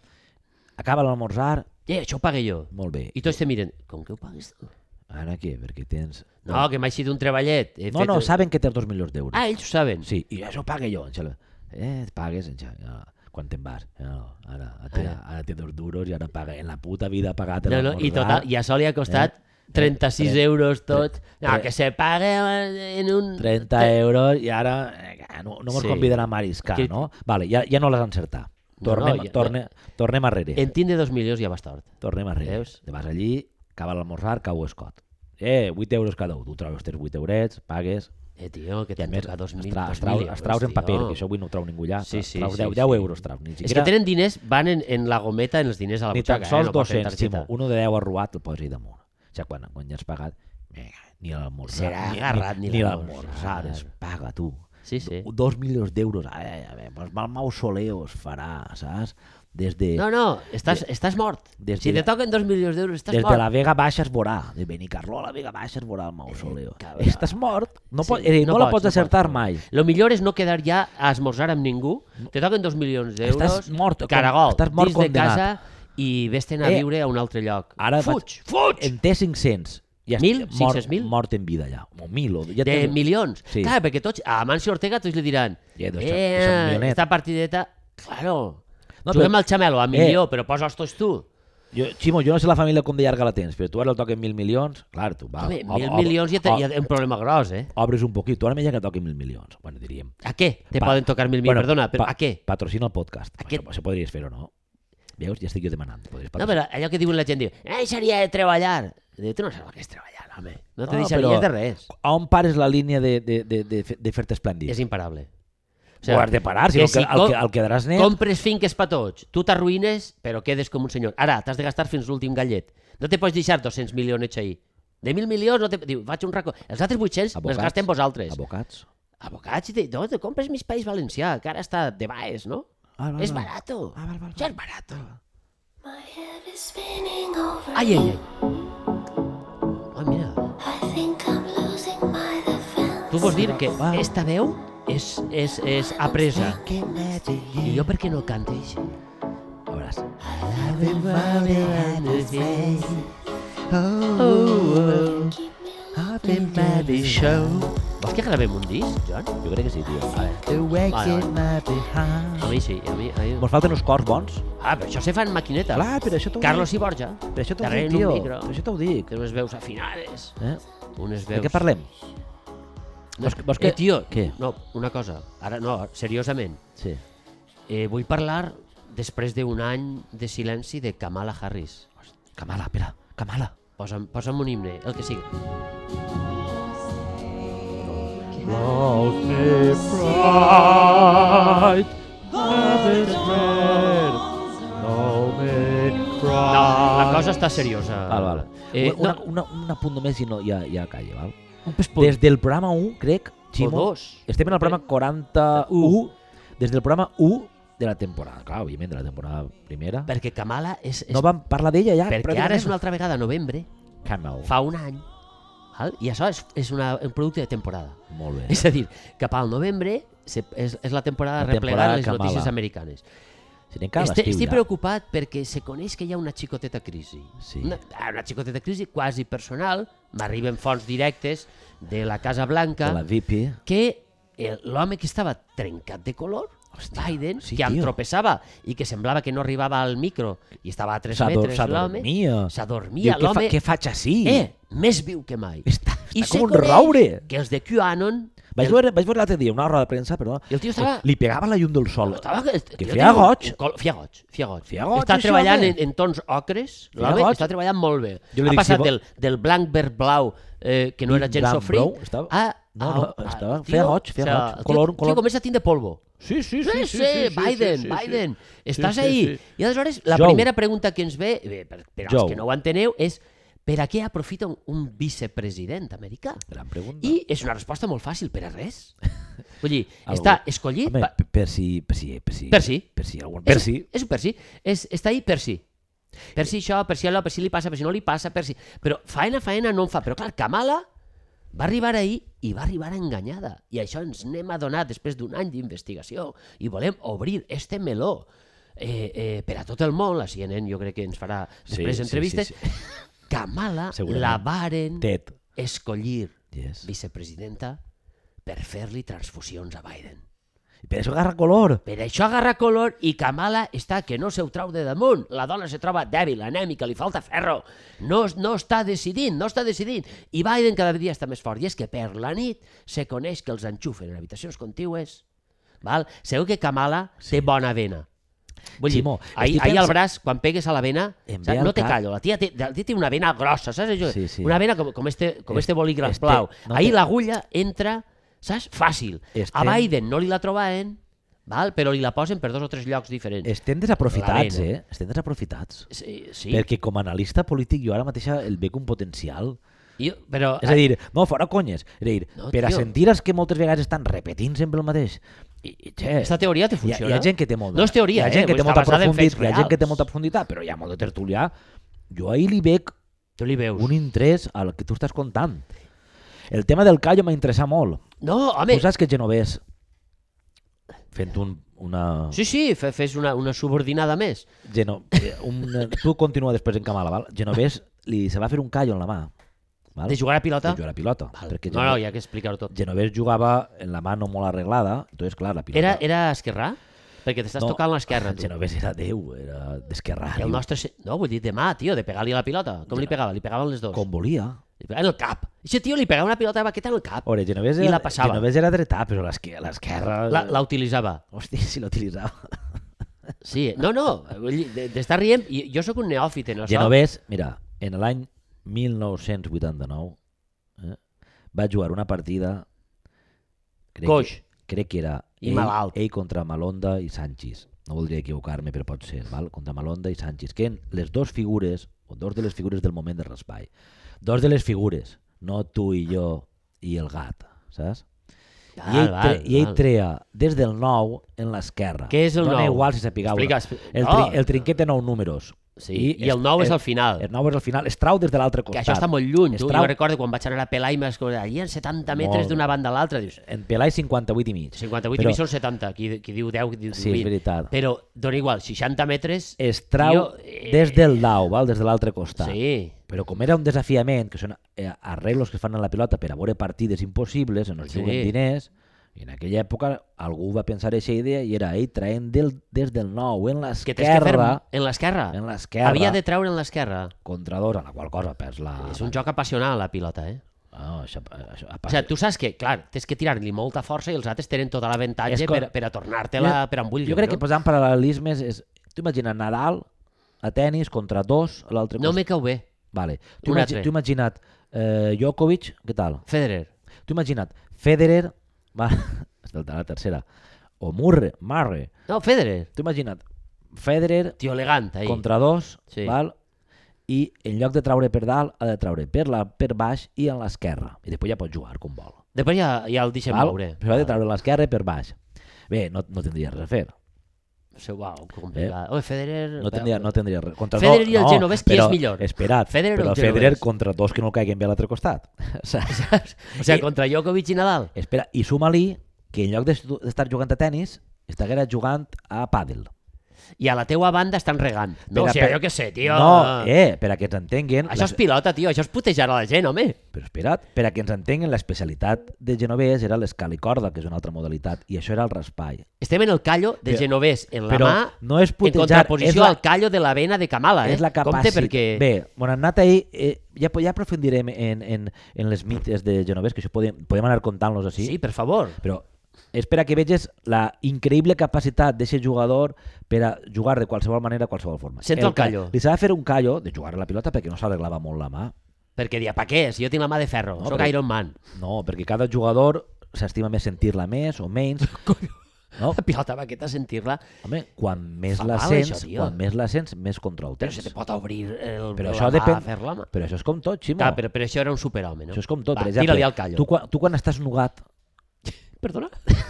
Speaker 1: Acaba l'almorzar,
Speaker 2: Eh, això ho pague jo.
Speaker 1: molt bé.
Speaker 2: I tots te miren, com que ho pagues tu?
Speaker 1: Ara què? Perquè tens...
Speaker 2: No, que m'ha eixit un treballet. He
Speaker 1: no,
Speaker 2: fet
Speaker 1: no,
Speaker 2: un-
Speaker 1: saben que tens dos milions d'euros.
Speaker 2: Ah, ells ho saben.
Speaker 1: Sí, i això ho pague jo. en xala. Eh, et pagues en xala. No, quan te'n vas. No, ara, ara, ara té dos duros i ara paga. En la puta vida ha pagat
Speaker 2: No, no, I,
Speaker 1: l'almorzar.
Speaker 2: tota- total, I a Sol li ha costat
Speaker 1: Eh?
Speaker 2: 36 euros tot. No,
Speaker 1: tre-
Speaker 2: que se pague en un...
Speaker 1: 30 euros i ara eh, no, no mos sí.
Speaker 2: Sí.
Speaker 1: convidarà a mariscar,
Speaker 2: Que-
Speaker 1: no? Vale, ja, ja no les encertar. Tornem,
Speaker 2: no, ja-
Speaker 1: torne, tornem arrere.
Speaker 2: En tindre dos milions ja vas tort.
Speaker 1: Tornem arrere.
Speaker 2: Veus?
Speaker 1: Te vas allí, acaba l'almorzar, cau escot. Eh, 8 euros cada un. Tu trobes els 8 eurets, pagues...
Speaker 2: Eh, tio,
Speaker 1: I
Speaker 2: que
Speaker 1: a
Speaker 2: t'han
Speaker 1: més,
Speaker 2: tocat dos
Speaker 1: els
Speaker 2: mil,
Speaker 1: tra-
Speaker 2: dos
Speaker 1: els traus, els
Speaker 2: mil euros,
Speaker 1: traus en
Speaker 2: tio.
Speaker 1: paper, que això avui no ho trau ningú ja.
Speaker 2: Sí, sí,
Speaker 1: traus
Speaker 2: sí,
Speaker 1: 10,
Speaker 2: sí.
Speaker 1: 10 euros traus. Ni
Speaker 2: És que
Speaker 1: siquiera,
Speaker 2: tenen diners, van en, en la gometa, en els diners a la
Speaker 1: ni tan
Speaker 2: butxaca. eh?
Speaker 1: sols
Speaker 2: no porten
Speaker 1: 200,
Speaker 2: targeta.
Speaker 1: Ximo. Uno de 10 arrubat el posis damunt. O sigui, quan, quan ja has pagat, vinga, ni l'almorzar.
Speaker 2: Serà agarrat, ni
Speaker 1: ni
Speaker 2: l'almorzar.
Speaker 1: l'almorzar. es paga, tu.
Speaker 2: Sí, sí.
Speaker 1: dos milions d'euros. A veure, a veure, pues mal mausoleo es farà, saps? Des de,
Speaker 2: No, no, estàs, estàs mort.
Speaker 1: Des
Speaker 2: si
Speaker 1: de-
Speaker 2: te toquen dos milions d'euros, estàs
Speaker 1: des de
Speaker 2: mort.
Speaker 1: la Vega Baixa es veurà. De Benicarló a la Vega Baixa es veurà el mausoleo.
Speaker 2: Eh, cabrón.
Speaker 1: Estàs mort. No, pot, eh, no, la pots acertar mai.
Speaker 2: Lo millor és no quedar ja a esmorzar amb ningú. Te toquen dos milions d'euros.
Speaker 1: Estàs mort, com-
Speaker 2: Caragol,
Speaker 1: estàs mort
Speaker 2: dins de
Speaker 1: condemnat.
Speaker 2: casa i vés-te'n a
Speaker 1: Eh,
Speaker 2: viure a un altre lloc.
Speaker 1: Ara
Speaker 2: Fuig!
Speaker 1: vaig- En té 500. Ja est-
Speaker 2: Mil?
Speaker 1: Mort,
Speaker 2: 500.000?
Speaker 1: mort en vida, ja. O mil. O, ja
Speaker 2: de
Speaker 1: té-
Speaker 2: milions.
Speaker 1: Sí.
Speaker 2: Clar, perquè tots, a Amancio Ortega tots li diran
Speaker 1: Ja, doncs,
Speaker 2: eh,
Speaker 1: és un milionet."
Speaker 2: esta partideta... Claro,
Speaker 1: No,
Speaker 2: Juguem
Speaker 1: però- Eh.
Speaker 2: al xamelo, a millor, però posa els tots tu.
Speaker 1: Jo, Ximo, jo no sé la família com de llarga la tens, però tu ara el toquen mil milions, clar, tu va...
Speaker 2: Home,
Speaker 1: ob-
Speaker 2: mil
Speaker 1: ob-
Speaker 2: milions ja, te,
Speaker 1: ob-
Speaker 2: ja un problema gros, eh?
Speaker 1: Obres un poquit, tu ara ja que toquen mil milions, bueno, diríem.
Speaker 2: A què? Te
Speaker 1: Pa-
Speaker 2: poden tocar mil milions, perdona, però
Speaker 1: pa-
Speaker 2: a què?
Speaker 1: Patrocina el podcast.
Speaker 2: què?
Speaker 1: Això, això podries fer o no? Veus? Ja estic jo demanant. Podries
Speaker 2: No, però allò que diuen la gent, diu, eh, seria de treballar. Diu, tu no saps el que és treballar, home. No te
Speaker 1: No,
Speaker 2: deixaries
Speaker 1: Ah, però-
Speaker 2: de res.
Speaker 1: A on pares la línia de, de, de, de, fe- de fer-te esplèndid?
Speaker 2: És imparable. O
Speaker 1: Ho has de parar, si no, que- el que- el quedaràs net.
Speaker 2: Compres finques per tots, tu t'arruïnes, però quedes com un senyor. Ara, t'has de gastar fins l'últim gallet. No te pots deixar 200 milions ahir. De mil milions, no te... Diu, faig un racó. Els altres 800
Speaker 1: Abocats.
Speaker 2: els gastem vosaltres.
Speaker 1: Abocats?
Speaker 2: Abocats, i te... no, te compres més País Valencià, que ara està de baix, no?
Speaker 1: Ah, val,
Speaker 2: és
Speaker 1: val.
Speaker 2: barato.
Speaker 1: Ah, val, val,
Speaker 2: Això és barato.
Speaker 4: My head is spinning over.
Speaker 2: Ai, ai, ai. Oh, mira.
Speaker 4: I think I'm losing my defense.
Speaker 2: Tu vols dir que
Speaker 1: Va.
Speaker 2: esta veu és, és, és apresa. I jo per què no canto així?
Speaker 1: A veure,
Speaker 2: Vols que gravem un disc, John?
Speaker 1: jo crec que sí, tio.
Speaker 2: A veure. Vale, vale. A mi sí, a mi... A mi...
Speaker 1: Mos falten uns cors bons.
Speaker 2: Ah, però això se fa en maquineta.
Speaker 1: Clar, però això t'ho
Speaker 2: Carlos
Speaker 1: dic.
Speaker 2: i Borja.
Speaker 1: Però això t'ho
Speaker 2: darrere
Speaker 1: dic,
Speaker 2: en un
Speaker 1: tio.
Speaker 2: micro.
Speaker 1: Però això t'ho dic.
Speaker 2: Té unes veus afinades.
Speaker 1: Eh?
Speaker 2: Unes veus...
Speaker 1: De què parlem? Vols, vols
Speaker 2: Eh, tio,
Speaker 1: Què?
Speaker 2: no, una cosa. Ara, no, seriosament.
Speaker 1: Sí.
Speaker 2: Eh, vull parlar després d'un any de silenci de Kamala Harris.
Speaker 1: Kamala, espera. Kamala.
Speaker 2: Posa'm, posa'm un himne, el que sigui. No, la cosa està seriosa.
Speaker 1: Val, val.
Speaker 2: Eh,
Speaker 1: Ah, una,
Speaker 2: no,
Speaker 1: una, una, un apunt només i no, ja, ja calla, val?
Speaker 2: un pespunt.
Speaker 1: Des del programa 1, crec, Ximo,
Speaker 2: O dos.
Speaker 1: estem en el programa 41, des del programa 1 de la temporada, clar, òbviament, de la temporada primera.
Speaker 2: Perquè Kamala és... és
Speaker 1: No vam parlar d'ella ja,
Speaker 2: perquè ara és una altra vegada, a novembre,
Speaker 1: Camel.
Speaker 2: fa un any, val? i això és, és una, un producte de temporada.
Speaker 1: Molt bé.
Speaker 2: És a dir, cap al novembre se, és, és la temporada
Speaker 1: La
Speaker 2: de replegar
Speaker 1: temporada
Speaker 2: les
Speaker 1: Kamala.
Speaker 2: notícies americanes.
Speaker 1: Si anem cada
Speaker 2: Este,
Speaker 1: estiu,
Speaker 2: estic
Speaker 1: ja.
Speaker 2: preocupat perquè se coneix que hi ha una xicoteta crisi.
Speaker 1: Sí.
Speaker 2: Una, ah, una xicoteta crisi quasi personal. M'arriben fonts directes de la Casa Blanca
Speaker 1: De la VP.
Speaker 2: que el- l'home que estava trencat de color, Hòstia, Biden,
Speaker 1: sí,
Speaker 2: que em
Speaker 1: tio.
Speaker 2: tropeçava i que semblava que no arribava al micro i estava a 3 metres l'home,
Speaker 1: S'adormia.
Speaker 2: s'adormia
Speaker 1: Diu, què, fa,
Speaker 2: l'home,
Speaker 1: què faig així?
Speaker 2: eh, més viu que mai.
Speaker 1: Està,
Speaker 2: I
Speaker 1: està
Speaker 2: se
Speaker 1: com un
Speaker 2: coneix
Speaker 1: roure.
Speaker 2: Que els de QAnon...
Speaker 1: Vaig
Speaker 2: el-
Speaker 1: veure, vaig veure l'altre dia una roda de premsa, perdó.
Speaker 2: El tio estava-
Speaker 1: Li pegava la llum del sol.
Speaker 2: Estava,
Speaker 1: que feia goig.
Speaker 2: Fia goig, fia goig.
Speaker 1: Feia goig,
Speaker 2: està
Speaker 1: això,
Speaker 2: treballant
Speaker 1: home.
Speaker 2: en, en tons ocres,
Speaker 1: Feia
Speaker 2: l'home
Speaker 1: goig.
Speaker 2: està treballant molt bé.
Speaker 1: Jo li
Speaker 2: ha
Speaker 1: dic, si
Speaker 2: passat
Speaker 1: vo-
Speaker 2: del, del blanc verd blau, eh, que no era gens
Speaker 1: blanc,
Speaker 2: sofrit,
Speaker 1: blau, estava-
Speaker 2: a,
Speaker 1: no, no, estava-
Speaker 2: el
Speaker 1: feia goig, feia goig. Color,
Speaker 2: el tio,
Speaker 1: color.
Speaker 2: Tio, comença a tindre polvo.
Speaker 1: Sí, sí,
Speaker 2: Sí, sí, Biden, Biden, estàs
Speaker 1: sí,
Speaker 2: ahí.
Speaker 1: sí.
Speaker 2: I aleshores, la
Speaker 1: Jou.
Speaker 2: primera pregunta que ens ve, bé, per, per als
Speaker 1: Jou.
Speaker 2: que no ho enteneu, és per a què aprofita un, un vicepresident americà?
Speaker 1: Gran pregunta.
Speaker 2: I és una resposta molt fàcil, per a res. Vull dir,
Speaker 1: Algú-
Speaker 2: està escollit...
Speaker 1: Home,
Speaker 2: pa-
Speaker 1: per, per si... Per si... Per si...
Speaker 2: Per si.
Speaker 1: Per si, algun, per
Speaker 2: és,
Speaker 1: si.
Speaker 2: És un per si. És, està ahí per si. Per si això, per si allò, per si li passa, per si no li passa, per si... Però faena, faena no en fa. Però clar, Kamala va arribar ahir i va arribar enganyada. I això ens n'hem adonat després d'un any d'investigació i volem obrir este meló. Eh, eh, per a tot el món, la CNN jo crec que ens farà després
Speaker 1: sí,
Speaker 2: entrevistes,
Speaker 1: sí,
Speaker 2: Kamala
Speaker 1: Segurament.
Speaker 2: la varen
Speaker 1: Ted.
Speaker 2: escollir
Speaker 1: Yes.
Speaker 2: vicepresidenta per fer-li transfusions a Biden.
Speaker 1: Per això agarra color.
Speaker 2: Per això agarra color i Kamala està que no se ho trau de damunt. La dona se troba dèbil, anèmica, li falta ferro. No, es- no està decidint, no està decidint. I Biden cada dia està més fort. I és que per la nit se coneix que els enxufen en habitacions contigües. Val? Segur que Kamala sí. té bona vena. Vull dir,
Speaker 1: Ximo,
Speaker 2: ahir,
Speaker 1: estic
Speaker 2: ahir al
Speaker 1: pens-
Speaker 2: braç, quan pegues a la vena,
Speaker 1: Em ve
Speaker 2: saps?
Speaker 1: al
Speaker 2: no te
Speaker 1: cap-
Speaker 2: callo, la tia té, la tia té una vena grossa, saps? Això?
Speaker 1: Sí, sí.
Speaker 2: Una vena com, com este, com este bolígraf
Speaker 1: este-
Speaker 2: blau.
Speaker 1: no
Speaker 2: ahir
Speaker 1: te-
Speaker 2: l'agulla entra, saps? Fàcil. A
Speaker 1: Estem-
Speaker 2: Biden Biden no li la trobaven, val? però li la posen per dos o tres llocs diferents.
Speaker 1: Estem desaprofitats,
Speaker 2: La
Speaker 1: eh? Estem desaprofitats.
Speaker 2: Sí, sí.
Speaker 1: Sí. Perquè com a analista polític jo ara mateix el veig un potencial.
Speaker 2: Jo, però,
Speaker 1: És a dir, no, fora conyes. És a dir,
Speaker 2: Ah, eh. No,
Speaker 1: no, per a
Speaker 2: tio.
Speaker 1: sentir els que moltes vegades estan repetint sempre el mateix.
Speaker 2: eh,
Speaker 1: I, i xe,
Speaker 2: aquesta teoria te
Speaker 1: hi ha,
Speaker 2: funciona.
Speaker 1: hi ha gent que té molt de-
Speaker 2: No és teoria,
Speaker 1: hi ha gent
Speaker 2: eh?
Speaker 1: que té
Speaker 2: Està
Speaker 1: molta
Speaker 2: basada en fets
Speaker 1: profunditat, hi ha gent que té
Speaker 2: reals.
Speaker 1: molta profunditat, però hi ha molt de tertulià. Jo ahir li veig
Speaker 2: Tu li veus.
Speaker 1: un interès al que tu estàs contant. El tema del callo m'ha interessat molt.
Speaker 2: No, home,
Speaker 1: Tu saps que Genovés, fent un, una...
Speaker 2: sí, sí, fe- fes una, una subordinada més.
Speaker 1: Geno... eh, Un... Tu continua després en Kamala, val? Genovés li se va fer un callo en la mà. Val?
Speaker 2: De jugar a pilota?
Speaker 1: De jugar a pilota.
Speaker 2: Val.
Speaker 1: Perquè
Speaker 2: No, no, hi ha que explicar-ho tot.
Speaker 1: Genovés jugava en la mà no molt arreglada, entonces, clar, la pilota...
Speaker 2: Era, era esquerrà? Perquè t'estàs no, tocant l'esquerra,
Speaker 1: El
Speaker 2: tu.
Speaker 1: Genovés era Déu, era d'esquerra.
Speaker 2: El nostre... se- No, vull dir demà, tio, de pegar-li la pilota. Com li pegava? Li pegaven les dues.
Speaker 1: Com volia.
Speaker 2: Li pegava en el cap. Aquest tio li pegava una pilota de baqueta en el cap.
Speaker 1: Ore, Genovés
Speaker 2: I
Speaker 1: era,
Speaker 2: la passava.
Speaker 1: Genovés era dretà, però l'esquer- l'esquerra...
Speaker 2: La, la utilitzava.
Speaker 1: Hòstia, si l'utilitzava.
Speaker 2: Sí, no, no, vull dir, de- d'estar rient, i jo sóc un neòfit en això.
Speaker 1: Genovés, mira, en l'any 1989 eh, va jugar una partida... Crec
Speaker 2: Coix.
Speaker 1: Que, crec que era
Speaker 2: I
Speaker 1: ell,
Speaker 2: malalt.
Speaker 1: ell contra Malonda i Sanchis. No voldria equivocar-me, però pot ser, val? Contra Malonda i Sanchis, que eren les dues figures, o dos de les figures del moment de raspall. Dos de les figures, no tu i jo i el gat, saps? I ell, tre i ell trea des del 9 en l'esquerra.
Speaker 2: Què és el
Speaker 1: Dona
Speaker 2: nou? Oh.
Speaker 1: igual si sapigueu.
Speaker 2: Explica, expli-
Speaker 1: El,
Speaker 2: no.
Speaker 1: tri el trinquet té 9 números.
Speaker 2: Sí, i el nou és al final.
Speaker 1: El 9 és al final. Es trau des de l'altre
Speaker 2: que
Speaker 1: costat.
Speaker 2: això està molt lluny, tu.
Speaker 1: Estrau-
Speaker 2: Jo recordo quan vaig anar a Pelai, m'has allà en 70 metres
Speaker 1: Molt.
Speaker 2: d'una banda a l'altra, dius,
Speaker 1: En Pelai 58 i mig.
Speaker 2: 58
Speaker 1: Però
Speaker 2: i mig són 70, qui, qui diu 10, qui diu 18.
Speaker 1: Sí, és veritat.
Speaker 2: Però dona igual, 60 metres...
Speaker 1: Es trau
Speaker 2: Jo,
Speaker 1: jo,
Speaker 2: eh,
Speaker 1: des del 9, val? des de l'altre costat.
Speaker 2: Sí,
Speaker 1: Però com era un desafiament, que són eh, arreglos que es fan a la pilota per a veure partides impossibles, on es
Speaker 2: Sí.
Speaker 1: juguen diners, i en aquella època algú va pensar aquesta idea i era ell traent del, des del 9 en
Speaker 2: que tens que fer
Speaker 1: l'esquerra,
Speaker 2: en l'esquerra.
Speaker 1: en l'esquerra. Ah,
Speaker 2: Havia de treure en l'esquerra.
Speaker 1: contra dos, a la qual cosa perds la...
Speaker 2: És un joc apassionant, la pilota, eh?
Speaker 1: No, això, això, a
Speaker 2: O
Speaker 1: part,
Speaker 2: sigui, tu saps que, clar, tens que tirar-li molta força i els altres tenen tot l'avantatge
Speaker 1: És com-
Speaker 2: per, per a tornar-te-la
Speaker 1: Mira,
Speaker 2: per on vulguin.
Speaker 1: jo crec
Speaker 2: no?
Speaker 1: que posant paral·lelismes és... Tu imagina Nadal a tennis contra dos a l'altre
Speaker 2: No
Speaker 1: costat.
Speaker 2: me cau bé.
Speaker 1: Vale. Tu,
Speaker 2: un
Speaker 1: imagi-
Speaker 2: altre.
Speaker 1: tu imagina't eh, Djokovic, què tal?
Speaker 2: Federer.
Speaker 1: Tu imagina't Federer, va, escolta, la tercera, o Murre, Marre.
Speaker 2: No, Federer.
Speaker 1: Tu imagina't Federer
Speaker 2: Tio elegant, ahí.
Speaker 1: contra dos,
Speaker 2: Sí.
Speaker 1: val? i en lloc de traure per dalt, ha de traure per, la, per baix i en l'esquerra. I després ja pot jugar com vol.
Speaker 2: Després ja, ja el deixem
Speaker 1: Val?
Speaker 2: moure.
Speaker 1: Però ha de traure l'esquerra i per baix. Bé, no, no tindria res a fer.
Speaker 2: Sí, uau, complicat. Eh? Oh, Federer...
Speaker 1: No tendria, no tendria res. Contra
Speaker 2: Federer
Speaker 1: no,
Speaker 2: i el
Speaker 1: no,
Speaker 2: genovès, qui
Speaker 1: però,
Speaker 2: és millor?
Speaker 1: Esperat,
Speaker 2: Federer o
Speaker 1: però
Speaker 2: el
Speaker 1: Federer
Speaker 2: genovès?
Speaker 1: contra dos que no caiguen bé a l'altre costat. Saps?
Speaker 2: O sigui, contra Djokovic i Nadal.
Speaker 1: Espera, i suma-li que en lloc d'estu- d'estar jugant a tennis, estiguera jugant a pàdel.
Speaker 2: I a la teua banda estan regant.
Speaker 1: Per a-
Speaker 2: No, o sigui,
Speaker 1: per-
Speaker 2: jo què sé, tio.
Speaker 1: No, eh, per a que ens entenguin...
Speaker 2: Això és pilota, tio. Això és putejar a la gent, home.
Speaker 1: Però espera't, per a que ens entenguin, l'especialitat de genovès era l'escalicorda, que és una altra modalitat, i això era el raspall.
Speaker 2: Estem en el callo de
Speaker 1: Però-
Speaker 2: Genovés, en la
Speaker 1: però
Speaker 2: mà,
Speaker 1: no és
Speaker 2: en
Speaker 1: putejar, és
Speaker 2: contraposició
Speaker 1: la-
Speaker 2: al callo de la vena de Kamala. Eh?
Speaker 1: és la capacitat...
Speaker 2: Compte perquè...
Speaker 1: Bé, bon, hem anat ahir... Eh, ja, ja aprofundirem en, en, en les mites de genovès, que això podem, podem anar contant-los així.
Speaker 2: sí? sí, per favor.
Speaker 1: Però és per a que veges la increïble capacitat d'aquest jugador per a jugar de qualsevol manera, qualsevol forma.
Speaker 2: Sento el
Speaker 1: ca-
Speaker 2: callo.
Speaker 1: Li s'ha de fer un callo de jugar a la pilota perquè no s'arreglava molt la mà.
Speaker 2: Perquè dia, pa què? Si jo tinc la mà de ferro,
Speaker 1: No,
Speaker 2: no, sóc
Speaker 1: però-
Speaker 2: Iron Man.
Speaker 1: No, perquè cada jugador s'estima més sentir-la més o menys. No?
Speaker 2: La pilota vaqueta, sentir-la,
Speaker 1: Home, quan més
Speaker 2: Fa
Speaker 1: la
Speaker 2: mal, això,
Speaker 1: sents,
Speaker 2: tio.
Speaker 1: quan més la sents, més control
Speaker 2: però
Speaker 1: tens.
Speaker 2: se te pot obrir el,
Speaker 1: Però
Speaker 2: la
Speaker 1: això
Speaker 2: mà
Speaker 1: depèn-
Speaker 2: a fer-la, mà.
Speaker 1: Però això és com tot, Ximo.
Speaker 2: Clar, Ah, però, però això era un superhome, no?
Speaker 1: Això és com tot.
Speaker 2: Va,
Speaker 1: per exemple,
Speaker 2: Tira-li al callo.
Speaker 1: Tu, quan, tu quan estàs nugat,
Speaker 2: Perdona?
Speaker 1: Ah,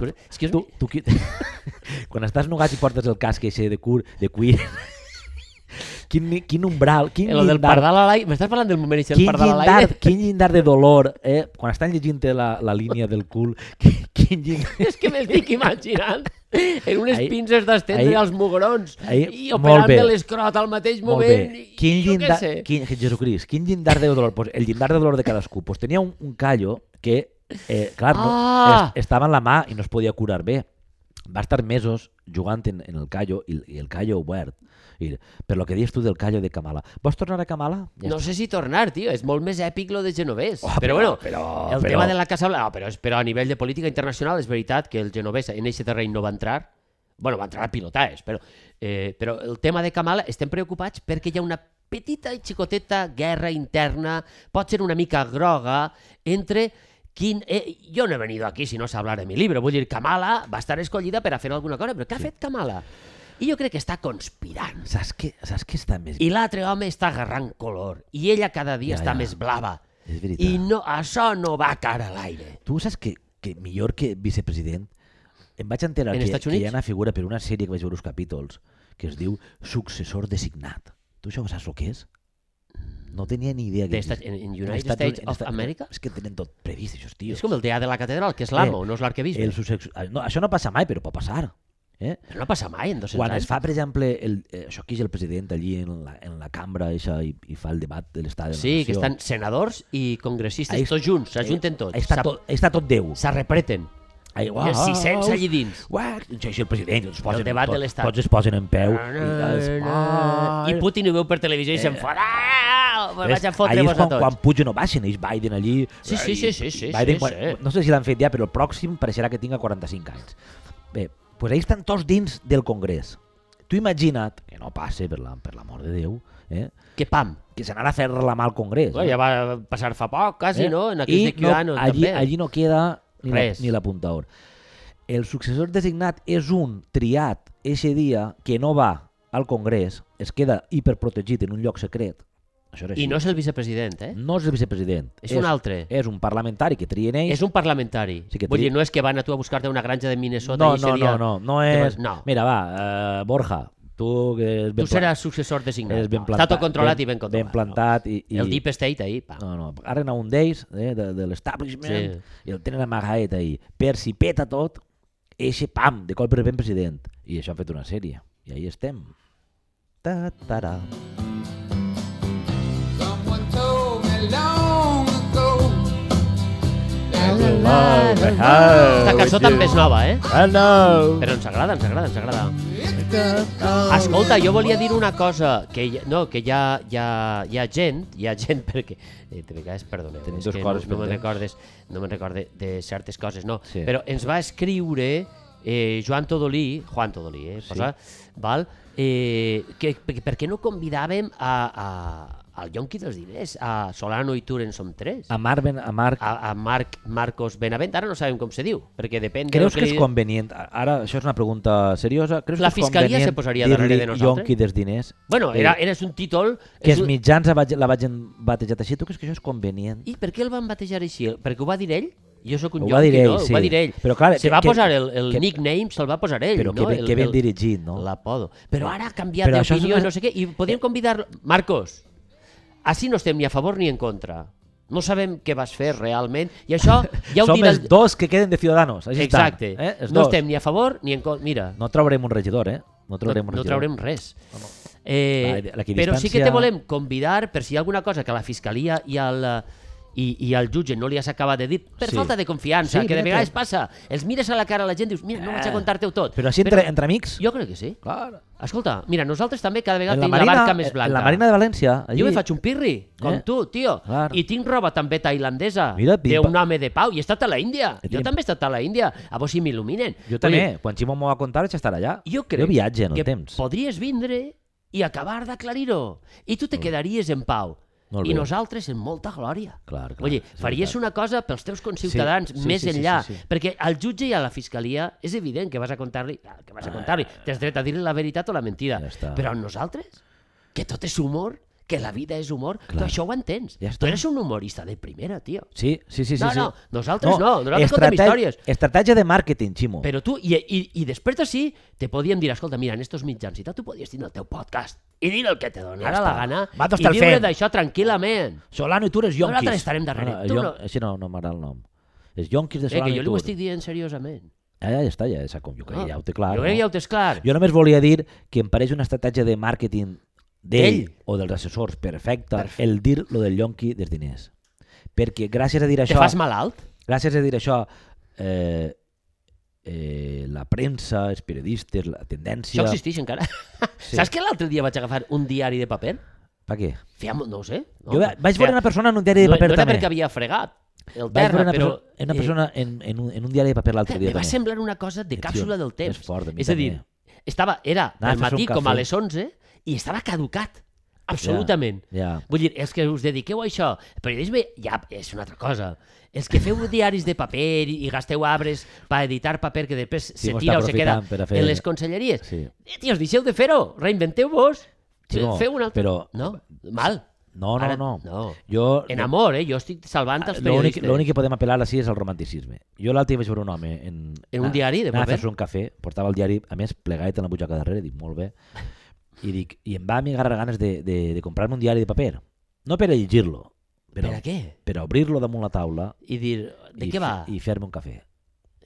Speaker 2: Excuse- excuse
Speaker 1: tu,
Speaker 2: me.
Speaker 1: tu, qui- quan estàs nugat i portes el casc eixe de, cur, de cuir, quin, ni- quin umbral, quin
Speaker 2: El Eh, del
Speaker 1: llindar
Speaker 2: pardal a l'aire... M'estàs parlant del moment això del
Speaker 1: quin
Speaker 2: pardal a l'aire?
Speaker 1: llindar, quin llindar de dolor, eh? Quan estan llegint la, la línia del cul, quin, quin llindar...
Speaker 2: És que m'estic imaginant en unes
Speaker 1: Ahir-
Speaker 2: pinces d'estendre
Speaker 1: ahir-
Speaker 2: els mugrons
Speaker 1: ahir-
Speaker 2: i
Speaker 1: molt
Speaker 2: operant
Speaker 1: bé.
Speaker 2: de l'escrot al mateix
Speaker 1: Molt
Speaker 2: moment.
Speaker 1: bé.
Speaker 2: i
Speaker 1: Quin
Speaker 2: jo què
Speaker 1: llindar,
Speaker 2: sé.
Speaker 1: quin, Jesucrist, quin llindar de dolor? Pues el llindar de dolor de cadascú. Pues tenia un, un callo que, eh, clar,
Speaker 2: Ah!
Speaker 1: no, es, estava en la mà i no es podia curar bé. Va estar mesos jugant en, en el callo i, i el callo obert. I, per lo que dius tu del callo de Kamala. Vols tornar a Kamala? Ja
Speaker 2: No sé si tornar, tio. És molt més èpic lo de genovès.
Speaker 1: Oh, però-
Speaker 2: però, bueno,
Speaker 1: però-
Speaker 2: el
Speaker 1: però-
Speaker 2: tema de la Casa Blanca... No, però, és- però a nivell de política internacional és veritat que el genovès en aquest terreny no va entrar. bueno, va entrar a pilotades, però, eh, però el tema de Kamala estem preocupats perquè hi ha una petita i xicoteta guerra interna, pot ser una mica groga, entre quin... Eh, jo no he venido aquí si no s'ha hablar de mi llibre. Vull dir, Kamala va estar escollida per a fer alguna cosa, però què ha fet Kamala? I jo crec que està conspirant.
Speaker 1: Saps què, saps què està més...
Speaker 2: I l'altre home està agarrant color. I ella cada dia
Speaker 1: Ja,
Speaker 2: ja, està ja.
Speaker 1: ja.
Speaker 2: més blava.
Speaker 1: És veritat.
Speaker 2: I no, això no va cara a l'aire.
Speaker 1: Tu saps que, que millor que vicepresident em vaig enterar
Speaker 2: En
Speaker 1: que,
Speaker 2: Estats
Speaker 1: que hi
Speaker 2: Units?
Speaker 1: ha una figura per una sèrie que vaig veure uns capítols que es diu successor designat. Tu això saps el que és? No tenia ni idea.
Speaker 2: De
Speaker 1: que
Speaker 2: Estat-
Speaker 1: existís.
Speaker 2: en- en
Speaker 1: En
Speaker 2: United
Speaker 1: Estats
Speaker 2: States
Speaker 1: Uni- en
Speaker 2: of
Speaker 1: Estat-
Speaker 2: America?
Speaker 1: És que tenen tot previst, això,
Speaker 2: Tio.
Speaker 1: tios.
Speaker 2: És com el teatre de la catedral, que és l'amo, eh, no és l'arquebisbe.
Speaker 1: El
Speaker 2: El...
Speaker 1: subsexu... ah, No, això no passa mai, però pot passar. Eh?
Speaker 2: No passa mai en 200
Speaker 1: Quan
Speaker 2: anys.
Speaker 1: es fa, per exemple, el, eh, això que és el president allí en la, en la cambra eixa, i, i fa el debat de l'estat de la
Speaker 2: Sí,
Speaker 1: nació.
Speaker 2: que estan senadors i congressistes
Speaker 1: Ahí-
Speaker 2: tots junts, s'ajunten tots.
Speaker 1: Ahí està,
Speaker 2: s'ap-
Speaker 1: tot, ahí està tot Déu.
Speaker 2: S'arrepreten.
Speaker 1: Ai,
Speaker 2: I els 600 allí dins.
Speaker 1: Uah, sí, sí, el president, els posen,
Speaker 2: debat de
Speaker 1: tots-
Speaker 2: l'Estat.
Speaker 1: Tots es posen en peu.
Speaker 2: I Putin ho veu per televisió i se'n fora. Ah, Me vaig a fotre
Speaker 1: Allí Eh. és
Speaker 2: vos a
Speaker 1: quan, quan
Speaker 2: tots.
Speaker 1: pugen o baixen, ells Biden allí...
Speaker 2: Sí, sí,
Speaker 1: i-
Speaker 2: sí, sí, sí,
Speaker 1: i Biden,
Speaker 2: sí,
Speaker 1: quan,
Speaker 2: sí.
Speaker 1: No sé si l'han fet ja, però el pròxim pareixerà que tinga 45 anys. Bé, doncs ells estan tots dins del Congrés. Tu imagina't, que no passe per la- per l'amor la, de Déu, eh,
Speaker 2: Que pam.
Speaker 1: que s'anarà a fer la mà al Congrés.
Speaker 2: Bueno, ja va passar fa poc, quasi,
Speaker 1: Eh?
Speaker 2: Ah, no? En aquells
Speaker 1: I
Speaker 2: de Ciudadanos,
Speaker 1: no, allí,
Speaker 2: també.
Speaker 1: Allí no queda ni la-
Speaker 2: Res.
Speaker 1: ni l'apuntador. El successor designat és un triat eixe dia que no va al Congrés, es queda hiperprotegit en un lloc secret. Això era
Speaker 2: I
Speaker 1: així.
Speaker 2: no és el vicepresident, eh?
Speaker 1: no és el vicepresident.
Speaker 2: És un altre.
Speaker 1: És un parlamentari que trien ells.
Speaker 2: És un parlamentari.
Speaker 1: Sí que
Speaker 2: Vull
Speaker 1: tri-
Speaker 2: dir, no és que van a tu a buscar-te una granja de Minnesota
Speaker 1: no,
Speaker 2: i
Speaker 1: no,
Speaker 2: seria...
Speaker 1: no, no, no
Speaker 2: Te vas-
Speaker 1: és...
Speaker 2: no.
Speaker 1: Mira, va, eh, Borja, tu que és ben
Speaker 2: Tu seràs successor designat.
Speaker 1: és ben
Speaker 2: No, Està
Speaker 1: plantat,
Speaker 2: tot controlat
Speaker 1: ben-
Speaker 2: i ben controlat.
Speaker 1: ben plantat i- i-
Speaker 2: El Deep State ahir, pa.
Speaker 1: No, no, agarren a un d'ells, eh, de, de l'establishment, sí. i el tenen amagadet ahir. Per si peta tot, eixe, pam, de colp ben president. I això han fet una sèrie. I ahí estem. Ta -tara.
Speaker 5: Someone told me long ago that the
Speaker 2: Aquesta cançó també és nova, eh?
Speaker 1: Hello!
Speaker 2: Però ens agrada, ens agrada, ens agrada. Escolta, jo volia dir una cosa, que hi, no, que hi ha, hi, ha, hi ha gent, hi ha gent perquè... Eh, de vegades, perdoneu,
Speaker 1: Tenim
Speaker 2: és
Speaker 1: dues
Speaker 2: que
Speaker 1: coses
Speaker 2: no, no me'n
Speaker 1: pendents.
Speaker 2: recordes, no me'n recorde de certes coses, no.
Speaker 1: Sí.
Speaker 2: Sí. Però ens va escriure eh, Joan Todolí, Juan Todolí, eh, posa, val? Eh, que, per, per què no convidàvem a, a, al Yonqui dels Diners, a Solano i Turen som tres?
Speaker 1: A Marvin, a Marc,
Speaker 2: A, a Marc, Marcos Benavent, ara no sabem com se diu, perquè depèn
Speaker 1: creus
Speaker 2: de
Speaker 1: que
Speaker 2: lo
Speaker 1: és
Speaker 2: li-
Speaker 1: convenient? Ara, això és una pregunta seriosa. Creus
Speaker 2: La
Speaker 1: que és
Speaker 2: fiscalia
Speaker 1: convenient
Speaker 2: se posaria darrere
Speaker 1: dir-li
Speaker 2: de nosaltres?
Speaker 1: Yonqui des diners?
Speaker 2: Bueno,
Speaker 1: Eh,
Speaker 2: era, eres un títol...
Speaker 1: Que
Speaker 2: és
Speaker 1: els
Speaker 2: un-
Speaker 1: mitjans la vagin, la vagin batejat així. Tu creus que això és convenient?
Speaker 2: I per què el van batejar així? Perquè ho va dir ell? Jo sóc un
Speaker 1: Ho
Speaker 2: lloc,
Speaker 1: va dir ell,
Speaker 2: no?
Speaker 1: sí.
Speaker 2: Ho va dir ell.
Speaker 1: Però clar,
Speaker 2: se
Speaker 1: que-
Speaker 2: va
Speaker 1: que-
Speaker 2: posar el, el
Speaker 1: que-
Speaker 2: nickname, se'l va posar ell.
Speaker 1: Però que
Speaker 2: no?
Speaker 1: ben-
Speaker 2: el,
Speaker 1: que ben
Speaker 2: el-
Speaker 1: dirigit, no?
Speaker 2: L'apodo. Però ara ha canviat
Speaker 1: Però això és
Speaker 2: d'opinió
Speaker 1: una- Eh.
Speaker 2: i no sé què. I podríem convidar... Marcos, així no estem ni a favor ni en contra. No sabem què vas fer realment. I això ja ho
Speaker 1: Som
Speaker 2: dirà...
Speaker 1: els dos que queden de Ciudadanos. Així estan,
Speaker 2: Exacte.
Speaker 1: Eh? Els
Speaker 2: No
Speaker 1: dos.
Speaker 2: estem ni a favor ni en contra. Mira,
Speaker 1: No traurem un regidor, eh? No traurem
Speaker 2: no,
Speaker 1: un
Speaker 2: no
Speaker 1: regidor.
Speaker 2: traurem res. Eh,
Speaker 1: Va, l'equidistància-
Speaker 2: però sí que te volem convidar per si hi ha alguna cosa que a la fiscalia i al, i, i al jutge no li has acabat de dir per
Speaker 1: Sí.
Speaker 2: sí. falta de confiança,
Speaker 1: Sí,
Speaker 2: sí, que de
Speaker 1: mira-te.
Speaker 2: vegades passa. Els mires a la cara a la gent i dius, mira, no vaig a contar-te-ho tot.
Speaker 1: Però així entre, entre amics...
Speaker 2: Jo crec que sí.
Speaker 1: Clar.
Speaker 2: Escolta, mira, nosaltres també cada vegada
Speaker 1: En la,
Speaker 2: tenim la,
Speaker 1: marina,
Speaker 2: barca més
Speaker 1: en
Speaker 2: blanca.
Speaker 1: la Marina de València... Allí,
Speaker 2: Jo me faig un pirri, com
Speaker 1: Eh?
Speaker 2: tu, tio.
Speaker 1: Clar.
Speaker 2: I tinc roba també tailandesa,
Speaker 1: Mira, pim,
Speaker 2: d'un
Speaker 1: pa-
Speaker 2: home de pau. I he estat a la Índia.
Speaker 1: Eh,
Speaker 2: Jo
Speaker 1: tenim-
Speaker 2: també he estat a la Índia. A vos si m'il·luminen.
Speaker 1: Jo
Speaker 2: Vull
Speaker 1: també.
Speaker 2: dir,
Speaker 1: Quan Ximo m'ho va contar, vaig estar allà.
Speaker 2: jo crec
Speaker 1: jo viatge en el
Speaker 2: que
Speaker 1: temps.
Speaker 2: podries vindre i acabar d'aclarir-ho. I tu te quedaries en pau.
Speaker 1: Molt
Speaker 2: I
Speaker 1: bé.
Speaker 2: nosaltres en molta glòria.
Speaker 1: Clar, clar,
Speaker 2: Vull dir,
Speaker 1: és veritat.
Speaker 2: faries una cosa pels teus conciutadans
Speaker 1: Sí, sí,
Speaker 2: més
Speaker 1: sí, sí,
Speaker 2: enllà.
Speaker 1: sí, sí.
Speaker 2: Perquè al jutge i a la fiscalia és evident que vas a contar-li... ah, Que vas a contar-li. Tens dret a dir-li la veritat o la mentida.
Speaker 1: Ja està.
Speaker 2: Però a nosaltres, que tot és humor, que la vida és humor, tu això ho entens.
Speaker 1: Ja
Speaker 2: tu
Speaker 1: està.
Speaker 2: eres un humorista de primera, tio.
Speaker 1: Sí, sí, sí, sí.
Speaker 2: No,
Speaker 1: sí.
Speaker 2: no, nosaltres no, nosaltres contem històries.
Speaker 1: Estratègia de màrqueting, Ximo.
Speaker 2: Però tu, i, i, i després d'ací, te podíem dir, escolta, mira, en estos mitjans i tal, tu podies tenir el teu podcast i dir el que te donarà
Speaker 1: Ja
Speaker 2: la
Speaker 1: està.
Speaker 2: gana
Speaker 1: Va, doncs
Speaker 2: i
Speaker 1: te'l
Speaker 2: viure
Speaker 1: fem.
Speaker 2: d'això tranquil·lament.
Speaker 1: Solano i tu eres Yonquis. Ah,
Speaker 2: Nosaltres estarem darrere.
Speaker 1: No,
Speaker 2: Tu
Speaker 1: no,
Speaker 2: no-
Speaker 1: Jon- Així no, no m'agrada el nom. És Yonquis de
Speaker 2: Eh,
Speaker 1: Solano
Speaker 2: que jo
Speaker 1: i
Speaker 2: li ho
Speaker 1: tu.
Speaker 2: estic dient seriosament.
Speaker 1: Ja, ja, ja està, ja, ja, com, jo, crec que ja ho té clar.
Speaker 2: Jo crec que ja ho tens clar.
Speaker 1: Jo només volia dir que em pareix una estratègia de màrqueting d'ell
Speaker 2: D'ell.
Speaker 1: o dels assessors perfecta el dir lo del yonqui dels diners. Perquè gràcies a dir
Speaker 2: Te
Speaker 1: això,
Speaker 2: fas malalt?
Speaker 1: gràcies a dir això, eh, eh, la premsa, els periodistes, la tendència...
Speaker 2: Això existeix encara.
Speaker 1: Sí.
Speaker 2: Saps que l'altre dia vaig agafar un diari de paper?
Speaker 1: Per què?
Speaker 2: Feia molt, no ho sé. No,
Speaker 1: Jo va- vaig
Speaker 2: feia-
Speaker 1: veure una persona en un diari de
Speaker 2: no-
Speaker 1: paper
Speaker 2: no, era
Speaker 1: també.
Speaker 2: perquè havia fregat el
Speaker 1: Vaig veure
Speaker 2: terra,
Speaker 1: una,
Speaker 2: però... eh,
Speaker 1: perso una persona en, en, un, en un diari de paper l'altre dia
Speaker 2: Me va
Speaker 1: també.
Speaker 2: semblar una cosa de
Speaker 1: Tio,
Speaker 2: càpsula del
Speaker 1: és
Speaker 2: temps.
Speaker 1: fort, a mi
Speaker 2: és a dir,
Speaker 1: també.
Speaker 2: estava, era
Speaker 1: Anava a
Speaker 2: al
Speaker 1: fer-se un
Speaker 2: matí com a
Speaker 1: cafè.
Speaker 2: les 11 i estava caducat. Absolutament.
Speaker 1: ja.
Speaker 2: Vull dir, els que us dediqueu a això, el periodisme ja és una altra cosa. Els que feu diaris de paper i i gasteu arbres per editar paper que després
Speaker 1: Sí,
Speaker 2: se
Speaker 1: m'ho
Speaker 2: tira
Speaker 1: està
Speaker 2: o se queda
Speaker 1: aprofitant per a fer-
Speaker 2: en les conselleries.
Speaker 1: Sí.
Speaker 2: Eh, tios, deixeu de fer-ho, reinventeu-vos.
Speaker 1: Ximo,
Speaker 2: feu un altre...
Speaker 1: però-
Speaker 2: No, mal.
Speaker 1: No, no,
Speaker 2: Ara-
Speaker 1: no.
Speaker 2: no.
Speaker 1: Jo,
Speaker 2: En amor, eh? Jo estic salvant els
Speaker 1: Ah, L'únic
Speaker 2: periodistes.
Speaker 1: l'únic que podem apel·lar així és el romanticisme. Jo l'altre dia vaig veure un home en,
Speaker 2: En Eh, un diari de
Speaker 1: anava a
Speaker 2: paper?
Speaker 1: fer-se un cafè, portava el diari, a més, plegat en la butxaca darrere, dic, molt bé. I, dic, i em va amigar ganes de, de, de comprar-me un diari de paper. No per a llegir-lo, però,
Speaker 2: Per a què?
Speaker 1: per a obrir-lo damunt la taula
Speaker 2: I dir, de
Speaker 1: i,
Speaker 2: què va?
Speaker 1: fer- i fer-me un cafè.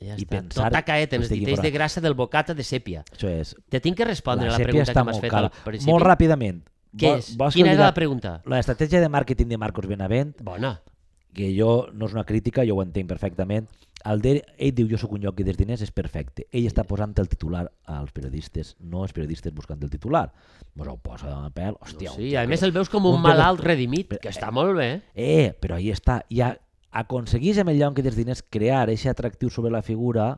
Speaker 2: Ja
Speaker 1: i
Speaker 2: està.
Speaker 1: pensar
Speaker 2: Tot tacaet en
Speaker 1: que
Speaker 2: Tota els
Speaker 1: estic
Speaker 2: ditells
Speaker 1: informat.
Speaker 2: de grassa del bocata de sèpia.
Speaker 1: Això és.
Speaker 2: Te tinc que respondre a la
Speaker 1: sèpia
Speaker 2: pregunta
Speaker 1: està
Speaker 2: que m'has
Speaker 1: molt
Speaker 2: fet
Speaker 1: cara.
Speaker 2: al principi.
Speaker 1: Molt ràpidament.
Speaker 2: Què
Speaker 1: Vol-
Speaker 2: és?
Speaker 1: vols que
Speaker 2: Quina
Speaker 1: li
Speaker 2: era
Speaker 1: diga-
Speaker 2: la pregunta?
Speaker 1: La estratègia de màrqueting de Marcos Benavent
Speaker 2: Bona.
Speaker 1: que jo no és una crítica, jo ho entenc perfectament. El de, ell diu, jo sóc un lloc i dels diners, és perfecte. Ell està posant el titular als periodistes, no els periodistes buscant el titular. Pues ho posa de pèl, hòstia. un
Speaker 2: Sí,
Speaker 1: tio
Speaker 2: a
Speaker 1: que-
Speaker 2: més el veus com un,
Speaker 1: un tio que-
Speaker 2: malalt redimit,
Speaker 1: Però,
Speaker 2: que està molt bé.
Speaker 1: Eh, però ahí està. Ja aconseguís amb el lloc i dels diners crear aquest atractiu sobre la figura,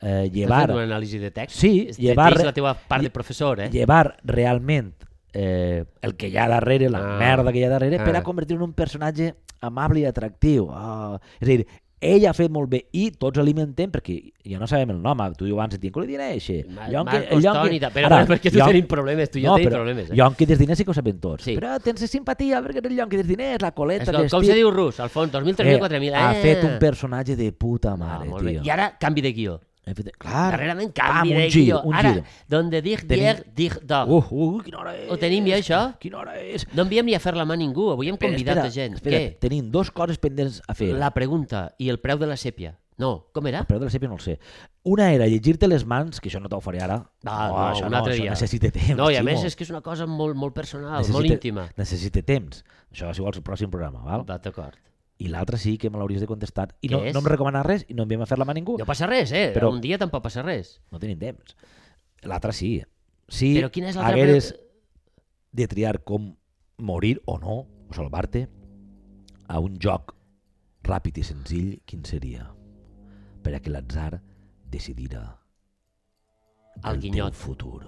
Speaker 1: eh,
Speaker 2: Estàs
Speaker 1: llevar...
Speaker 2: fent una anàlisi de text.
Speaker 1: Sí,
Speaker 2: És-
Speaker 1: llevar-
Speaker 2: tens la teva part de
Speaker 1: lle-
Speaker 2: professor, eh?
Speaker 1: llevar realment eh, el que hi ha darrere, la
Speaker 2: Ah.
Speaker 1: merda que hi ha darrere, per
Speaker 2: Ah.
Speaker 1: a convertir-lo en un personatge amable i atractiu. Ah, és a dir, ell ha fet molt bé i tots alimentem perquè ja no sabem el nom, ah, tu i jo abans et dic, què li diré així?
Speaker 2: Ma-
Speaker 1: Yonki-
Speaker 2: Marcos
Speaker 1: Yonki-
Speaker 2: Toni, però- però perquè tu tenim problemes, tu i jo tenim problemes, eh?
Speaker 1: Yonki dels diners sí que ho sabem tots.
Speaker 2: Sí.
Speaker 1: Però tens simpatia perquè és el Yonki dels diners, la
Speaker 2: És
Speaker 1: coleta...
Speaker 2: com,
Speaker 1: que
Speaker 2: com
Speaker 1: estic-
Speaker 2: se diu rus, al fons, 2.000, 3.000, 4.000.
Speaker 1: Ha
Speaker 2: eh?
Speaker 1: fet un personatge de puta
Speaker 2: Ah,
Speaker 1: mare,
Speaker 2: molt bé.
Speaker 1: tio.
Speaker 2: I ara, canvi de guió.
Speaker 1: Ha fet- Clar.
Speaker 2: Darrerament, canvi
Speaker 1: Pam,
Speaker 2: de
Speaker 1: un gir,
Speaker 2: guió.
Speaker 1: un
Speaker 2: Ara,
Speaker 1: gir.
Speaker 2: donde dig,
Speaker 1: Tenim-
Speaker 2: dier, dig, dog.
Speaker 1: Uh, uh, quina hora és?
Speaker 2: Ah. Ho tenim ja, això?
Speaker 1: Quina hora és?
Speaker 2: No enviem ni a fer la mà a ningú, avui hem
Speaker 1: Espera,
Speaker 2: convidat
Speaker 1: espera,
Speaker 2: a gent.
Speaker 1: Espera,
Speaker 2: Què?
Speaker 1: tenim dos coses pendents a fer. Ah,
Speaker 2: La pregunta i el preu de la sèpia. No, com era?
Speaker 1: Però de la sèpia no el sé. Una era llegir-te les mans, que això no t'ho faré ara.
Speaker 2: Ah,
Speaker 1: Oh,
Speaker 2: no,
Speaker 1: això
Speaker 2: un
Speaker 1: no,
Speaker 2: altre
Speaker 1: això
Speaker 2: dia.
Speaker 1: necessita temps,
Speaker 2: No, i a
Speaker 1: Ximo.
Speaker 2: més és que és una cosa molt, molt personal, molt
Speaker 1: Necessita-
Speaker 2: íntima.
Speaker 1: Necessita temps. Això, si vols, el pròxim programa, val?
Speaker 2: Va, d'acord.
Speaker 1: I l'altre sí que me l'hauries de contestar. I
Speaker 2: Què
Speaker 1: no,
Speaker 2: és?
Speaker 1: no em recomanar res i no enviem a fer la mà a ningú.
Speaker 2: No passa res, eh? Però...
Speaker 1: Però-
Speaker 2: Un dia tampoc passa res.
Speaker 1: No tenim temps. L'altre sí. Sí,
Speaker 2: Però quina és l'altra
Speaker 1: hagueres
Speaker 2: preu-
Speaker 1: de triar com morir o no, o salvar-te, a un joc ràpid i senzill, quin seria? Per a que l'atzar decidira
Speaker 2: El guinyot.
Speaker 1: teu futur.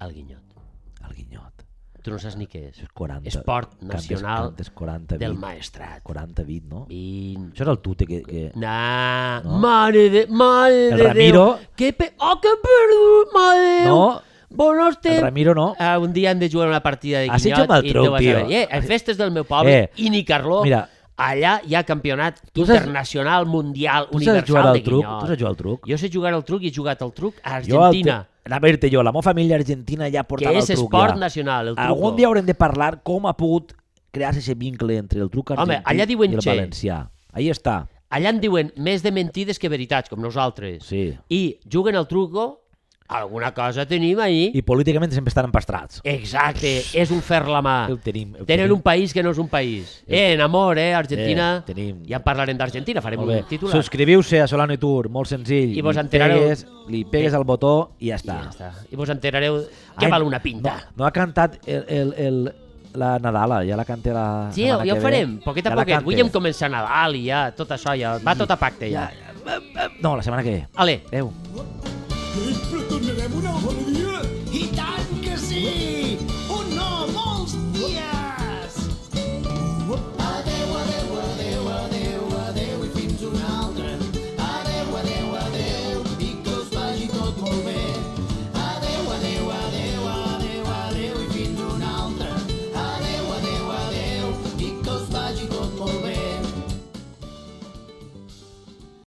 Speaker 2: El guinyot.
Speaker 1: El guinyot.
Speaker 2: Tu no saps ni què és.
Speaker 1: Això és 40.
Speaker 2: Esport
Speaker 1: cantes-
Speaker 2: nacional
Speaker 1: cantes 40,
Speaker 2: Del
Speaker 1: 20,
Speaker 2: maestrat.
Speaker 1: 40 bit, no?
Speaker 2: 20...
Speaker 1: Això era el tute que... que...
Speaker 2: Nah,
Speaker 1: No.
Speaker 2: mare de... Mare
Speaker 1: El
Speaker 2: de
Speaker 1: Ramiro.
Speaker 2: Déu. Que pe... Oh, que perdut, mare de Déu.
Speaker 1: No,
Speaker 2: Bonos
Speaker 1: el
Speaker 2: temps.
Speaker 1: Ramiro no.
Speaker 2: Ah, un dia hem de jugar una partida de
Speaker 1: Ah, sí,
Speaker 2: guinyot
Speaker 1: jo me'l
Speaker 2: i
Speaker 1: trobo,
Speaker 2: no vas a
Speaker 1: tio.
Speaker 2: veure. Eh, en festes del meu poble,
Speaker 1: Eh,
Speaker 2: i ni Carló,
Speaker 1: mira.
Speaker 2: allà hi ha campionat
Speaker 1: Tu saps-
Speaker 2: internacional, mundial,
Speaker 1: Tu saps jugar
Speaker 2: universal
Speaker 1: al
Speaker 2: de
Speaker 1: truc?
Speaker 2: guinyot.
Speaker 1: Tu saps jugar al truc?
Speaker 2: Jo sé jugar al truc i he jugat al truc a
Speaker 1: Jo al
Speaker 2: Argentina,
Speaker 1: tru- Anava a dir-te jo, la meva família argentina ja
Speaker 2: que
Speaker 1: portava
Speaker 2: és
Speaker 1: el truc.
Speaker 2: esport
Speaker 1: ja.
Speaker 2: nacional, el truco.
Speaker 1: Algun dia haurem de parlar com ha pogut crear-se aquest vincle entre el truc argentí
Speaker 2: Home, allà diuen
Speaker 1: i el
Speaker 2: che.
Speaker 1: valencià. Ahí està.
Speaker 2: Allà en diuen més de mentides que veritats, com nosaltres.
Speaker 1: Sí.
Speaker 2: I juguen al truco, alguna cosa tenim ahir.
Speaker 1: I políticament sempre estan
Speaker 2: Eh,
Speaker 1: empastrats.
Speaker 2: Exacte, és un fer la mà.
Speaker 1: Ho tenim, ho
Speaker 2: Tenen
Speaker 1: tenim.
Speaker 2: un país que no és un país. Eh, en amor, eh, Argentina.
Speaker 1: Eh, tenim.
Speaker 2: Ja en parlarem d'Argentina, farem
Speaker 1: Molt bé.
Speaker 2: un titular.
Speaker 1: Subscriviu-se a Solano i Tour, molt senzill.
Speaker 2: I vos
Speaker 1: Li
Speaker 2: enterareu-
Speaker 1: pegues- Li pegues al botó i ja
Speaker 2: I
Speaker 1: està.
Speaker 2: ja està. I vos enterareu què
Speaker 1: Ai,
Speaker 2: val una pinta.
Speaker 1: No, no ha cantat el, el, el, la Nadala, ja la canté la
Speaker 2: Sí,
Speaker 1: setmana
Speaker 2: ja ho
Speaker 1: que
Speaker 2: farem,
Speaker 1: ve.
Speaker 2: poquet a
Speaker 1: Ja la
Speaker 2: poquet. Avui
Speaker 1: cantes.
Speaker 2: hem començat Nadal i ja, tot això ja, va tot a pacte ja.
Speaker 1: No, la setmana que ve.
Speaker 2: Ale,
Speaker 1: Adéu.
Speaker 6: Pero esto no era una buena